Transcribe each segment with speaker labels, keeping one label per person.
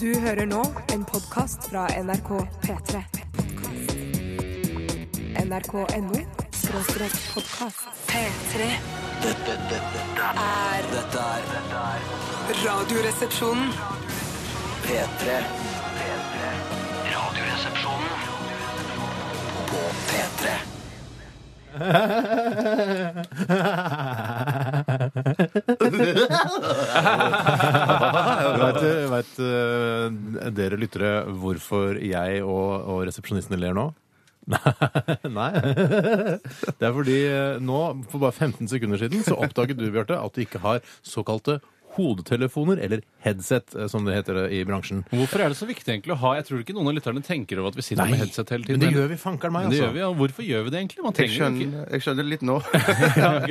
Speaker 1: Du hører nå en podkast fra NRK P3. NRK.no skråstrek podkast. P3
Speaker 2: Dette, dette, dette,
Speaker 1: er
Speaker 2: dette er dette er
Speaker 1: Radioresepsjonen.
Speaker 2: P3. P3. Radioresepsjonen på P3.
Speaker 3: Vet, vet eh, dere lyttere hvorfor jeg og, og resepsjonistene ler nå? Nei. Det er fordi eh, nå, for bare 15 sekunder siden, så oppdaget du, Bjarte, at du ikke har såkalte hodetelefoner, eller headset, eh, som det heter i bransjen.
Speaker 4: Hvorfor er det så viktig egentlig å ha Jeg tror ikke noen av lytterne tenker over at vi sitter med headset hele
Speaker 3: men
Speaker 4: tiden.
Speaker 3: det gjør vi fanker meg,
Speaker 4: Men det
Speaker 3: altså.
Speaker 4: gjør vi, ja. Hvorfor gjør vi det egentlig? Man
Speaker 5: Jeg
Speaker 4: trenger jo ikke
Speaker 5: skjønner, jeg skjønner det litt nå.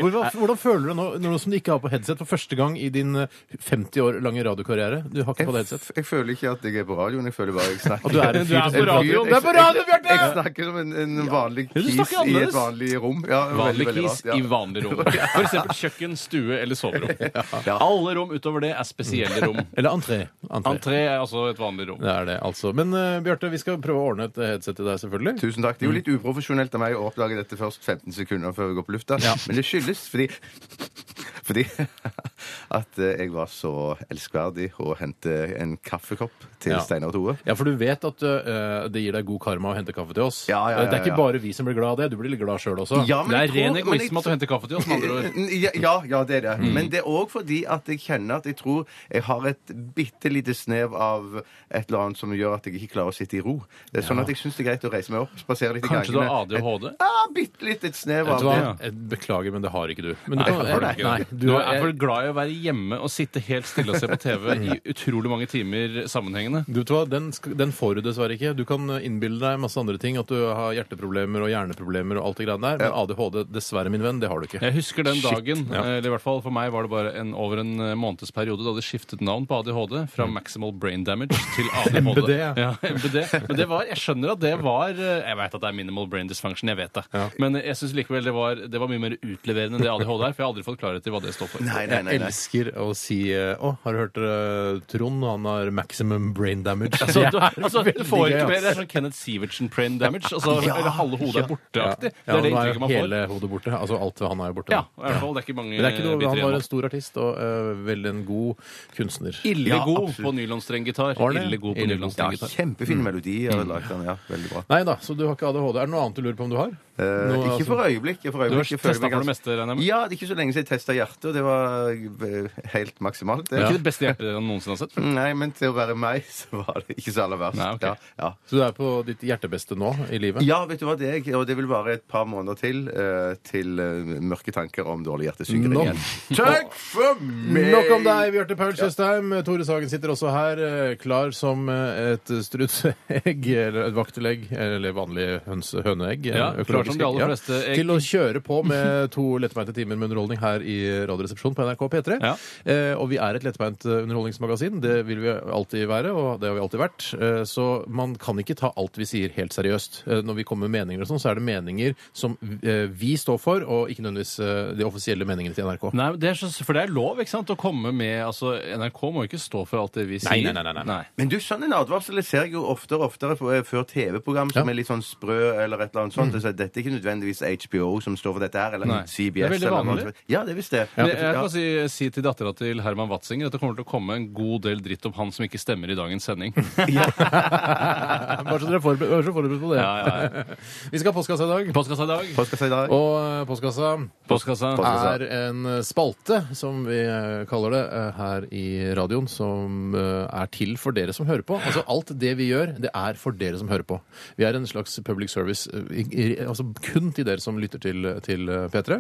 Speaker 3: Hvordan, hvordan føler du nå, nå som du ikke har på headset for første gang i din eh, 50 år lange radiokarriere? Du har ikke på deg
Speaker 5: Jeg,
Speaker 3: headset.
Speaker 5: jeg føler ikke at jeg er på radioen. Jeg føler bare jeg snakker.
Speaker 3: Og du er en
Speaker 4: Du er
Speaker 3: fyr som-
Speaker 4: på radioen.
Speaker 5: Jeg-
Speaker 4: Det er på radio, Bjarte!
Speaker 5: Jeg, jeg snakker som en, en vanlig
Speaker 4: Ja, du
Speaker 5: kis
Speaker 4: snakker
Speaker 5: i et
Speaker 4: annerledes.
Speaker 5: vanlig rom. Ja,
Speaker 4: Vanlig
Speaker 5: veldig, veldig
Speaker 4: kis
Speaker 5: rart, ja.
Speaker 4: i vanlig rom. For eksempel kjøkken, stue eller soverom. Alle rom utover det er spesielle rom.
Speaker 3: Eller entré. Entré.
Speaker 4: Entré er altså et vanlig rom.
Speaker 3: Det er det, altså. Men eh, Bjarte, vi skal prøve å ordne et headset til deg, selvfølgelig.
Speaker 5: Tusen takk. Det
Speaker 4: Mm.
Speaker 5: er jo litt uprofesjonelt av meg å oppdage dette først 15 sekunder før vi går på lufta, men det skyldes fordi fordi at eh, jeg var så elskverdig å hente en kaffekopp til
Speaker 3: Ja.
Speaker 5: Steinar og Tore.
Speaker 3: Ja, for du vet at eh, det gir deg god karma å hente kaffe til oss. Eh,
Speaker 5: Ja, ja, ja,
Speaker 3: Det er ikke
Speaker 5: ja.
Speaker 3: bare vi som blir glad av det, du blir litt glad sjøl også.
Speaker 5: Ja, men
Speaker 4: Det er
Speaker 5: jeg tror-
Speaker 4: ren
Speaker 5: men jeg-
Speaker 4: egoisme at du Mm. henter kaffe til oss, med andre ord.
Speaker 5: Ja, ja, ja, det er det. Men det er òg fordi at jeg kjenner at jeg tror jeg har et bitte lite snev av et eller annet som gjør at jeg ikke klarer å sitte i ro. Det er sånn at jeg syns det er greit å reise meg opp, spasere litt
Speaker 4: Kanskje
Speaker 5: i
Speaker 4: du
Speaker 5: gangene.
Speaker 4: har ADHD?
Speaker 5: Et- Ja, bitte litt et snev
Speaker 3: Vet
Speaker 5: av
Speaker 3: du hva?
Speaker 5: det.
Speaker 4: Ja.
Speaker 3: Jeg beklager, men det har ikke du. Men du
Speaker 4: Nei,
Speaker 3: kan-
Speaker 4: har du ikke
Speaker 3: Nei,
Speaker 4: det?
Speaker 3: du
Speaker 4: Du
Speaker 3: har-
Speaker 4: er for glad i å være hjemme og sitte helt stille og se på TV i utrolig mange timer sammenhengende.
Speaker 3: Du vet hva, den, sk- den får du dessverre ikke. Du kan innbille deg masse andre ting, at du har hjerteproblemer og hjerneproblemer og alt det greiene der, men ADHD, dessverre, min venn, det har du ikke.
Speaker 4: Jeg husker den
Speaker 3: Shit,
Speaker 4: dagen, eh,
Speaker 3: ja.
Speaker 4: eller i hvert fall for meg var det bare en, over en eh, månedsperiode da de skiftet navn på ADHD fra
Speaker 3: Mm.
Speaker 4: Maximal Brain Damage til ADHD.
Speaker 3: MBD, ja.
Speaker 4: ja. MBD. Men det var, jeg skjønner at det var eh, Jeg vet at det er Minimal Brain Dysfunction, jeg vet det. Men jeg syns likevel det var, det var mye mer utleverende enn det ADHD er, for jeg har aldri fått klarhet i hva det står for.
Speaker 5: Nei, nei, nei,
Speaker 3: Jeg
Speaker 5: nei.
Speaker 3: elsker å si eh, Å, har du hørt eh, Trond? Han har maximum brain damage.
Speaker 4: Altså,
Speaker 3: Det
Speaker 4: du,
Speaker 3: er
Speaker 4: altså, du
Speaker 3: veldig
Speaker 4: får
Speaker 3: gøy,
Speaker 4: ikke mer.
Speaker 3: ass.
Speaker 4: Det er sånn Kenneth Sivertsen brain damage. Altså, eller halve hodet er
Speaker 3: Ja,
Speaker 4: borteaktig. det er det
Speaker 3: nå
Speaker 4: inntrykket man får.
Speaker 3: Hele hodet borte. Altså alt ved han er jo borte.
Speaker 4: Ja,
Speaker 3: nå.
Speaker 4: i hvert fall, det er ikke mange
Speaker 3: Men det er ikke
Speaker 4: eh,
Speaker 3: noe,
Speaker 4: biter
Speaker 3: han
Speaker 4: igjen.
Speaker 3: var en stor artist og øh, vel en god kunstner.
Speaker 4: Ille
Speaker 5: Ja,
Speaker 4: god
Speaker 5: absolutt.
Speaker 4: på nylonstrenggitar.
Speaker 3: Var det?
Speaker 4: Ille god på
Speaker 3: Ille god.
Speaker 5: Ja,
Speaker 4: nylonstrenggitar.
Speaker 5: kjempefine melodier
Speaker 4: Mm.
Speaker 5: har jeg lagd den. Ja, veldig bra.
Speaker 3: Nei da, så du har ikke ADHD. Er det noe annet du lurer på om du har?
Speaker 5: Eh,
Speaker 3: Noe,
Speaker 5: ikke for
Speaker 3: altså-
Speaker 5: øyeblikket. For
Speaker 4: Du
Speaker 5: øyeblikket.
Speaker 4: har
Speaker 5: Jeg føler
Speaker 4: testet
Speaker 5: meg
Speaker 4: for det
Speaker 5: ganske-
Speaker 4: meste, regner jeg med?
Speaker 5: Ja, det er ikke så lenge siden jeg testa hjertet, og det var eh, helt maksimalt. Det.
Speaker 4: Det er ikke det beste hjertet han noensinne har sett.
Speaker 5: Nei, men til å være meg, så var det ikke så aller verst.
Speaker 4: Nei, ok.
Speaker 5: ja, ja.
Speaker 3: Så du er på ditt hjertebeste nå i livet?
Speaker 5: Ja, vet du hva det er, jeg- og det vil vare et par måneder til eh, til eh, mørke tanker om dårlig hjertesykdom
Speaker 3: Nok.
Speaker 5: igjen. Takk for meg!
Speaker 3: Nok om deg, Bjarte Paul Tjøstheim. Tore Sagen sitter også her, eh, klar som eh, et strutseegg, eller et vaktelegg, eller vanlig hønse, høneegg. eh,
Speaker 4: Ja, klar som de aller
Speaker 3: ja,
Speaker 4: fleste egg.
Speaker 3: Til å kjøre på med to lettbeinte timer med underholdning her i Radioresepsjonen på NRK P3.
Speaker 4: Ja.
Speaker 3: Eh, og vi er et lettbeint eh, underholdningsmagasin. Det vil vi alltid være, og det har vi alltid vært. Eh, så man kan ikke ta alt vi sier helt seriøst. Eh, når vi kommer med meninger og sånn, så er det meninger som eh, vi står for, og ikke nødvendigvis eh, de offisielle meningene til NRK.
Speaker 4: Nei, men det er så, For det er lov ikke sant, å komme med altså, NRK må jo ikke stå for alt det vi sier.
Speaker 3: Nei, nei, nei, nei, nei.
Speaker 5: Men du, sånn en advarsel det ser jeg jo oftere og oftere på, eh, før TV-program som
Speaker 3: Ja.
Speaker 5: er litt sånn sprø eller et eller annet sånt. og Så dette er ikke nødvendigvis HBO som står for dette her, eller
Speaker 4: Nei.
Speaker 5: CBS.
Speaker 4: Det er veldig
Speaker 5: eller noe
Speaker 4: vanlig.
Speaker 5: sånt. Ja, det er visst det.
Speaker 4: Men Jeg kan si, si til dattera til Herman Watzinger at det kommer til å komme en god del dritt om han som ikke stemmer i dagens sending.
Speaker 3: Bare så dere er forberedt, vær så forberedt på det.
Speaker 4: Ja, ja, ja.
Speaker 3: Vi skal ha postkassa i dag.
Speaker 4: Postkassa i dag.
Speaker 5: Postkassa i dag.
Speaker 3: Og eh, postkassa
Speaker 4: Postkassa.
Speaker 3: er en eh, spalte, som vi eh, kaller det, eh, her i radioen, som eh, er til for dere som hører på. Altså alt det vi gjør, det er for dere som hører på. Vi er en slags public service, eh, i, i, altså kun til dere som lytter til, til eh, P3.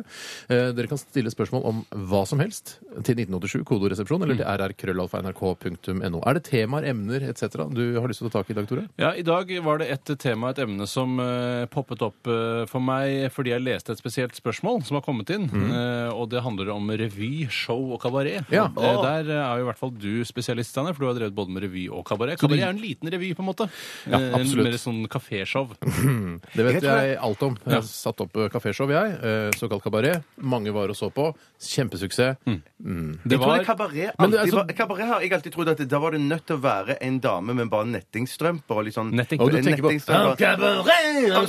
Speaker 3: Eh, Dere kan stille spørsmål om hva som helst til 1987, kodoresepsjon, eller til
Speaker 4: Mm.
Speaker 3: rrkrøllalfa.nrk.no. Er det temaer, emner etc. du har lyst til å ta tak i i dag, Tore?
Speaker 4: Ja, I dag var det et tema, et emne, som eh, poppet opp eh, for meg fordi jeg leste et spesielt spørsmål som har kommet inn. eh, og det handler om revy, show og kabaret.
Speaker 3: Mm. Ja.
Speaker 4: Og, eh, der eh, er jo i hvert fall du spesialist, Steinar, for du har drevet både med revy og kabaret.
Speaker 3: du-
Speaker 4: Kabaret er en liten revy, på en måte.
Speaker 3: Ja,
Speaker 4: Eh,
Speaker 3: absolutt. Mm.
Speaker 4: Mer sånn kaféshow.
Speaker 3: Det vet
Speaker 5: Jeg tror
Speaker 3: jeg alt om. Jeg har satt opp eh, kaféshow, jeg. eh, Såkalt kabaret. Mange var og så på. Kjempesuksess. Mm.
Speaker 4: Det
Speaker 5: Jeg tror
Speaker 4: var
Speaker 5: det kabaret
Speaker 3: Men det
Speaker 5: alltid
Speaker 3: er så-
Speaker 5: var Kabaret har jeg alltid trodd at det- da var det nødt til å være en dame med bare nettingstrømper og litt sånn
Speaker 4: Netting.
Speaker 3: Og du tenker på
Speaker 5: nettingstrømper.
Speaker 3: Cabaret,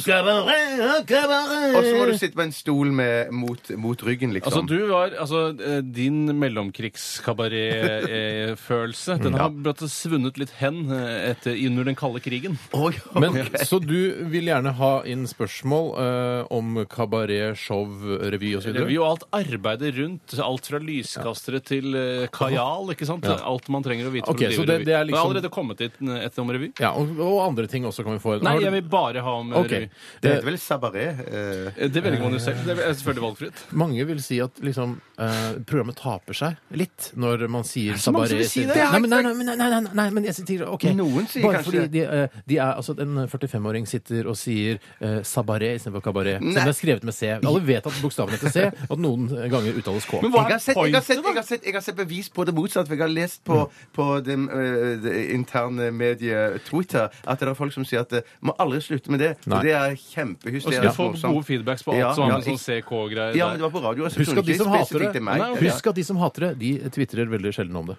Speaker 3: cabaret, cabaret.
Speaker 5: Og så må du sitte på en stol med, mot, mot ryggen, liksom.
Speaker 4: Altså, du var, altså, eh, Din mellomkrigskabaret-følelse
Speaker 3: Mm,
Speaker 4: Den har blitt svunnet litt hen eh, etter, under den kalde krigen.
Speaker 5: Og-
Speaker 3: Men,
Speaker 5: ok.
Speaker 3: Så du vil gjerne ha inn spørsmål eh, om kabaret, show, revy osv.?
Speaker 4: Det er jo alt arbeidet rundt. Alt fra lyskastere til eh, kajal. ikke sant? Alt man trenger å vite. for
Speaker 3: Ok,
Speaker 4: å
Speaker 3: så
Speaker 4: drive
Speaker 3: det-
Speaker 4: revy.
Speaker 3: det er liksom-
Speaker 4: har allerede kommet dit eh, etter om revy?
Speaker 3: Ja, og, og andre ting også kan vi få.
Speaker 4: Nei,
Speaker 3: Har du-
Speaker 4: jeg vil bare ha om eh,
Speaker 3: Ok.
Speaker 4: revy.
Speaker 5: Det heter vel sabaret. eh.
Speaker 4: Eh, Det velger man jo selv. Det er selvfølgelig valgfritt.
Speaker 3: Mange vil si at liksom, eh, programmet taper seg litt når man sier
Speaker 4: så mange som vil
Speaker 3: Tabaret
Speaker 4: si
Speaker 3: i
Speaker 4: det?
Speaker 3: stedet. Nei, men, nei, nei, nei, nei, nei, nei, men jeg sier OK.
Speaker 5: Noen sier
Speaker 3: Bare
Speaker 5: kanskje
Speaker 3: fordi
Speaker 5: det.
Speaker 3: de, eh, de er, altså, at en 45-åring sitter og sier eh, sabaret istedenfor kabaret. Som
Speaker 5: Nei.
Speaker 3: det er skrevet med C. Alle vet at bokstaven heter C, og at noen ganger uttales K.
Speaker 4: Men
Speaker 5: Jeg
Speaker 4: hva
Speaker 5: har,
Speaker 4: er
Speaker 5: sett, jeg, har sett,
Speaker 4: pointet,
Speaker 5: jeg,
Speaker 4: da? Mm.
Speaker 5: har sett, jeg har sett bevis på det motsatte. for Jeg har lest på, på det, eh, det interne mediet Twitter at det er folk som sier at eh, må aldri slutte med det.
Speaker 3: Nei.
Speaker 5: Og det er
Speaker 4: Og
Speaker 5: kjempehysterende.
Speaker 4: skal få gode feedbacks på alt
Speaker 5: Ja,
Speaker 4: som har
Speaker 5: ja,
Speaker 4: med sånn CK-greier
Speaker 5: Ja, men det var på radio.
Speaker 3: Husk at de som hater det-
Speaker 4: Nei, ok.
Speaker 3: Husk at de som hater det, de tvitrer veldig sjelden om det.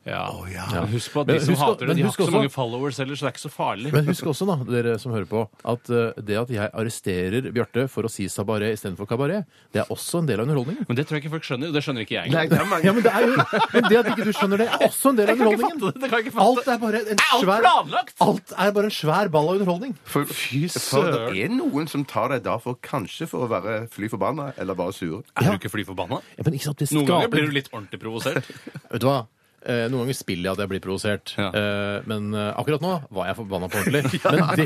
Speaker 4: Ja. Men Husk på at
Speaker 3: Men
Speaker 4: de som
Speaker 3: husk-
Speaker 4: hater det,
Speaker 3: men
Speaker 4: de har
Speaker 3: husk
Speaker 4: ikke så
Speaker 3: også-
Speaker 4: mange followers ellers, så det er ikke så farlig.
Speaker 3: Men husk også, da, dere som hører på, at eh, det at jeg arresterer Bjarte for å si sabaret istedenfor kabaret, det er også en del av underholdningen.
Speaker 4: Men det tror jeg ikke folk skjønner. og Det skjønner ikke jeg.
Speaker 5: Nei, det er mange.
Speaker 3: Ja, men det er jo Men det at ikke du skjønner det, er også en del av
Speaker 4: kan ikke
Speaker 3: underholdningen.
Speaker 4: fatte det, jeg kan ikke fatte
Speaker 3: Alt
Speaker 4: det.
Speaker 3: er bare en
Speaker 4: alt
Speaker 3: svær
Speaker 4: planlagt?
Speaker 3: Alt er bare en svær ball av underholdning.
Speaker 5: For,
Speaker 4: Fy
Speaker 5: for
Speaker 4: søren.
Speaker 5: det er noen som tar deg da for kanskje for å være fly forbanna eller bare sur.
Speaker 4: Er du ikke fly forbanna?
Speaker 3: Ja, men ikke sant, det
Speaker 4: Noen ganger
Speaker 3: skaper-
Speaker 4: blir du litt ordentlig provosert.
Speaker 3: Vet du hva? Eh, noen ganger spiller jeg at jeg blir provosert,
Speaker 4: Ja.
Speaker 3: eh, men eh, akkurat nå var jeg forbanna på ordentlig. men,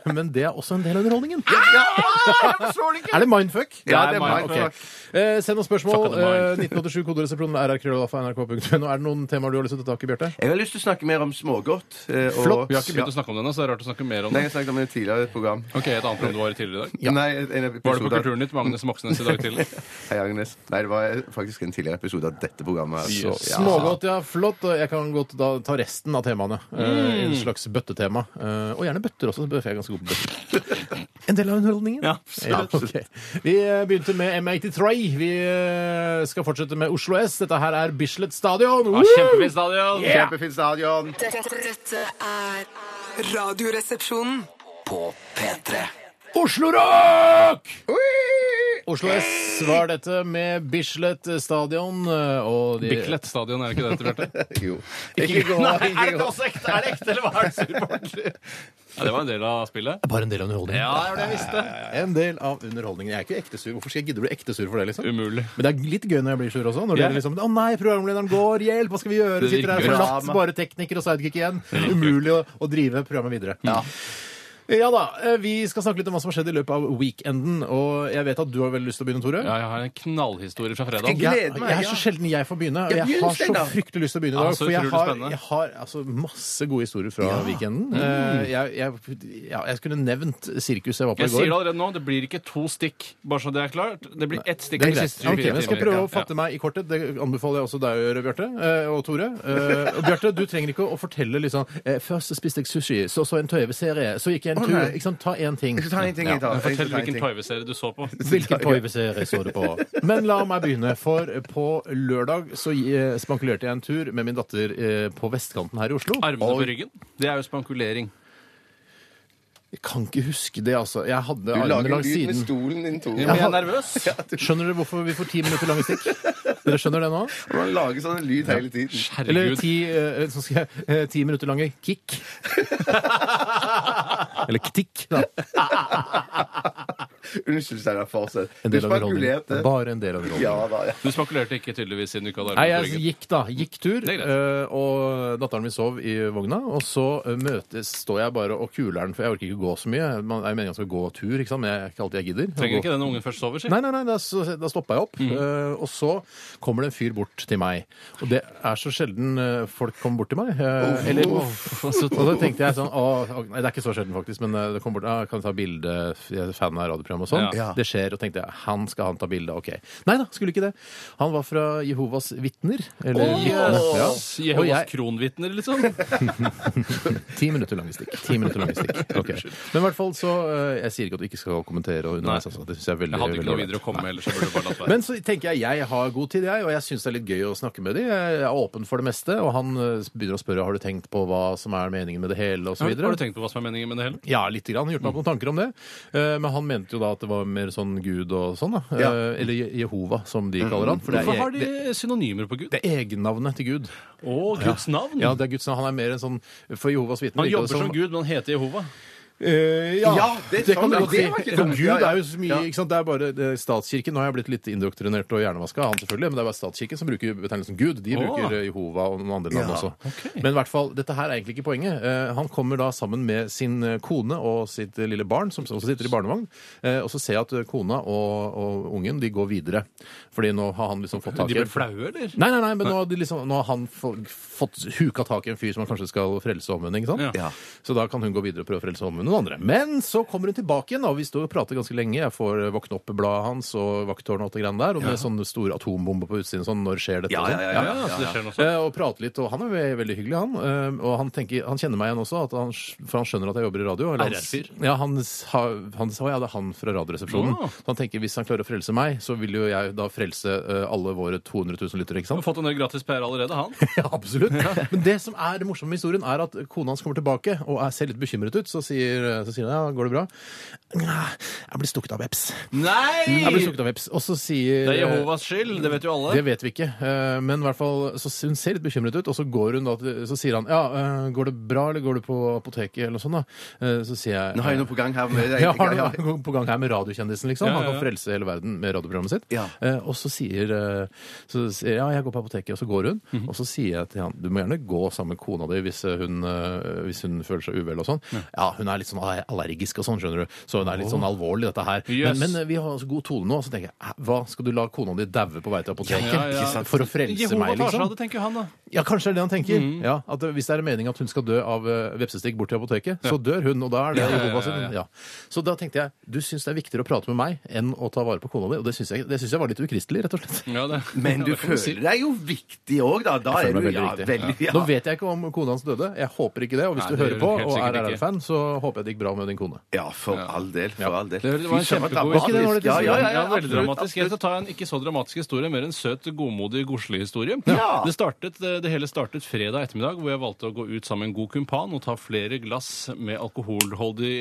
Speaker 3: det, men det er også en del av underholdningen.
Speaker 4: Ah,
Speaker 3: Er det mindfuck?
Speaker 5: Ja,
Speaker 4: det er mindfuck.
Speaker 3: Ok. Eh, send oss spørsmål.
Speaker 4: Fuck the
Speaker 3: Eh,
Speaker 4: mind.
Speaker 3: 1987 koderesepsjonen rrkrøllalfa.nrk.no. Er det noen temaer du har lyst til å ta tak i, Bjarte?
Speaker 5: Jeg har lyst til å snakke mer om smågodt. eh, og-
Speaker 4: Vi har ikke begynt å snakke om det ennå, så det er rart å snakke mer om
Speaker 5: Nei,
Speaker 4: det.
Speaker 5: jeg snakket om det tidligere i et program.
Speaker 4: Ok, Et annet program du var i tidligere i dag?
Speaker 5: Nei, en episode
Speaker 4: Var det på
Speaker 5: av-
Speaker 4: Kulturnytt Magnus Moxnes i dag tidlig?
Speaker 5: Hei, Agnes. Nei, det var faktisk en tidligere episode av dette programmet. her, så-
Speaker 4: Yes.
Speaker 5: ja.
Speaker 3: Smågodt, ja. Flott. Og jeg kan godt da ta resten av temaene. Eh,
Speaker 4: Mm.
Speaker 3: en slags bøttetema. Eh, og gjerne bøtter også. for Jeg er ganske god på bøtter. en del av underholdningen.
Speaker 4: Ja,
Speaker 3: Ja, ok. Vi eh, begynte med M83. Vi eh, skal fortsette med Oslo S. Dette her er Bislett Stadion.
Speaker 4: Ja, Kjempefint stadion!
Speaker 5: Kjempefint stadion.
Speaker 1: Dette er Radioresepsjonen.
Speaker 2: På P3.
Speaker 3: Oslo Rock! Oslo S var dette med Bislett Stadion. eh, Og de,
Speaker 4: Bislett stadion, er det ikke det det heter? Bjarte?
Speaker 5: Jo.
Speaker 3: Ikke gå,
Speaker 4: Nei,
Speaker 3: ikke
Speaker 4: er det
Speaker 3: gå.
Speaker 4: også ekte? Er det ekte, eller hva er det supporter? Ja, det var en del av spillet.
Speaker 3: Bare en del av underholdningen.
Speaker 4: Ja, det var det jeg visste.
Speaker 3: En del av underholdningen. Jeg er ikke ekte sur. Hvorfor skal jeg gidde å bli ekte sur for det? liksom?
Speaker 4: Umulig.
Speaker 3: Men det er litt gøy når jeg blir sur også. Når
Speaker 4: Ja.
Speaker 3: dere liksom, 'Å nei, programlederen går. Hjelp! Hva skal vi gjøre?'
Speaker 4: Det
Speaker 3: Sitter her
Speaker 4: virker
Speaker 3: forlatt,
Speaker 5: drama.
Speaker 3: bare tekniker og sidekick igjen. Umulig å, å drive programmet videre. Ja. da, eh, Vi skal snakke litt om hva som har skjedd i løpet av weekenden. Og jeg vet at du har veldig lyst til å begynne, Tore.
Speaker 4: Ja, jeg har en knallhistorie fra fredag.
Speaker 5: Skal gleder
Speaker 3: jeg,
Speaker 5: meg,
Speaker 3: jeg er
Speaker 5: ja.
Speaker 3: så sjelden jeg får begynne. Og
Speaker 5: Ja,
Speaker 3: jeg
Speaker 5: begynn,
Speaker 3: har så
Speaker 5: Steinar.
Speaker 3: fryktelig lyst til å begynne i
Speaker 4: Ja,
Speaker 3: dag.
Speaker 4: så
Speaker 3: For jeg
Speaker 4: utrolig
Speaker 3: har,
Speaker 4: spennende. Mm.
Speaker 3: jeg har altså, masse gode historier fra weekenden. Eh, Jeg, jeg, ja, jeg skulle nevnt sirkuset jeg var på
Speaker 4: Jeg
Speaker 3: i
Speaker 4: sier det
Speaker 3: går.
Speaker 4: allerede nå, det blir ikke to stikk, bare så det er klart. Det blir ett stikk
Speaker 3: Det er
Speaker 4: de
Speaker 3: greit.
Speaker 4: siste
Speaker 3: Ok,
Speaker 4: 24
Speaker 3: jeg skal
Speaker 4: timer.
Speaker 3: prøve å
Speaker 4: Ja.
Speaker 3: fatte meg i kortet. Det anbefaler jeg også deg å gjøre, Bjarte. eh, Og Tore. Eh, Og Bjarte, du trenger ikke å fortelle liksom eh, Først spiste jeg sushi, så så en TV-serie, så gikk jeg en
Speaker 5: Å,
Speaker 3: tur.
Speaker 5: nei.
Speaker 3: Ikke sant? Ta én ting.
Speaker 5: Jeg skal ta en ting i dag.
Speaker 4: Men
Speaker 5: Jeg skal
Speaker 4: Fortell
Speaker 5: ta en
Speaker 4: hvilken
Speaker 5: ting.
Speaker 4: TV-serie du så på.
Speaker 3: Hvilken TV-serie så du på? Men la meg begynne, for på lørdag så eh, spankulerte jeg en tur med min datter eh, på vestkanten her i Oslo.
Speaker 4: Armene på ryggen. Det er jo spankulering.
Speaker 3: Jeg kan ikke huske det, altså. Jeg hadde
Speaker 5: Du lager
Speaker 3: armene
Speaker 5: en
Speaker 3: langs
Speaker 5: lyd med
Speaker 3: siden.
Speaker 5: stolen din, Tore.
Speaker 4: Men jeg er nervøs.
Speaker 3: Skjønner dere hvorfor vi får ti minutter lange stikk? Dere skjønner det nå?
Speaker 5: Man lager sånn en lyd hele tiden.
Speaker 3: Eller
Speaker 4: Herregud.
Speaker 3: ti, eh, så skal jeg, eh, ti minutter lange kick. Eller ktikk, da.
Speaker 5: Unnskyld, Steinar. Fortsett.
Speaker 3: En
Speaker 5: Du
Speaker 3: del av underholdningen.
Speaker 5: spankulerte.
Speaker 3: Bare en del av underholdningen.
Speaker 5: eh? Ja da. ja.
Speaker 4: Du spankulerte ikke tydeligvis siden du ikke hadde
Speaker 3: Nei, jeg
Speaker 4: armene på ryggen.
Speaker 3: gikk da, gikk tur,
Speaker 4: Det er greit.
Speaker 3: eh, og datteren min sov i vogna, og så eh, møtes, står jeg bare og kuler den, for jeg orker ikke gå så mye. Man, jeg mener jeg skal gå tur, ikke sant, men jeg er ikke alltid jeg gidder. å
Speaker 4: Trenger
Speaker 3: gå.
Speaker 4: ikke den ungen først sover, si.
Speaker 3: Nei, nei, nei, da, s- da stoppa jeg opp.
Speaker 4: Mm.
Speaker 3: eh, og så kommer det en fyr bort til meg. Og det er så sjelden eh, folk kommer bort til meg. eh, eller, og så tenkte jeg sånn å, å, Nei, det er ikke så sjelden, faktisk, men eh, det kom bort, ah, kan jeg ta bilde? Jeg er fan av Instagram og sånn.
Speaker 5: Ja.
Speaker 3: Det skjer, og tenkte jeg, han skal han ta bilde av, ok. Nei da, skulle ikke det. Han var fra Jehovas vitner. Eller vitner. Ja. Og
Speaker 4: Jehovas
Speaker 3: jeg,
Speaker 4: kronvitner, liksom.
Speaker 3: ti minutter lange stikk. Ti minutter lange stikk. Ok. Men i hvert fall så eh, Jeg sier ikke at du ikke skal kommentere og underveis,
Speaker 4: Nei.
Speaker 3: altså. Det synes jeg er veldig
Speaker 4: Jeg hadde ikke
Speaker 3: veldig
Speaker 4: noe videre å komme med, ellers jeg burde bare latt være.
Speaker 3: Men så tenker jeg jeg har god tid, jeg, og jeg syns det er litt gøy å snakke med dem. Jeg er åpen for det meste, og han eh, begynner å spørre har du tenkt på hva som er meningen med det hele, og så
Speaker 4: Har
Speaker 3: videre.
Speaker 4: du tenkt Mm. på hva som er meningen med det hele?
Speaker 3: Ja, lite grann. Gjort meg opp noen tanker om det. Eh, Men han mente jo da at det var mer sånn Gud og sånn, da. Eh,
Speaker 5: Ja.
Speaker 3: Eller Je- Jehova, som de kaller han. For det
Speaker 4: Mm. Hvorfor
Speaker 3: er, e-
Speaker 4: har de
Speaker 3: det,
Speaker 4: synonymer på Gud?
Speaker 3: det er egennavnet til Gud.
Speaker 4: Å, Guds navn!
Speaker 3: Ja, det er Guds navn. Han er mer en sånn For Jehovas vitner
Speaker 4: Han
Speaker 3: virker
Speaker 4: jobber
Speaker 3: det
Speaker 4: som Gud, men han heter Jehova.
Speaker 3: Eh, ja.
Speaker 5: Ja, det-
Speaker 3: det kan du godt
Speaker 5: sånn, ja,
Speaker 3: si.
Speaker 5: det var ikke
Speaker 3: For
Speaker 5: dumt.
Speaker 3: Gud
Speaker 5: Ja, ja.
Speaker 3: er jo så mye ikke sant? Det er bare eh, statskirken. Nå har jeg blitt litt indoktrinert og hjernevaska, han selvfølgelig, men det er bare statskirken som bruker betegnelsen Gud. De
Speaker 4: Åh.
Speaker 3: bruker eh, Jehova og noen andre navn
Speaker 5: Ja,
Speaker 3: også. Men i hvert fall, dette her er egentlig ikke poenget. Eh, han kommer da sammen med sin eh, kone og sitt eh, lille barn, som også sitter i barnevogn, eh, og så ser jeg at eh, kona og, og ungen de går videre. Fordi nå har han liksom fått tak
Speaker 4: De
Speaker 3: i
Speaker 4: ble flaue, eller?
Speaker 3: Nei, nei, nei, men nå har, de liksom, nå har han få, fått huka tak i en fyr som han kanskje skal frelse om henne. ikke sant?
Speaker 4: Ja.
Speaker 3: Så da kan hun gå videre og prøve å frelse om henne noen andre. Men så kommer hun tilbake igjen, og vi står og prater ganske lenge. Jeg får eh, våkne opp-bladet hans og vakttårnet og alt det greiene der, og med sånne store atombomber på utsiden sånn, når skjer dette? og sånn.
Speaker 4: Ja, ja, så det skjer noe sånt.
Speaker 3: Eh, Og prate litt, og han er ve- veldig hyggelig, han. Eh, Og han, tenker, han kjenner meg igjen også, at han, sk- for han skjønner at jeg jobber i radio. eller han-
Speaker 4: RR-fyr.
Speaker 3: Ja, han, sa- han sa ja, det er han fra Radioresepsjonen.
Speaker 4: Ja.
Speaker 3: Så han tenker hvis han klarer å frelse meg, så vil jo jeg da frelse eh, alle våre 200 000 lyttere, ikke sant?
Speaker 4: Han har fått en del gratis PR allerede, han.
Speaker 3: Ja, absolutt. Men det som er det morsomme med historien, er at kona hans kommer tilbake og er ser litt bekymret ut. Så sier, så sier han ja, går det bra? Nja, Jeg blir stukket av veps. Jeg blir
Speaker 4: Nei!
Speaker 3: stukket av veps. Og så sier
Speaker 4: Det er Jehovas skyld, det vet jo alle.
Speaker 3: det vet vi ikke, eh, men i hvert fall så hun ser litt bekymret ut. Og så går hun da, til- så sier han ja, eh, går det bra, eller går du på apoteket, eller noe sånt. da? Eh, Så sier jeg
Speaker 5: Nå har jeg noe på gang her. Med,
Speaker 3: jeg har noe på gang her med radiokjendisen, liksom.
Speaker 4: Ja, ja,
Speaker 3: Han kan
Speaker 4: ja.
Speaker 3: frelse hele verden med radioprogrammet sitt.
Speaker 5: Ja.
Speaker 3: Eh, og så sier eh, så sier, jeg, ja, jeg går på apoteket, og så går hun.
Speaker 4: Mhm.
Speaker 3: Og så sier jeg til han du må gjerne gå sammen med kona di hvis eh, hun, eh, hvis hun føler seg uvel og sånn. Ja. hun er litt sånn aller- allergisk og sånn, skjønner du. Så hun er litt sånn alvorlig, dette her.
Speaker 4: Yes.
Speaker 3: Men, men eh, vi har altså god tone nå, så tenker jeg hæ, hva skal du la kona di daue på vei til apoteket
Speaker 4: Ja, ja.
Speaker 3: Ikke sant? for å frelse
Speaker 4: Jehova
Speaker 3: meg,
Speaker 4: tar seg av
Speaker 3: liksom?
Speaker 4: det, tenker han da.
Speaker 3: Ja, kanskje det er det han tenker. Ja, at det- Hvis det er meningen at hun skal dø av eh, vepsestikk bort til apoteket, så dør hun, og da er det
Speaker 4: ja, ja,
Speaker 3: Jehova
Speaker 4: ja,
Speaker 3: sin.
Speaker 4: ja.
Speaker 3: Ja. Så da tenkte jeg du syns det er viktigere å prate med meg enn å ta vare på kona di, og det syns jeg, det synes jeg var litt ukristelig, rett og slett.
Speaker 4: Ja, det.
Speaker 5: Men du
Speaker 4: Ja, det kan si.
Speaker 5: føler deg jo viktig òg, da. Da
Speaker 3: Jeg
Speaker 5: er
Speaker 3: føler
Speaker 5: du
Speaker 3: meg
Speaker 5: ja,
Speaker 3: veldig
Speaker 5: veldig
Speaker 3: riktig.
Speaker 5: ja.
Speaker 3: Nå vet jeg ikke om kona hans døde. Jeg håper ikke det. Og hvis
Speaker 4: Nei,
Speaker 3: du
Speaker 4: det
Speaker 3: hører
Speaker 4: gjør
Speaker 3: på
Speaker 4: du helt
Speaker 3: og er
Speaker 4: sikkert ikke.
Speaker 3: RR-fan, så håper jeg det gikk bra med din kone.
Speaker 5: Ja, for all del. For all del.
Speaker 4: Det var en
Speaker 5: Fy søren,
Speaker 4: kjempegod
Speaker 5: dramatisk.
Speaker 3: historie.
Speaker 5: Ja, ja, ja,
Speaker 4: Ja,
Speaker 5: ja,
Speaker 4: veldig
Speaker 5: absolutt,
Speaker 4: dramatisk. Jeg skal ta en ikke så dramatisk historie, mer en søt, godmodig, godslig historie.
Speaker 5: Ja.
Speaker 4: Det, startet, eh, det hele startet fredag ettermiddag, hvor jeg valgte å gå ut sammen med en god kumpan og ta flere glass med alkoholholdig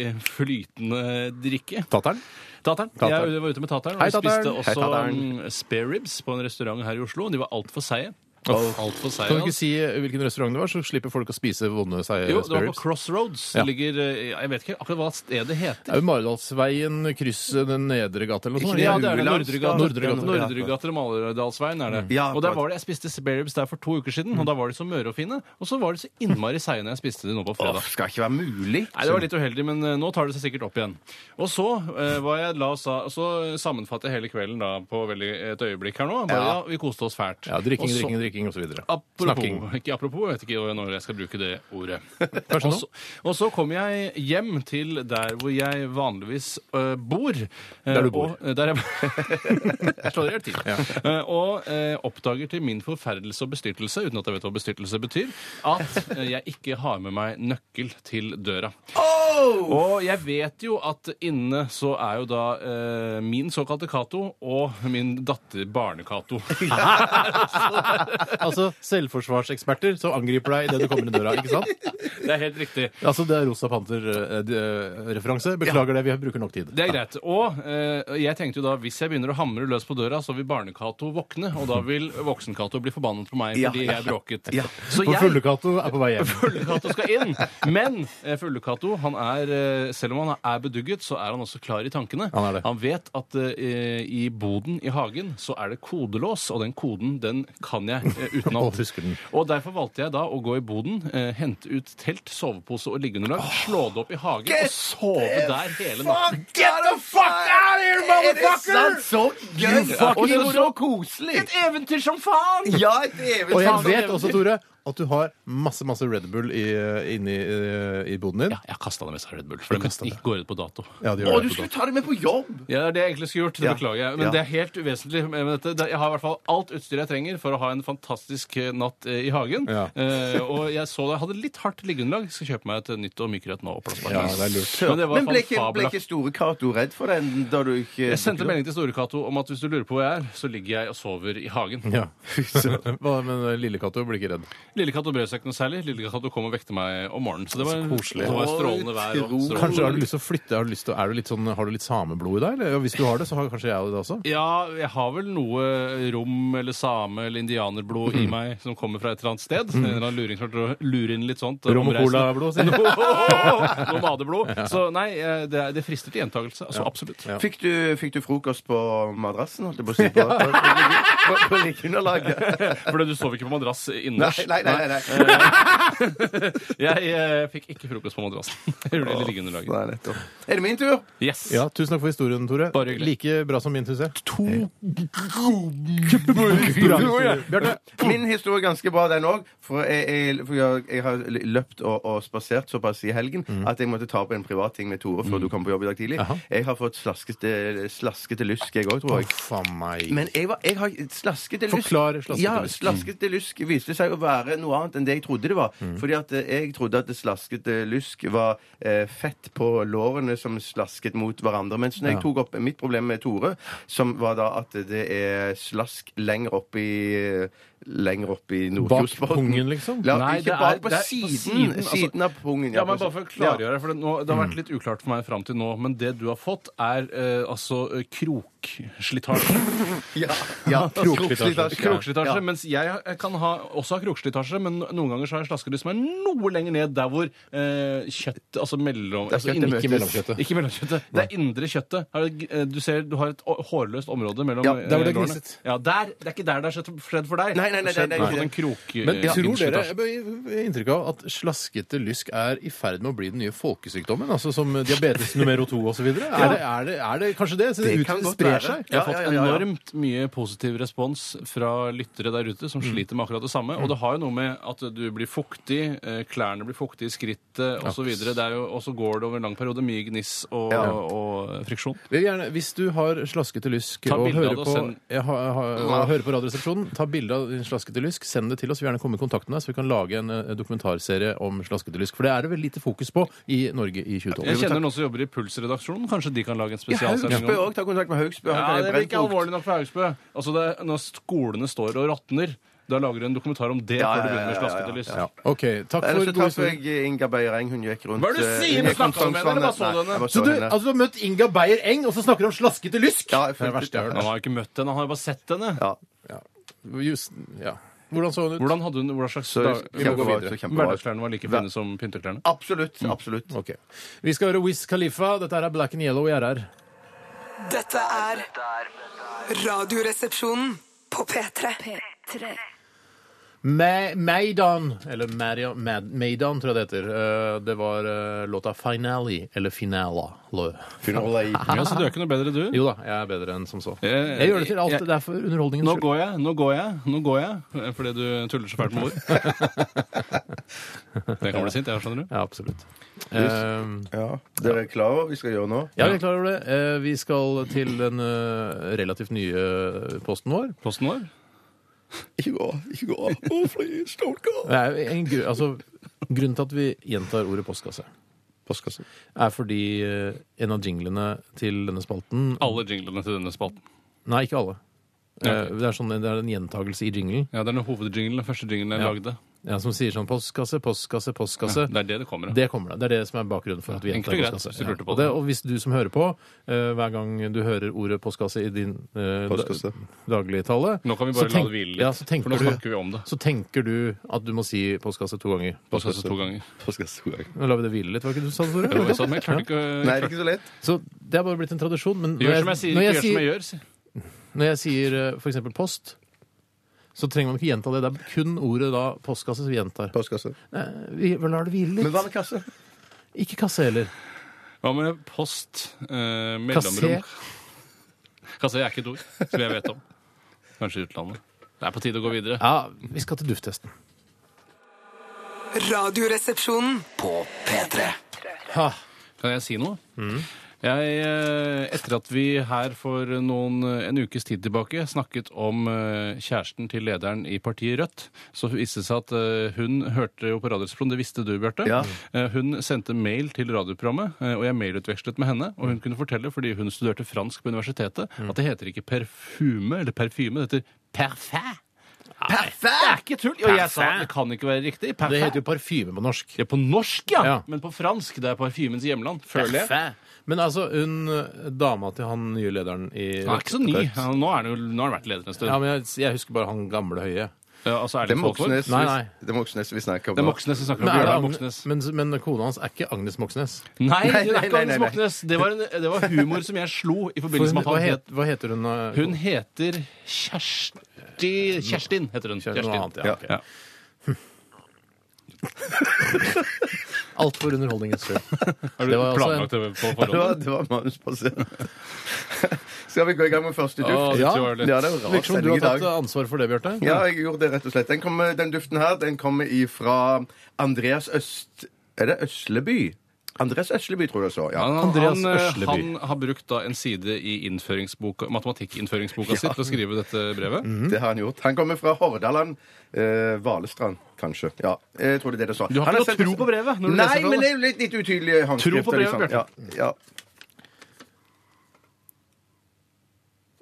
Speaker 4: flytende drikke.
Speaker 3: Tatteren?
Speaker 4: Tateren.
Speaker 3: Tateren.
Speaker 4: Jeg var ute med Tateren, og
Speaker 3: Hei,
Speaker 4: vi spiste
Speaker 3: Tateren.
Speaker 5: Hei,
Speaker 4: også
Speaker 5: Tateren.
Speaker 4: mm, spare ribs på en restaurant her i Oslo. De var altfor seige. Alt for seige,
Speaker 3: Kan du ikke
Speaker 4: altså.
Speaker 3: si eh, hvilken restaurant det var, så slipper folk å spise vonde seier
Speaker 4: Jo, det var på
Speaker 3: spirits?
Speaker 4: Crossroads.
Speaker 3: Ja.
Speaker 4: Det ligger eh, Jeg vet ikke akkurat hva stedet heter.
Speaker 3: Det er jo Maridalsveien, krysset den nedre gata eller noe sånt.
Speaker 5: det
Speaker 4: Ja,
Speaker 5: er
Speaker 4: det er det.
Speaker 5: Ueland.
Speaker 4: Nordregata.
Speaker 3: Nordregata.
Speaker 4: Nordregata eller Maledalsveien er det.
Speaker 5: Ja,
Speaker 4: og der
Speaker 5: akkurat.
Speaker 4: var det, Jeg spiste sparebibs der for to uker siden, og da var de så møre og fine. Og så var de så innmari seige når jeg spiste de nå på
Speaker 5: Åh,
Speaker 4: fredag.
Speaker 5: skal ikke være mulig.
Speaker 4: Nei, Det var litt uheldig, men eh, nå tar det seg sikkert opp igjen. Og så, eh, var jeg, la oss, da- så sammenfatter jeg hele kvelden da på veldig, et øyeblikk her nå. Bare, ja.
Speaker 5: Ja.
Speaker 4: Vi koste oss fælt.
Speaker 3: Ja, drikking,
Speaker 4: Og så-
Speaker 3: drikking, drikking osv.
Speaker 4: Apropos,
Speaker 3: Snakking.
Speaker 4: ikke apropos, jeg vet ikke når jeg skal bruke det ordet.
Speaker 3: Kanskje
Speaker 4: Og
Speaker 3: nå?
Speaker 4: så- Og så kom jeg hjem til der hvor jeg vanligvis øh, bor. Eh,
Speaker 3: Der du bor.
Speaker 4: Og, eh, der jeg, jeg slår i hjel tid. Eh, og eh, oppdager til min forferdelse og bestyrtelse, uten at jeg vet hva bestyrtelse betyr, at eh, jeg ikke har med meg nøkkel til døra.
Speaker 3: Oh!
Speaker 4: Og jeg vet jo at inne så er jo da eh, min såkalte Cato og min datter Barne-Cato.
Speaker 3: Altså selvforsvarseksperter som angriper deg idet du kommer inn døra, ikke sant?
Speaker 4: Det er helt riktig.
Speaker 3: Altså det er Rosa eh, Panter-referanse. Beklager det, vi bruker nok tid.
Speaker 4: Det er greit. Og eh, jeg tenkte jo da, hvis jeg begynner å hamre løs på døra, så vil Barne-Cato våkne, og da vil Voksen-Cato bli forbannet på meg
Speaker 5: Ja.
Speaker 4: fordi jeg bråket.
Speaker 5: Ja.
Speaker 4: Så
Speaker 3: For
Speaker 4: jeg
Speaker 3: Fullekato er på vei hjem.
Speaker 4: Fulle-Cato skal inn! Men eh, Fulle-Cato, han er, eh, selv om han er bedugget, så er han også klar i tankene.
Speaker 3: Han er det.
Speaker 4: vet at eh, i boden i hagen så er det kodelås, og den koden, den kan jeg eh, utenat.
Speaker 3: Og husker den.
Speaker 4: Og derfor valgte jeg da å gå i boden, eh, hente ut telt, sovepose og liggeunderlag, slå det opp i hagen og sove der hele natten.
Speaker 5: Get the fuck out of here, motherfucker! Er det sant? Så gøy! Og så, så koselig!
Speaker 4: Et eventyr som faen!
Speaker 5: Ja, et evig
Speaker 3: Og jeg vet også, Tore, at du har masse masse Red Bull i, inni eh, i boden din.
Speaker 4: Ja, jeg kasta det med seg Red Bull, for
Speaker 3: kastet
Speaker 4: det
Speaker 3: det.
Speaker 4: gikk går ut på dato.
Speaker 3: Ja, det
Speaker 5: Å,
Speaker 3: gjør
Speaker 5: du
Speaker 3: det på
Speaker 5: skulle
Speaker 3: dagen.
Speaker 5: ta det med på jobb!
Speaker 4: Ja, det er det jeg egentlig skulle gjort. Det
Speaker 5: Ja.
Speaker 4: beklager jeg. Men
Speaker 5: Ja.
Speaker 4: det er helt uvesentlig med dette. Det- Jeg har i hvert fall alt utstyret jeg trenger for å ha en fantastisk eh, natt eh, i hagen.
Speaker 3: Ja.
Speaker 4: Eh, og jeg så det jeg hadde litt hardt liggeunderlag. Skal kjøpe meg et nytt og mykere et nå. oppblåsbart.
Speaker 3: Ja, det er lurt.
Speaker 4: Men det var
Speaker 5: Men ble ikke, ble
Speaker 4: fabla.
Speaker 5: ikke Store Cato redd for den da du ikke
Speaker 4: Jeg sendte melding til Store-Cato om at hvis du lurer på hvor jeg er, så ligger jeg og sover i hagen.
Speaker 3: Ja. Hva, men eh, lille Cato blir ikke redd.
Speaker 4: Lille Cato brød seg ikke noe særlig. Lille Cato kom og vekte meg om morgenen. Så det var,
Speaker 3: koselig.
Speaker 4: det var strålende vær. Og
Speaker 5: Tro.
Speaker 4: strålende.
Speaker 3: Kanskje har du lyst til å flytte? Har du, lyst til, er du litt sånn, har du litt sameblod i deg? Eller? Ja, Hvis du har det, så har kanskje jeg det også.
Speaker 4: Ja, jeg har vel noe rom eller same eller indianerblod
Speaker 3: Mm.
Speaker 4: i meg som kommer fra et eller annet sted. En eller annen luring som prøver å lure inn litt sånt.
Speaker 3: Rom og
Speaker 4: omreisende.
Speaker 3: colablod, sier du?
Speaker 4: No- Nomadeblod. Så nei, eh, det, er- det frister til gjentakelse. Altså, absolutt.
Speaker 3: Ja.
Speaker 5: Fikk du, fikk du frokost på madrassen, holdt jeg på å si? På, på, på, på liggeunderlaget?
Speaker 4: For du sov ikke på madrass
Speaker 5: Nei,
Speaker 4: innendørs.
Speaker 5: nei, nei. nei, nei.
Speaker 4: Jeg eh, fikk ikke frokost på madrassen. Jeg gjorde det i liggeunderlaget.
Speaker 5: nei nettopp. Er det min tur?
Speaker 4: Yes.
Speaker 3: Ja, Tusen takk for historien, Tore.
Speaker 4: Bare hyggelig.
Speaker 3: Like bra som min, syns jeg.
Speaker 4: To
Speaker 3: Bra historie. Bjarte?
Speaker 5: Min historie er ganske bra, den òg. For, jeg, jeg, for jeg, jeg har løpt og, og spasert såpass i helgen at jeg måtte ta opp en privat ting med Tore før du kom på jobb i dag tidlig.
Speaker 3: Jaha.
Speaker 5: Jeg har fått slaskete, slaskete lysk, jeg òg, tror jeg.
Speaker 3: Uff a meg.
Speaker 5: Men jeg, var, jeg har slaskete lysk
Speaker 3: Forklar slaskete
Speaker 5: ja,
Speaker 3: lysk.
Speaker 5: Slaskete lysk viste seg å være noe annet enn det jeg trodde det var.
Speaker 4: Mm.
Speaker 5: Fordi at eh, jeg trodde at det slaskete lysk var eh, fett på lårene som slasket mot hverandre. Mens når jeg tok opp mitt problem med Tore, som var da at det er slask lenger opp i Lenger opp i Nordkjosbotn.
Speaker 3: pungen, liksom?
Speaker 5: La,
Speaker 4: Nei, det
Speaker 5: ikke
Speaker 4: er-
Speaker 5: bak, på
Speaker 4: det er på
Speaker 5: siden.
Speaker 4: siden,
Speaker 5: Siden,
Speaker 4: altså.
Speaker 5: av pungen.
Speaker 4: Ja, men
Speaker 5: på
Speaker 3: altså,
Speaker 4: bare for å
Speaker 5: siden. Ja.
Speaker 4: klargjøre det, for det, nå, det
Speaker 3: Mm.
Speaker 4: har vært litt uklart for meg fram til nå, men det du har fått, er eh, altså eh, krokslitasje.
Speaker 5: Ja, ja.
Speaker 3: Krokslitasje.
Speaker 4: Krokslitasje,
Speaker 5: Ja.
Speaker 4: mens jeg har- kan ha, også ha krokslitasje, men noen ganger så har jeg slaskelyst som er noe lenger ned, der hvor eh, kjøtt, altså mellom...
Speaker 5: Der
Speaker 4: Altså,
Speaker 5: kjøttet
Speaker 4: inn-
Speaker 5: møtes.
Speaker 3: Ikke mellomkjøttet.
Speaker 4: ikke mellomkjøttet. Det er indre kjøttet. Har du- eh, Du ser, du har et å- hårløst område mellom
Speaker 5: Ja,
Speaker 4: eh,
Speaker 3: der hvor det er
Speaker 4: lårene.
Speaker 3: gnisset.
Speaker 4: Ja, der. Det er ikke der det er skjedd- skjedd for deg.
Speaker 5: Nei, nei, nei,
Speaker 4: Det er skjedd
Speaker 5: nei, nei,
Speaker 4: på
Speaker 5: nei.
Speaker 4: en krok... eh,
Speaker 3: Men tror dere
Speaker 4: innslitasje.
Speaker 3: Jeg har inntrykk av at slaskete lysk er i ferd med å bli den nye folkesykdommen? Altså som diabetes nummer to osv.? Er, det- er, det- er det kanskje det? Så det,
Speaker 5: Det
Speaker 3: ut-
Speaker 5: kan godt
Speaker 3: sprer
Speaker 5: være.
Speaker 3: seg?
Speaker 4: Jeg har
Speaker 5: Ja,
Speaker 4: fått
Speaker 5: ja, ja, ja.
Speaker 4: enormt mye positiv respons fra lyttere der ute
Speaker 5: Mm.
Speaker 4: som sliter med akkurat det samme. Og det har jo noe med at du blir fuktig, eh, klærne blir fuktige i skrittet osv. Og så går det over en lang periode mye gniss og,
Speaker 5: Ja.
Speaker 4: og eh, friksjon.
Speaker 3: Vil gjerne, hvis du har slaskete lysk
Speaker 4: Ta
Speaker 3: og
Speaker 4: bilde av
Speaker 3: hører
Speaker 4: det og
Speaker 3: på,
Speaker 4: send-
Speaker 3: jeg har, jeg har, og hører på Radioresepsjonen, ta bilde av din slaskete lysk, send det til oss. Vi vil gjerne komme i kontakt med deg, så vi kan lage en eh, dokumentarserie om slaskete lysk. For det er det veldig lite fokus på i Norge i 2012.
Speaker 4: Jeg kjenner noen som jobber i Puls-redaksjonen. Kanskje de kan lage en spesialsending
Speaker 5: Haugsbø
Speaker 4: om
Speaker 5: òg. Ta kontakt med Haugsbø.
Speaker 4: ja,
Speaker 5: Han kan
Speaker 4: det blir
Speaker 5: brenne
Speaker 4: ikke
Speaker 5: bok.
Speaker 4: alvorlig nok for Haugsbø. Altså det, er når skolene står og råtner, da lager du en dokumentar om det
Speaker 5: Ja,
Speaker 4: før du
Speaker 5: ja, ja,
Speaker 4: begynner med
Speaker 5: ja, ja,
Speaker 4: slaskete lyst.
Speaker 3: Ja. OK. Takk for
Speaker 5: Ellers så
Speaker 3: god
Speaker 5: traff
Speaker 3: historie.
Speaker 5: jeg Inga Beireng. Hun gikk rundt
Speaker 4: Hva er det du
Speaker 5: eh,
Speaker 4: sier?
Speaker 5: hun gikk
Speaker 4: Snakket
Speaker 5: rundt
Speaker 4: om henne, eller bare så
Speaker 5: Sognsvannet.
Speaker 4: du henne?
Speaker 5: Nei, jeg bare
Speaker 3: Så du,
Speaker 5: henne.
Speaker 3: altså, du har møtt Inga Beyer Eng, og så snakker du om slaskete lysk?
Speaker 5: Ja,
Speaker 3: det er
Speaker 5: jeg
Speaker 3: det
Speaker 5: fulgte-
Speaker 3: verste jeg
Speaker 4: Han
Speaker 3: har hørt.
Speaker 4: har ikke møtt henne, han har jo bare sett henne.
Speaker 5: Ja.
Speaker 3: Just, ja. Hvordan så hun ut?
Speaker 4: Hvordan hadde hun, hva slags
Speaker 5: Så
Speaker 4: dag-
Speaker 3: vi må gå
Speaker 5: kjempebra.
Speaker 3: videre.
Speaker 5: Så kjempebra.
Speaker 4: Hverdagsklærne var like fine som pynteklærne.
Speaker 5: Absolutt. Absolutt.
Speaker 3: Ok. Vi skal høre Wiz Khalifa. Dette er Black and Yellow i RR.
Speaker 1: Dette er Radioresepsjonen på P3.
Speaker 3: Ma- Maidan, eller Maria- Mad- Maidan, tror jeg det heter. Eh, Det var eh, låta 'Finale', eller 'Finala'. Lø.
Speaker 4: Ja, så du er ikke noe bedre, du.
Speaker 3: Jo da, jeg er bedre enn som så.
Speaker 4: Eh,
Speaker 3: Jeg gjør det til alt.
Speaker 4: jeg-
Speaker 3: Det er for underholdningens
Speaker 4: Nå
Speaker 3: skyld.
Speaker 4: går jeg, nå går jeg, nå går jeg, fordi du tuller så fælt med ord. Jeg kan bli sint, jeg, skjønner du.
Speaker 3: Ja, absolutt. Eh,
Speaker 5: Ja. Dere er klar over hva vi skal gjøre nå?
Speaker 3: Ja, vi er klar over det. Eh, Vi skal til den eh, relativt nye eh, posten vår.
Speaker 4: Posten vår.
Speaker 5: Ikke gå. Ikke gå. Å, please, don't go.
Speaker 3: Det er jo en gru, altså, grunnen til at vi gjentar ordet postkasse,
Speaker 5: Postkasse.
Speaker 3: er fordi eh, en av jinglene til denne spalten
Speaker 4: Alle jinglene til denne spalten.
Speaker 3: Nei, ikke alle. Eh, Det er, sånn, det er en gjentagelse i jinglen
Speaker 4: Ja, Det er den hovedjinglen, den første jinglen jeg
Speaker 3: Ja.
Speaker 4: lagde.
Speaker 3: ja, som sier sånn postkasse, postkasse, postkasse.
Speaker 4: Det er det det kommer av.
Speaker 3: Det kommer det. Det er det som er bakgrunnen for at vi
Speaker 4: Ja,
Speaker 3: gjentar
Speaker 4: enkelt og greit,
Speaker 3: postkasse.
Speaker 4: hvis du lurte på
Speaker 3: Og,
Speaker 4: det.
Speaker 3: det, og hvis du som hører på, eh, hver gang du hører ordet postkasse i din eh, da-
Speaker 5: Postkasse.
Speaker 3: dagligtale
Speaker 4: Nå kan vi bare
Speaker 3: så
Speaker 4: la det hvile litt,
Speaker 3: Ja, så tenker
Speaker 4: for nå
Speaker 3: du-
Speaker 4: snakker vi om det.
Speaker 3: Så tenker du at du må si postkasse to ganger.
Speaker 4: Postkasse to ganger.
Speaker 5: Postkasse.
Speaker 3: Nå lar vi det hvile litt, var det ikke det du sa, Tore?
Speaker 4: Jo, jeg sa det, men jeg klarte ikke
Speaker 5: Nei,
Speaker 4: å-
Speaker 5: det er ikke så lett.
Speaker 3: Så det er bare blitt en tradisjon. Men
Speaker 4: Gjør som jeg sier,
Speaker 3: når jeg
Speaker 4: ikke gjør som jeg
Speaker 3: sier,
Speaker 4: gjør. si.
Speaker 3: når jeg sier eh, for eksempel post, så trenger man ikke gjenta det. Det er kun ordet da postkasse som vi gjentar.
Speaker 5: Postkasse.
Speaker 3: Nei, vi vi lar det hvile
Speaker 5: Men
Speaker 3: litt.
Speaker 5: hva med kasse?
Speaker 3: Ikke kasse heller.
Speaker 4: Hva med post? Eh, mellomrom? Kasse er ikke et ord som jeg vet om. Kanskje i utlandet. Det er på tide å gå videre.
Speaker 3: Ja, vi skal til dufttesten.
Speaker 6: Radioresepsjonen.
Speaker 2: På P3.
Speaker 3: Ha.
Speaker 4: Kan jeg si noe?
Speaker 3: Mm.
Speaker 4: Jeg, eh, etter at vi her for noen, eh, en ukes tid tilbake snakket om eh, kjæresten til lederen i partiet Rødt, så viste det seg at eh, hun hørte jo på Radioresepsjonen, det visste du, Bjarte.
Speaker 5: Ja.
Speaker 4: Eh, Hun sendte mail til radioprogrammet, eh, og jeg mailutvekslet med henne. Og hun kunne fortelle, fordi hun studerte fransk på universitetet,
Speaker 3: Mm.
Speaker 4: at det heter ikke perfume eller parfyme, det heter parfait. Det er ikke tull! Og jeg sa
Speaker 3: Parfait.
Speaker 4: det kan ikke være riktig.
Speaker 3: Det heter
Speaker 4: Parfait.
Speaker 3: jo parfyme på norsk.
Speaker 4: Ja, på norsk, ja.
Speaker 3: Ja.
Speaker 4: Men på fransk. Det er parfymens hjemland, føler jeg.
Speaker 3: Men altså, hun eh, dama til han nye lederen i
Speaker 4: Han er ikke så ny. Han- Nå har han jo nå har han vært leder en stund.
Speaker 3: Ja, men jeg, jeg husker bare han gamle høye.
Speaker 4: Ja, altså, er
Speaker 5: Det
Speaker 4: det,
Speaker 5: er
Speaker 4: Folkvord?
Speaker 5: Moxnes
Speaker 3: Nei, nei.
Speaker 5: vi- det er Moxnes vi snakker om.
Speaker 4: Det er
Speaker 5: nå.
Speaker 4: Moxnes vi snakker om.
Speaker 3: Men, er det
Speaker 4: Bjørnar Moxnes.
Speaker 3: Agnes, men, men kona hans er ikke Agnes Moxnes.
Speaker 4: Nei, det
Speaker 5: Nei,
Speaker 4: er
Speaker 5: nei,
Speaker 4: ikke
Speaker 5: nei,
Speaker 4: Agnes
Speaker 5: nei.
Speaker 4: Moxnes. Det var, en, det var humor som jeg slo i forbindelse med
Speaker 3: hva,
Speaker 4: at han
Speaker 3: het,
Speaker 4: het
Speaker 3: hva heter hun? eh,
Speaker 4: Hun heter Kjersti Kjerstin heter hun.
Speaker 3: Kjæresten, noe annet, ja.
Speaker 5: Ja.
Speaker 3: ok.
Speaker 4: Ja. Alt for underholdningens skyld. Har du
Speaker 3: Det var altså
Speaker 4: planlagt det på
Speaker 5: Ja, det var,
Speaker 4: forhånd?
Speaker 5: det var manusbasert. Skal vi gå i gang med første duft?
Speaker 4: Å, dette
Speaker 3: Ja.
Speaker 4: var litt-
Speaker 5: Ja, Liksom, det er jo rar
Speaker 3: Virker som du
Speaker 5: sending i
Speaker 3: har
Speaker 5: dag.
Speaker 3: tatt ansvar for det, Bjarte.
Speaker 5: Ja, jeg gjorde det rett og slett. Den, kommer- den duften her den kommer ifra Andreas Øst... Er det Øsleby? Andreas Øsleby, tror jeg så. Ja.
Speaker 4: Han,
Speaker 3: Andreas
Speaker 4: han, eh,
Speaker 3: Øsleby.
Speaker 4: han har brukt da en side i innføringsboka, matematikkinnføringsboka si til å skrive dette brevet.
Speaker 5: Det har han gjort. Han kommer fra Hordaland. Eh, Valestrand, kanskje. Ja, jeg tror det er det det står.
Speaker 4: Du har
Speaker 5: Han
Speaker 4: ikke
Speaker 5: sendt
Speaker 4: noe tro
Speaker 5: oss-
Speaker 4: på brevet når du
Speaker 5: Nei,
Speaker 4: leser det,
Speaker 5: men det er jo litt, litt utydelig håndskrifter.
Speaker 4: på brevet,
Speaker 5: liksom. Ja, ja.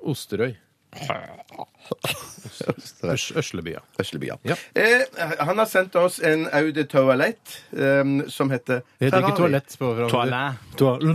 Speaker 3: Osterøy.
Speaker 5: Østre-
Speaker 3: Øs Øsleby, ja.
Speaker 5: Øsleby, ja.
Speaker 3: Ja.
Speaker 5: Eh, han har sendt oss en Eau de Toilette eh, som heter
Speaker 3: Det heter ikke
Speaker 5: Ferrari.
Speaker 3: toalett på fransk. Toalett.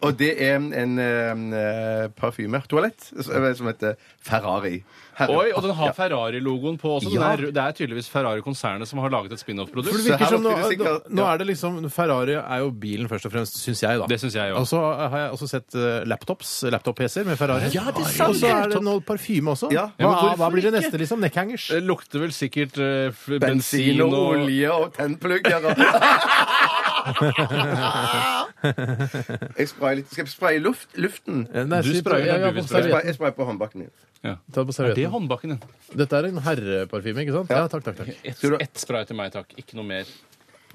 Speaker 5: Og det er en, en, eh, parfyme, toalett, eh, som heter Ferrari. Herre-
Speaker 4: Oi, og den har Ferrari-logoen på også. Den
Speaker 5: Ja.
Speaker 4: er, det er tydeligvis Ferrari-konsernet som har laget et spin-off-produkt.
Speaker 3: For det
Speaker 5: Så her
Speaker 3: virker som nå,
Speaker 5: oppfyller
Speaker 3: nå,
Speaker 5: sikkert-
Speaker 3: nå
Speaker 5: ja.
Speaker 3: er det liksom Ferrari er jo bilen først og fremst, syns jeg, da.
Speaker 4: Det synes jeg jo.
Speaker 3: Og så har jeg også sett eh, laptops, laptop-PC-er med Ferrari. Ja, det er og så er det noe parfyme også.
Speaker 5: Ja.
Speaker 3: Hva,
Speaker 5: Ja, men hvorfor
Speaker 3: hva blir det neste, liksom? Neckhangers?
Speaker 4: Det Eh, lukter vel sikkert eh, f-
Speaker 5: Bensin og olje og tennplugger og Jeg sprayer litt. Skal jeg spraye luft, luften?
Speaker 3: Eh, Nei,
Speaker 4: Du
Speaker 3: si-
Speaker 4: sprayer,
Speaker 3: ja, ja,
Speaker 4: du vil
Speaker 3: på servietten.
Speaker 4: spraye.
Speaker 5: Jeg sprayer, jeg sprayer på håndbaken min.
Speaker 4: Ja.
Speaker 3: Ta på
Speaker 4: Er det
Speaker 3: servietten.
Speaker 4: håndbaken din?
Speaker 3: Dette er en herreparfyme, ikke sant? Ja, takk, takk. takk.
Speaker 4: Ett
Speaker 5: Skal du-
Speaker 4: ett spray til meg, takk. Ikke noe mer.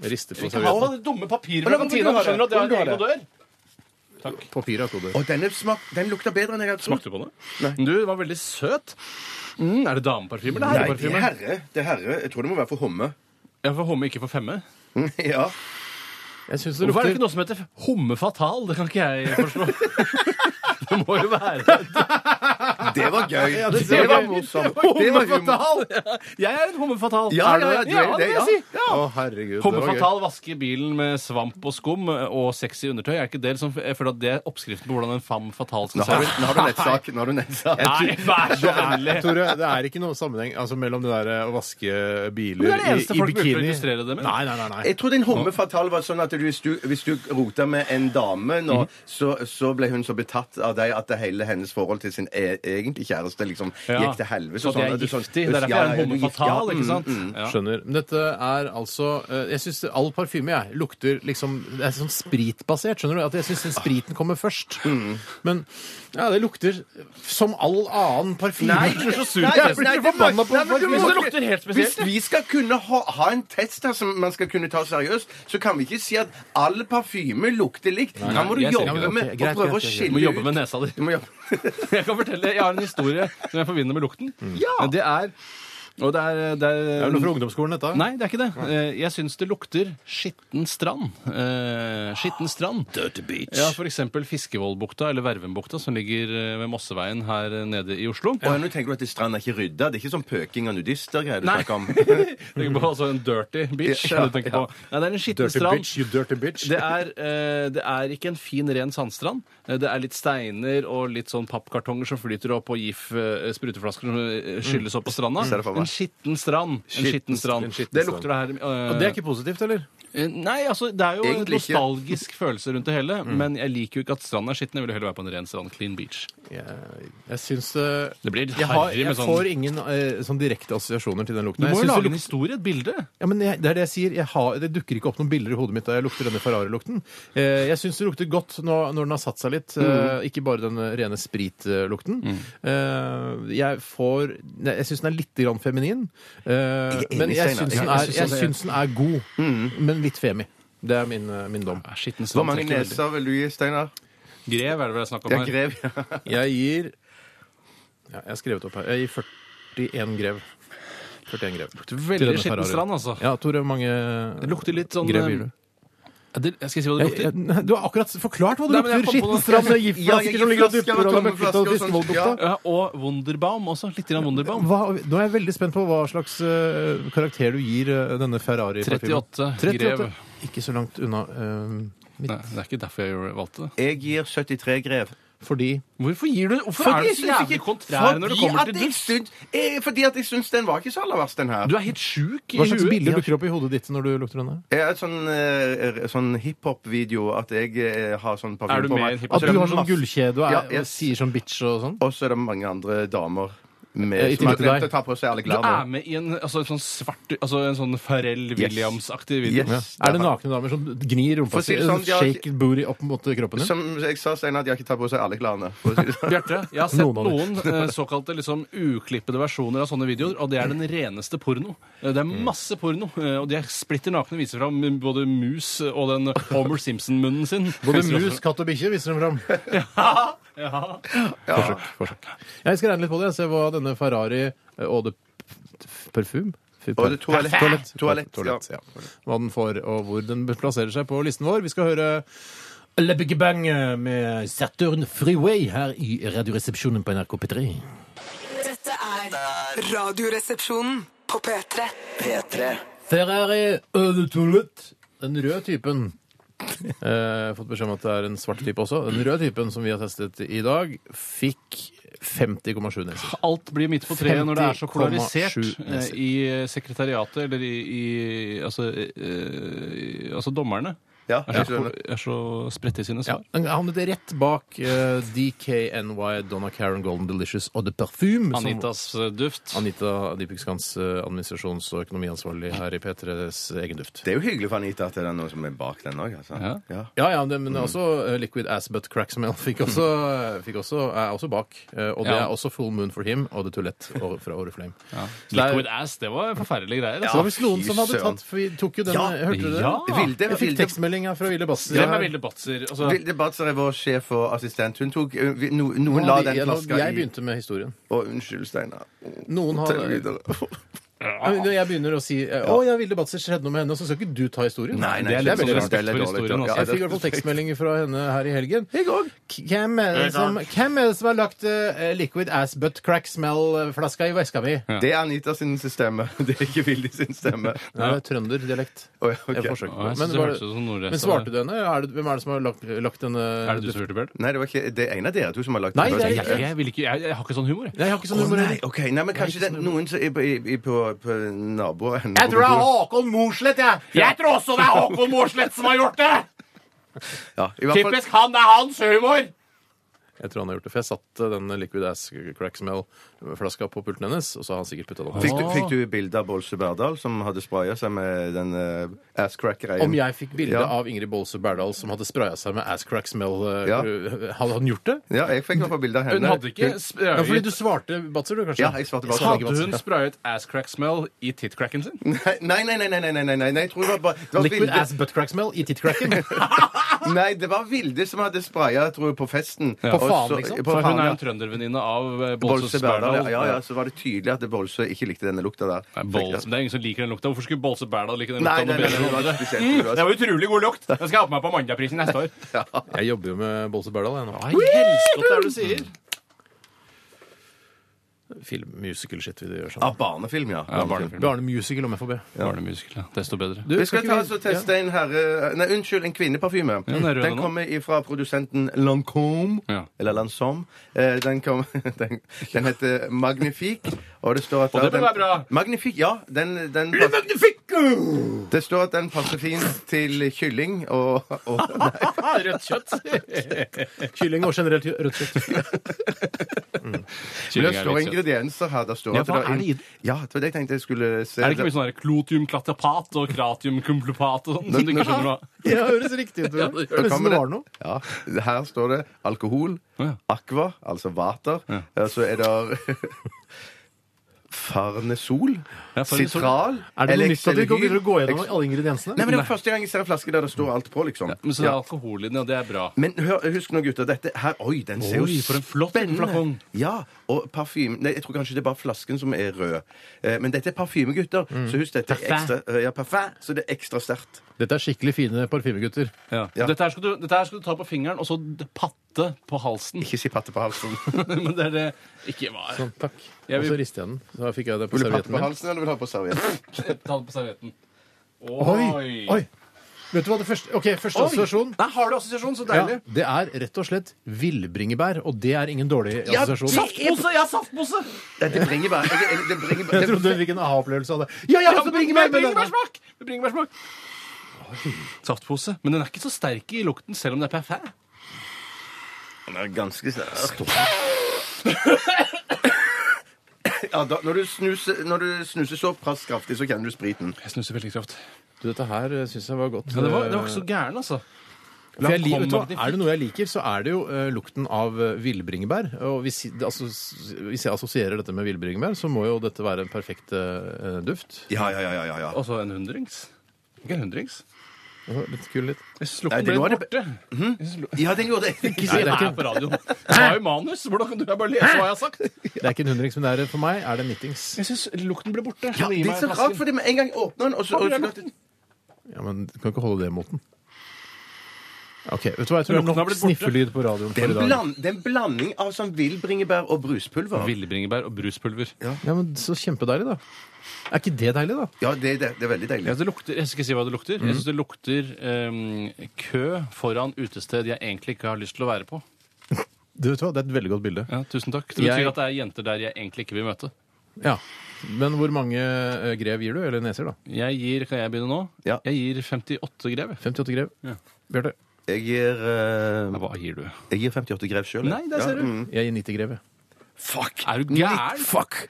Speaker 3: Rister på
Speaker 4: Hva
Speaker 3: servietten.
Speaker 4: er det dumme papiret
Speaker 5: Men
Speaker 4: fra
Speaker 5: da må du
Speaker 4: kantina?
Speaker 5: ha
Speaker 4: Du skjønner
Speaker 5: det.
Speaker 4: at det har
Speaker 5: Må du ha
Speaker 4: en egen dør?
Speaker 3: Papir er koder.
Speaker 5: Og denne smak, den lukter bedre enn jeg hadde trodd.
Speaker 4: Smakte du på det? Du, den var veldig søt. Mm, er det dameparfyme eller
Speaker 5: Nei, det er
Speaker 4: herreparfyme?
Speaker 5: herre. Det er herre. Jeg tror det må være for homme.
Speaker 4: Ja, for homme, ikke for femme.
Speaker 5: ja.
Speaker 3: Jeg syns det
Speaker 4: Hvorfor er det
Speaker 3: lukter
Speaker 4: ikke noe som heter homme fatal? Det kan ikke jeg forstå. Det må jo være
Speaker 5: Det var gøy. det,
Speaker 4: ser
Speaker 5: var
Speaker 4: jeg.
Speaker 5: morsomt. Det
Speaker 4: Homme
Speaker 5: var humor.
Speaker 4: fatal! Jeg er en homme fatal.
Speaker 5: Ja, ja, ja,
Speaker 4: Er
Speaker 5: du
Speaker 4: du det?
Speaker 5: er
Speaker 4: ja,
Speaker 5: det,
Speaker 4: det vil jeg
Speaker 5: ja.
Speaker 4: si. Ja.
Speaker 3: Å, herregud.
Speaker 4: Homme
Speaker 3: det var gøy.
Speaker 4: Fatal vasker bilen med svamp og skum og sexy undertøy. Er ikke det liksom, jeg føler at det er oppskriften på hvordan en femme fatal skal
Speaker 5: Nå
Speaker 4: se
Speaker 5: har du,
Speaker 4: ut?
Speaker 5: nå har du nettsak. Nå har du nettsak.
Speaker 4: Nei, vær så ærlig!
Speaker 3: Tore, det er ikke noen sammenheng altså, mellom det der eh, å vaske biler
Speaker 4: Men det er det
Speaker 3: i,
Speaker 4: eneste
Speaker 3: i
Speaker 4: folk bruker å
Speaker 3: bikini
Speaker 4: illustrere det med.
Speaker 3: Nei, nei, nei. nei.
Speaker 5: Jeg trodde en homme fatal var sånn at du, hvis, du, hvis du rota med en dame nå,
Speaker 4: Mhm.
Speaker 5: så, så ble hun så betatt av deg at det hele hennes forhold til sin e egentlige kjæreste liksom
Speaker 4: Ja.
Speaker 5: gikk til helvete.
Speaker 4: Så det er
Speaker 5: at du sånn-
Speaker 4: giftig. Det er derfor
Speaker 5: Ja,
Speaker 4: jeg er
Speaker 5: ja,
Speaker 4: en
Speaker 5: du
Speaker 4: homme
Speaker 5: gift, ja. mm,
Speaker 4: fatal, ikke sant? Ja.
Speaker 3: Skjønner. Men dette er altså eh, Jeg syns all parfyme jeg, lukter liksom Det er sånn spritbasert, skjønner du? At jeg syns spriten kommer først.
Speaker 4: Mm.
Speaker 3: Men ja, det lukter som all annen parfyme.
Speaker 5: Nei,
Speaker 3: Jeg blir så sur.
Speaker 5: nei,
Speaker 3: Jeg blir
Speaker 5: nei,
Speaker 3: så
Speaker 5: det må-
Speaker 3: forbanna på
Speaker 5: nei, men du
Speaker 4: Hvis
Speaker 5: må
Speaker 4: det
Speaker 5: ikke-
Speaker 4: lukter helt
Speaker 5: Hvis
Speaker 4: spesielt.
Speaker 5: vi skal kunne ha, ha en test her som man skal kunne ta seriøst, så kan vi ikke si at all parfyme lukter likt. Her må du
Speaker 4: jeg ser ikke
Speaker 5: jobbe
Speaker 4: det.
Speaker 5: med
Speaker 3: Ok,
Speaker 5: og
Speaker 3: greit,
Speaker 5: prøve
Speaker 3: greit,
Speaker 5: å
Speaker 3: greit.
Speaker 5: skille
Speaker 4: Du må jobbe
Speaker 5: ut.
Speaker 4: med nesa di.
Speaker 5: Du må jobbe-
Speaker 4: Jeg kan fortelle, jeg har en historie som jeg forbinder med lukten.
Speaker 5: Mm.
Speaker 4: Men Det er Og det er, det
Speaker 3: Det er
Speaker 4: er
Speaker 3: vel noe fra ungdomsskolen, dette?
Speaker 4: Nei, det er ikke det. Eh, Jeg syns det lukter skitten strand. Eh, Skitten strand. Dirty beach. Ja, for eksempel Fiskevollbukta eller Vervenbukta, som ligger eh, ved Mosseveien her eh, nede i Oslo.
Speaker 5: Å, nå tenker du at det stranda er ikke rydda. Det er ikke sånn pøking av nudister greier du
Speaker 4: Nei.
Speaker 5: snakker om.
Speaker 4: Tenker på altså en dirty bitch.
Speaker 5: Ja,
Speaker 4: er det du tenker på. Nei, det er en skitten
Speaker 3: Dirty
Speaker 4: strand.
Speaker 3: bitch, you dirty bitch.
Speaker 4: Det er, eh, det er ikke en fin, ren sandstrand. Eh, Det er litt steiner og litt sånn pappkartonger som flyter opp, og gif eh, spruteflasker som eh, skylles opp på stranda.
Speaker 5: Mm. Ser det for meg.
Speaker 4: En skitten strand. En
Speaker 5: Skitten-
Speaker 4: skitten strand.
Speaker 3: en skitten
Speaker 4: Det
Speaker 3: strand.
Speaker 4: lukter det her eh,
Speaker 3: Og det er ikke positivt, eller?
Speaker 4: eh, Nei, altså, det er jo en
Speaker 5: Egentlig ikke.
Speaker 4: nostalgisk følelse rundt det hele, men jeg liker jo ikke at stranden er skitten. Jeg vil heller være på en ren strand. Clean beach.
Speaker 3: Jeg, jeg syns eh,
Speaker 4: Det blir
Speaker 3: jeg, har,
Speaker 4: harry
Speaker 3: jeg
Speaker 4: med sånn
Speaker 3: får ingen eh, sånn direkte assosiasjoner til den lukten.
Speaker 4: Du
Speaker 3: Jeg
Speaker 4: må jo
Speaker 3: syns det
Speaker 4: lage en
Speaker 3: lukter-
Speaker 4: historie, et bilde.
Speaker 3: Ja, men jeg, det er det jeg sier. Jeg har, det dukker ikke opp noen bilder i hodet mitt da jeg lukter denne Ferrari-lukten. Eh, jeg syns det lukter godt når, når den har satt seg litt. Eh, ikke bare den rene spritlukten. Eh, jeg får nei, Jeg syns den er litt grann feminin. Eh,
Speaker 5: Jeg er enig,
Speaker 3: men jeg
Speaker 5: Steinar.
Speaker 3: syns den,
Speaker 5: Ja,
Speaker 3: er-
Speaker 5: jeg
Speaker 3: jeg syns den er god, men litt femi. Det er min, eh, min dom.
Speaker 4: Ja, Skitten
Speaker 5: Hvor
Speaker 4: strand
Speaker 5: mange
Speaker 4: trekker veldig.
Speaker 5: neser vil du gi, Steinar?
Speaker 4: Grev er det vel jeg snakker
Speaker 5: Ja,
Speaker 4: om her.
Speaker 5: grev. ja.
Speaker 3: Jeg gir ja, Jeg har skrevet opp her. Jeg gir 41 grev. 41 grev. Til
Speaker 4: Veldig
Speaker 3: denne
Speaker 4: skitten
Speaker 3: Ferrarien.
Speaker 4: strand, altså.
Speaker 3: Ja, Tore, hvor mange
Speaker 4: Det lukter litt sånn
Speaker 3: grev gir du?
Speaker 4: Ja, det- jeg skal jeg si hva det
Speaker 3: Jeg,
Speaker 4: lukter?
Speaker 3: jeg, nei, du har akkurat forklart hva det
Speaker 4: Nei, men jeg
Speaker 3: lukter.
Speaker 4: kom på noe.
Speaker 3: Skitten strand med
Speaker 5: Ja,
Speaker 3: giftflasker
Speaker 5: jeg-
Speaker 3: som ligger og
Speaker 5: giftflasker
Speaker 3: dupper
Speaker 5: og
Speaker 3: og
Speaker 5: tomme
Speaker 3: møkkete og
Speaker 5: flasker og sånn.
Speaker 3: fiskebollbukta.
Speaker 4: Ja, og Wunderbaum også. Litt grann Wunderbaum.
Speaker 3: Hva, nå er jeg veldig spent på hva slags eh, karakter du gir eh, denne Ferrari-parfymen.
Speaker 4: 38
Speaker 3: 38.
Speaker 4: grev.
Speaker 3: Ikke så langt unna eh, mitt.
Speaker 4: Nei, det er ikke derfor jeg gjorde- valgte det.
Speaker 5: Jeg gir 73 grev.
Speaker 3: Fordi
Speaker 4: Hvorfor gir du Hvorfor er
Speaker 5: Fordi
Speaker 4: du
Speaker 5: jeg
Speaker 4: så
Speaker 5: syns
Speaker 4: jævlig
Speaker 5: ikke-
Speaker 4: kontrær når du
Speaker 5: fordi
Speaker 4: kommer
Speaker 5: at
Speaker 4: til
Speaker 5: jeg
Speaker 4: dust?
Speaker 5: syns- eh, Fordi at jeg syns den var ikke så aller verst, den her.
Speaker 4: Du er helt sjuk i
Speaker 3: Hva slags
Speaker 4: huet.
Speaker 3: bilder dukker opp i hodet ditt når du lukter denne?
Speaker 5: Jeg er et sånn, eh, sånn hiphop-video at jeg eh, har sånn
Speaker 4: Er du
Speaker 5: parfyme på
Speaker 4: mer
Speaker 5: meg.
Speaker 4: hiphop?
Speaker 5: Og
Speaker 3: At
Speaker 5: så
Speaker 3: du
Speaker 5: er det
Speaker 3: har sånn
Speaker 5: masse-
Speaker 3: gullkjede og, er,
Speaker 5: Ja, jeg-
Speaker 3: og sier sånn bitch og sånn?
Speaker 5: Og så er det mange andre damer
Speaker 3: Eh, i
Speaker 5: med, som
Speaker 3: tillegg
Speaker 5: har
Speaker 3: til
Speaker 5: glemt
Speaker 3: deg.
Speaker 5: å ta på seg alle
Speaker 4: Du er
Speaker 5: klærne.
Speaker 4: med i en altså, en sånn svart Altså en sånn Pharrell Williams-aktig video.
Speaker 5: Yes.
Speaker 3: Er det nakne damer som gnir rumpa
Speaker 5: For å si
Speaker 3: si?
Speaker 5: det sånn, de har-
Speaker 3: Shake booty opp mot kroppen din?
Speaker 5: Som jeg sa, Steinar, de har ikke tatt på seg alle klærne. for å si det sånn.
Speaker 4: Bjarte, jeg har sett
Speaker 3: Noen av de.
Speaker 4: noen eh, såkalte liksom, uklippede versjoner av sånne videoer, og det er den reneste porno. Eh, Det er
Speaker 3: Mm.
Speaker 4: masse porno, eh, og de er splitter nakne og viser fram både mus eh, og den Homer Simpson-munnen sin.
Speaker 3: Både mus, katt og bikkje viser dem fram.
Speaker 4: Ja.
Speaker 3: Forsøk. forsøk. Jeg skal regne litt på det. Se hva denne Ferrari eh, og det p- perfum Fy,
Speaker 5: Og det
Speaker 3: per-
Speaker 5: toalett.
Speaker 3: Toalett,
Speaker 5: Toalett,
Speaker 3: toalett,
Speaker 5: ja.
Speaker 3: ja. Hva den får, og hvor den plasserer seg på listen vår. Vi skal høre eh, Le Big Bang med Saturn Freeway her i Radioresepsjonen på NRK P3.
Speaker 1: Dette er Radioresepsjonen på P3.
Speaker 2: P3.
Speaker 3: Ferrari og det toalett. Den røde typen. Eh, fått beskjed om at det er en svart type også. Den røde typen som vi har testet i dag, fikk 50,7 neser.
Speaker 4: Alt blir midt på treet når det er så
Speaker 3: 50,7
Speaker 4: polarisert eh,
Speaker 3: neser.
Speaker 4: i sekretariatet, eller i, i altså, eh, altså dommerne.
Speaker 5: Ja,
Speaker 4: Er
Speaker 5: jeg
Speaker 4: så,
Speaker 5: skjønner.
Speaker 4: er så spredte i sine
Speaker 3: Ja,
Speaker 4: svar.
Speaker 3: Han havnet rett bak eh, DKNY, Donna Karen, Golden Delicious og The Perfume. som-
Speaker 4: Anitas eh, duft.
Speaker 3: Anita Deepik Skans, eh, administrasjons- og økonomiansvarlig her i P3s egen duft.
Speaker 5: Det er jo hyggelig for Anita at det er noen som er bak den òg. Altså.
Speaker 4: Ja.
Speaker 5: Ja.
Speaker 3: Ja, ja, det, men
Speaker 5: Mm.
Speaker 3: også eh, Liquid Ass But Crack Smell fikk også, eh, fikk også, er også bak. eh, og det
Speaker 4: Ja.
Speaker 3: er også Full Moon for Him og The Toilette og- fra Oriflame.
Speaker 4: Ja.
Speaker 3: Så det er-
Speaker 4: Liquid ass, det var forferdelige
Speaker 3: Så
Speaker 4: greier.
Speaker 3: det var
Speaker 4: Altså.
Speaker 3: visst noen som hadde
Speaker 5: fy søren.
Speaker 3: tatt For vi tok jo den, eh,
Speaker 5: Ja.
Speaker 3: hørte du det?
Speaker 4: Ja.
Speaker 5: Vilde,
Speaker 3: Jeg fikk
Speaker 5: Vilde,
Speaker 3: tekstmelding her fra Ville Basser.
Speaker 4: Hvem er Vilde Batzer? Altså,
Speaker 5: Vilde Batzer er vår sjef og assistent. Hun tok, eh, vi- no,
Speaker 3: Nå
Speaker 5: noen la
Speaker 3: hadde-
Speaker 5: den
Speaker 3: jeg- nå-
Speaker 5: flaska
Speaker 3: Jeg
Speaker 5: i
Speaker 3: begynte med historien.
Speaker 5: Å, unnskyld, Steinar. Å,
Speaker 3: Noen
Speaker 5: tell
Speaker 3: har
Speaker 5: videre.
Speaker 3: Ja, men Når jeg begynner å si eh, Å ja, Vilde Batzer skjedde noe med henne, så skal ikke du ta historien.
Speaker 5: Nei, nei,
Speaker 4: Det er litt
Speaker 5: veldig
Speaker 4: sånn
Speaker 5: rart. Det er litt
Speaker 4: respekt for
Speaker 5: dårlig
Speaker 4: historien,
Speaker 5: gjort.
Speaker 4: altså.
Speaker 5: Ja,
Speaker 3: Jeg fikk i hvert fall tekstmeldinger fra henne her i helgen.
Speaker 5: Jeg òg.
Speaker 3: Hvem er det som, hvem er det som har lagt eh, liquid ass butt crack smell-flaska i veska mi?
Speaker 5: Det er Anita sin stemme. Det er ikke Vilde sin stemme.
Speaker 3: Nei, det er trønderdialekt.
Speaker 5: Å, ja, ok.
Speaker 3: Jeg forsøker
Speaker 4: Ja,
Speaker 3: på
Speaker 4: jeg
Speaker 3: det. Men,
Speaker 4: synes det
Speaker 3: var
Speaker 4: hørtes ut som
Speaker 3: det-
Speaker 4: Nordreisa.
Speaker 3: men svarte du henne? Er det, hvem er det som har lagt, lagt denne
Speaker 4: er det du som hørte, Bjørn?
Speaker 5: Nei, det var ikke det er en av dere to som har lagt
Speaker 3: Nei,
Speaker 5: den.
Speaker 3: det er
Speaker 4: Jeg, jeg, vil ikke, jeg, jeg har ikke sånn humor. Jeg.
Speaker 3: Nei, jeg har ikke sånn
Speaker 5: Å,
Speaker 3: humor.
Speaker 5: nei, ok, nei, men kanskje det er noen som er på, i- i- på, på naboen
Speaker 3: Jeg tror det er Håkon Morsleth, jeg! Jeg tror også det er Håkon Morsleth som har gjort det!
Speaker 5: ja, i hvert fall,
Speaker 4: han! Det er hans humor!
Speaker 3: Jeg tror han har gjort det, for jeg satte den liquid ass crack smell-flaska på pulten hennes, og så har han sikkert putta den opp.
Speaker 5: fikk, du, fikk du bilde av Bolse Berdal som hadde spraya seg med den uh, asscrack-greien?
Speaker 3: Om jeg fikk bilde
Speaker 5: Ja.
Speaker 3: av Ingrid Bolse Berdal som hadde spraya seg med ass crack smell, eh,
Speaker 5: Ja.
Speaker 3: hadde han gjort det?
Speaker 5: Ja, jeg fikk i hvert fall bilde av henne.
Speaker 4: Hun hadde ikke
Speaker 3: Ja, fordi
Speaker 4: sprayet
Speaker 3: du svarte Batzer, du, kanskje?
Speaker 5: Ja, jeg svarte Batzer.
Speaker 3: Hadde
Speaker 4: Hadde hun
Speaker 3: hun
Speaker 4: sprayet ass crack smell i titcracken sin?
Speaker 5: Nei, nei, nei, nei, nei, nei, nei, nei, nei, jeg tror det var bare det var
Speaker 3: Liquid
Speaker 5: Vilde-
Speaker 3: ass butt crack smell i titcracken?
Speaker 5: Nei, det var Vilde som hadde spraya, tror jeg, på festen.
Speaker 4: Ja. På
Speaker 5: Og
Speaker 3: faen,
Speaker 5: så-
Speaker 3: liksom?
Speaker 5: på
Speaker 4: For
Speaker 5: faen,
Speaker 4: hun er
Speaker 5: ja.
Speaker 4: jo en trøndervenninne av eh,
Speaker 5: Bolse
Speaker 4: Bolse
Speaker 5: Berdal.
Speaker 4: Berdal.
Speaker 5: Ja, ja, ja, så var det tydelig at Bolse ikke likte denne lukta der.
Speaker 4: Nei, Bolse, men det er ingen som liker den lukta. Hvorfor skulle Bolse Berdal like den
Speaker 5: Nei,
Speaker 4: lukta? noe
Speaker 5: nei, nei,
Speaker 4: bedre
Speaker 5: det
Speaker 4: enn
Speaker 5: var
Speaker 4: andre?
Speaker 5: spesielt.
Speaker 4: Mm,
Speaker 5: Det var-
Speaker 4: det var utrolig god lukt! Den skal jeg ha på meg på Mandagprisen neste år.
Speaker 3: Jeg jobber jo med Bolse Berdal, jeg nå.
Speaker 4: Hva i helskotte er det du sier?
Speaker 3: Film, musical shit vi gjør
Speaker 5: Ah,
Speaker 3: sammen.
Speaker 5: barnefilm, ja.
Speaker 4: Ja, barnefilm.
Speaker 3: Barne musical om FHB.
Speaker 4: Barnemusical, ja. Desto bedre.
Speaker 3: Du,
Speaker 5: Vi skal ta
Speaker 3: ikke
Speaker 5: oss og teste en herre... Nei, unnskyld, en kvinneparfyme.
Speaker 4: den er rød,
Speaker 5: den
Speaker 4: den
Speaker 5: kommer fra produsenten Lancôme,
Speaker 4: Ja.
Speaker 5: eller Lansom. Den, kom, den, den heter Magnifique, og det står at...
Speaker 4: Og det bør
Speaker 5: den-
Speaker 4: være bra.
Speaker 5: Magnifique, ja. Den, den pass- det står at den passer fint til kylling og... og
Speaker 4: Ah.
Speaker 5: nei,
Speaker 4: rødt kjøtt.
Speaker 3: ja. Kylling og generelt rødt kjøtt.
Speaker 4: Mm.
Speaker 5: det står ingredienser her. Det står
Speaker 4: Ja,
Speaker 5: at
Speaker 4: hva
Speaker 5: det
Speaker 4: er det i den?
Speaker 5: Ja, det var det jeg tenkte jeg skulle se.
Speaker 4: Er det ikke mye sånn der klotium klatapat og kratium kumplopat og sånn som du ikke skjønner noe av?
Speaker 3: Ja, det høres riktig ut. Ja, det
Speaker 5: Da
Speaker 3: høres ut som
Speaker 5: kommer
Speaker 3: det var noe.
Speaker 5: Ja, her står det alkohol,
Speaker 4: Ja.
Speaker 5: aqua, altså vater. Og Så er det farnesol,
Speaker 4: Ja, farnesol.
Speaker 5: sitral,
Speaker 3: Er det noe nytt at vi går
Speaker 5: elixelgyl-
Speaker 3: videre og går
Speaker 5: Ex-
Speaker 3: gjennom alle ingrediensene?
Speaker 5: Nei, men Det er første gang jeg ser en flaske der det står alt på, liksom.
Speaker 4: Men så er det alkohol i den, og det er bra.
Speaker 5: Men hør, husk nå, gutter, dette her Oi, den ser
Speaker 4: Oi,
Speaker 5: jo
Speaker 4: for en flott liten flakong.
Speaker 5: Ja, og parfyme Nei, jeg tror kanskje det er bare flasken som er rød. Eh, Men dette er parfyme, gutter. Så husk, dette er
Speaker 4: Parfum.
Speaker 5: ekstra eh, Ja, parfum, så det er ekstra sterkt.
Speaker 3: Dette er skikkelig fine parfymegutter.
Speaker 4: Ja.
Speaker 5: Ja.
Speaker 4: Dette, her skal du, dette her skal du ta på fingeren og så d- patte på halsen.
Speaker 5: Ikke si patte på halsen.
Speaker 4: Men det er det Ikke hva
Speaker 3: Sånn, takk.
Speaker 4: Jeg
Speaker 3: Og
Speaker 4: vil-
Speaker 3: så rister jeg den. Så fikk jeg det på
Speaker 5: Vil du
Speaker 3: servietten
Speaker 5: patte på
Speaker 3: min.
Speaker 5: halsen, eller vil du ha på serviett?
Speaker 4: Ta det på servietten.
Speaker 3: Oi! Oi! Vet du hva det første Ok, første assosiasjon.
Speaker 4: Nei, har du assosiasjon? Så
Speaker 3: Ja,
Speaker 4: deilig.
Speaker 3: det er rett og slett villbringebær, og det er ingen dårlig
Speaker 5: Ja,
Speaker 3: assosiasjon.
Speaker 4: Saftpose! Ja, saftpose!
Speaker 5: Nei, Det bringer bare jeg- jeg- Det bringer bare
Speaker 3: Jeg trodde du fikk en aha-opplevelse av det. Ja, jeg har også bringebær! men den er-
Speaker 4: Bringebærsmak! Med bringebærsmak. Saftpose. Men den er ikke så sterk i lukten, selv om det er parfait.
Speaker 5: Den er ganske sterk. Ja, da, når, du snuser, når du snuser såpass kraftig, så kjenner du spriten.
Speaker 4: Jeg snuser veldig kraft.
Speaker 3: Du, Dette her syns jeg var godt. eh,
Speaker 4: Ja, det, var, det var ikke så gæren, altså.
Speaker 3: For jeg, liker-
Speaker 4: Kom,
Speaker 3: vet du hva,
Speaker 4: Magnifique.
Speaker 3: er det noe jeg liker, så er det jo eh, lukten av eh, villbringebær. Og hvis, det- altså, s- hvis jeg assosierer dette med villbringebær, så må jo dette være en perfekt eh, duft.
Speaker 5: Ja, ja, ja, ja, ja, ja.
Speaker 4: Og så en hundrings. Ikke en hundrings.
Speaker 3: Det var Litt kul litt.
Speaker 4: Jeg syns
Speaker 5: Nei,
Speaker 4: lukten
Speaker 5: det
Speaker 4: ble
Speaker 5: var
Speaker 4: litt
Speaker 5: det
Speaker 4: borte. Jeg synes lu-
Speaker 5: Ja, den gjorde det.
Speaker 4: Ikke si det her på radioen. Jeg har jo manus. Hvordan kan du jeg bare lese hva jeg har sagt?
Speaker 3: Det er ikke en hundrings, men det er, eh, for meg er det en nittings.
Speaker 4: Jeg syns lukten ble borte.
Speaker 5: Ja, det er så rart, for det med en gang åpner den, og så, og så
Speaker 3: Ja, men du kan ikke holde det mot den. Ok, vet du hva, jeg tror det
Speaker 4: Lukten
Speaker 3: er
Speaker 4: har
Speaker 3: nok
Speaker 4: blitt borte.
Speaker 3: sniffelyd på radioen
Speaker 5: Det er
Speaker 3: for i
Speaker 5: en
Speaker 3: dag.
Speaker 5: bland, det er en blanding av sånn villbringebær og bruspulver.
Speaker 4: Villbringebær og bruspulver.
Speaker 3: Ja, men så kjempedeilig, da. Er ikke det deilig, da?
Speaker 5: Ja, det, er det, det er veldig
Speaker 4: Ja,
Speaker 5: deilig.
Speaker 4: det lukter, jeg skal ikke si hva det lukter. Jeg syns det lukter ehm, kø foran utested jeg egentlig ikke har lyst til å være på.
Speaker 3: Du vet hva, Det er et veldig godt bilde.
Speaker 4: Ja, tusen takk. Det betyr
Speaker 3: Jeg-
Speaker 4: at det er jenter der jeg egentlig ikke vil møte.
Speaker 3: Ja. Men hvor mange eh, grev gir du? Eller neser, da?
Speaker 4: Jeg gir, Kan jeg begynne nå?
Speaker 5: Ja.
Speaker 4: Jeg gir 58 grev.
Speaker 3: 58 grev?
Speaker 4: Ja.
Speaker 3: Bjarte?
Speaker 5: Jeg gir, eh,
Speaker 4: Hva gir du?
Speaker 5: jeg gir 58 grev sjøl.
Speaker 4: Nei, der ser du.
Speaker 3: Jeg gir 90 grev, jeg.
Speaker 5: Fuck!
Speaker 4: Er du gæren?
Speaker 3: Fuck!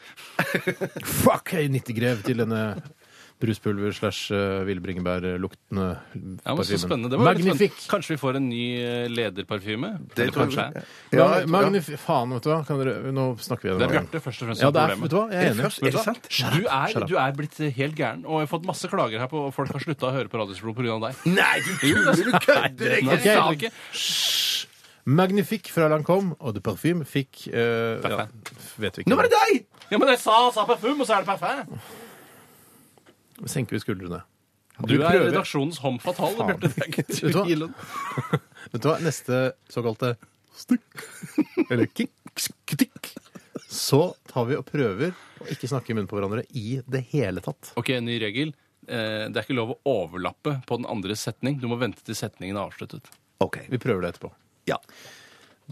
Speaker 3: Fuck, jeg gir 90 grev til denne bruspulver slash eh, villbringebærluktende
Speaker 4: Ja, men så spennende. Det var veldig
Speaker 3: Magnifikk!
Speaker 4: spennende. Kanskje vi får en ny eh, lederparfyme?
Speaker 5: Det
Speaker 4: Eller
Speaker 5: tror jeg-
Speaker 4: kanskje jeg.
Speaker 5: Ja, jeg tror- ja.
Speaker 3: Magnif Faen, vet du hva. Kan dere, nå snakker vi
Speaker 4: Det er
Speaker 3: igjen.
Speaker 4: Bjarte først og fremst
Speaker 3: Ja,
Speaker 4: som
Speaker 3: det
Speaker 4: er
Speaker 3: er, vet du
Speaker 4: problemet.
Speaker 3: hva? Jeg er enig.
Speaker 5: Først, er det sant?
Speaker 4: Du er,
Speaker 3: up.
Speaker 4: du er blitt helt gæren, og jeg har fått masse klager her på og folk har slutta å høre på Radiospro pga. deg.
Speaker 5: Nei, du tuller! Du kødder!
Speaker 4: Jeg
Speaker 5: jeg-
Speaker 3: Ok.
Speaker 4: sa det ikke.
Speaker 3: Magnifikk fra Lancôme og De Parfyme fikk eh, ja,
Speaker 4: Parfait.
Speaker 3: Vet vi
Speaker 5: Nå var
Speaker 3: ikke.
Speaker 5: det deg!
Speaker 4: Ja, men jeg sa, sa parfum, og så er det parfait.
Speaker 3: Senker vi skuldrene.
Speaker 4: Du
Speaker 3: Vi
Speaker 4: er
Speaker 3: prøver.
Speaker 4: redaksjonens homme fatale,
Speaker 3: Faen.
Speaker 4: Bjarte. Det er ikke
Speaker 3: Vet du hva?
Speaker 4: tvil om.
Speaker 3: Vet du hva? Neste såkalte stikk, eller kick, stikk, så tar vi og prøver å ikke snakke i munnen på hverandre i det hele tatt.
Speaker 4: Ok, en ny regel. Eh, Det er ikke lov å overlappe på den andre setning. Du må vente til setningen er avsluttet.
Speaker 5: OK.
Speaker 3: Vi prøver det etterpå.
Speaker 5: Ja.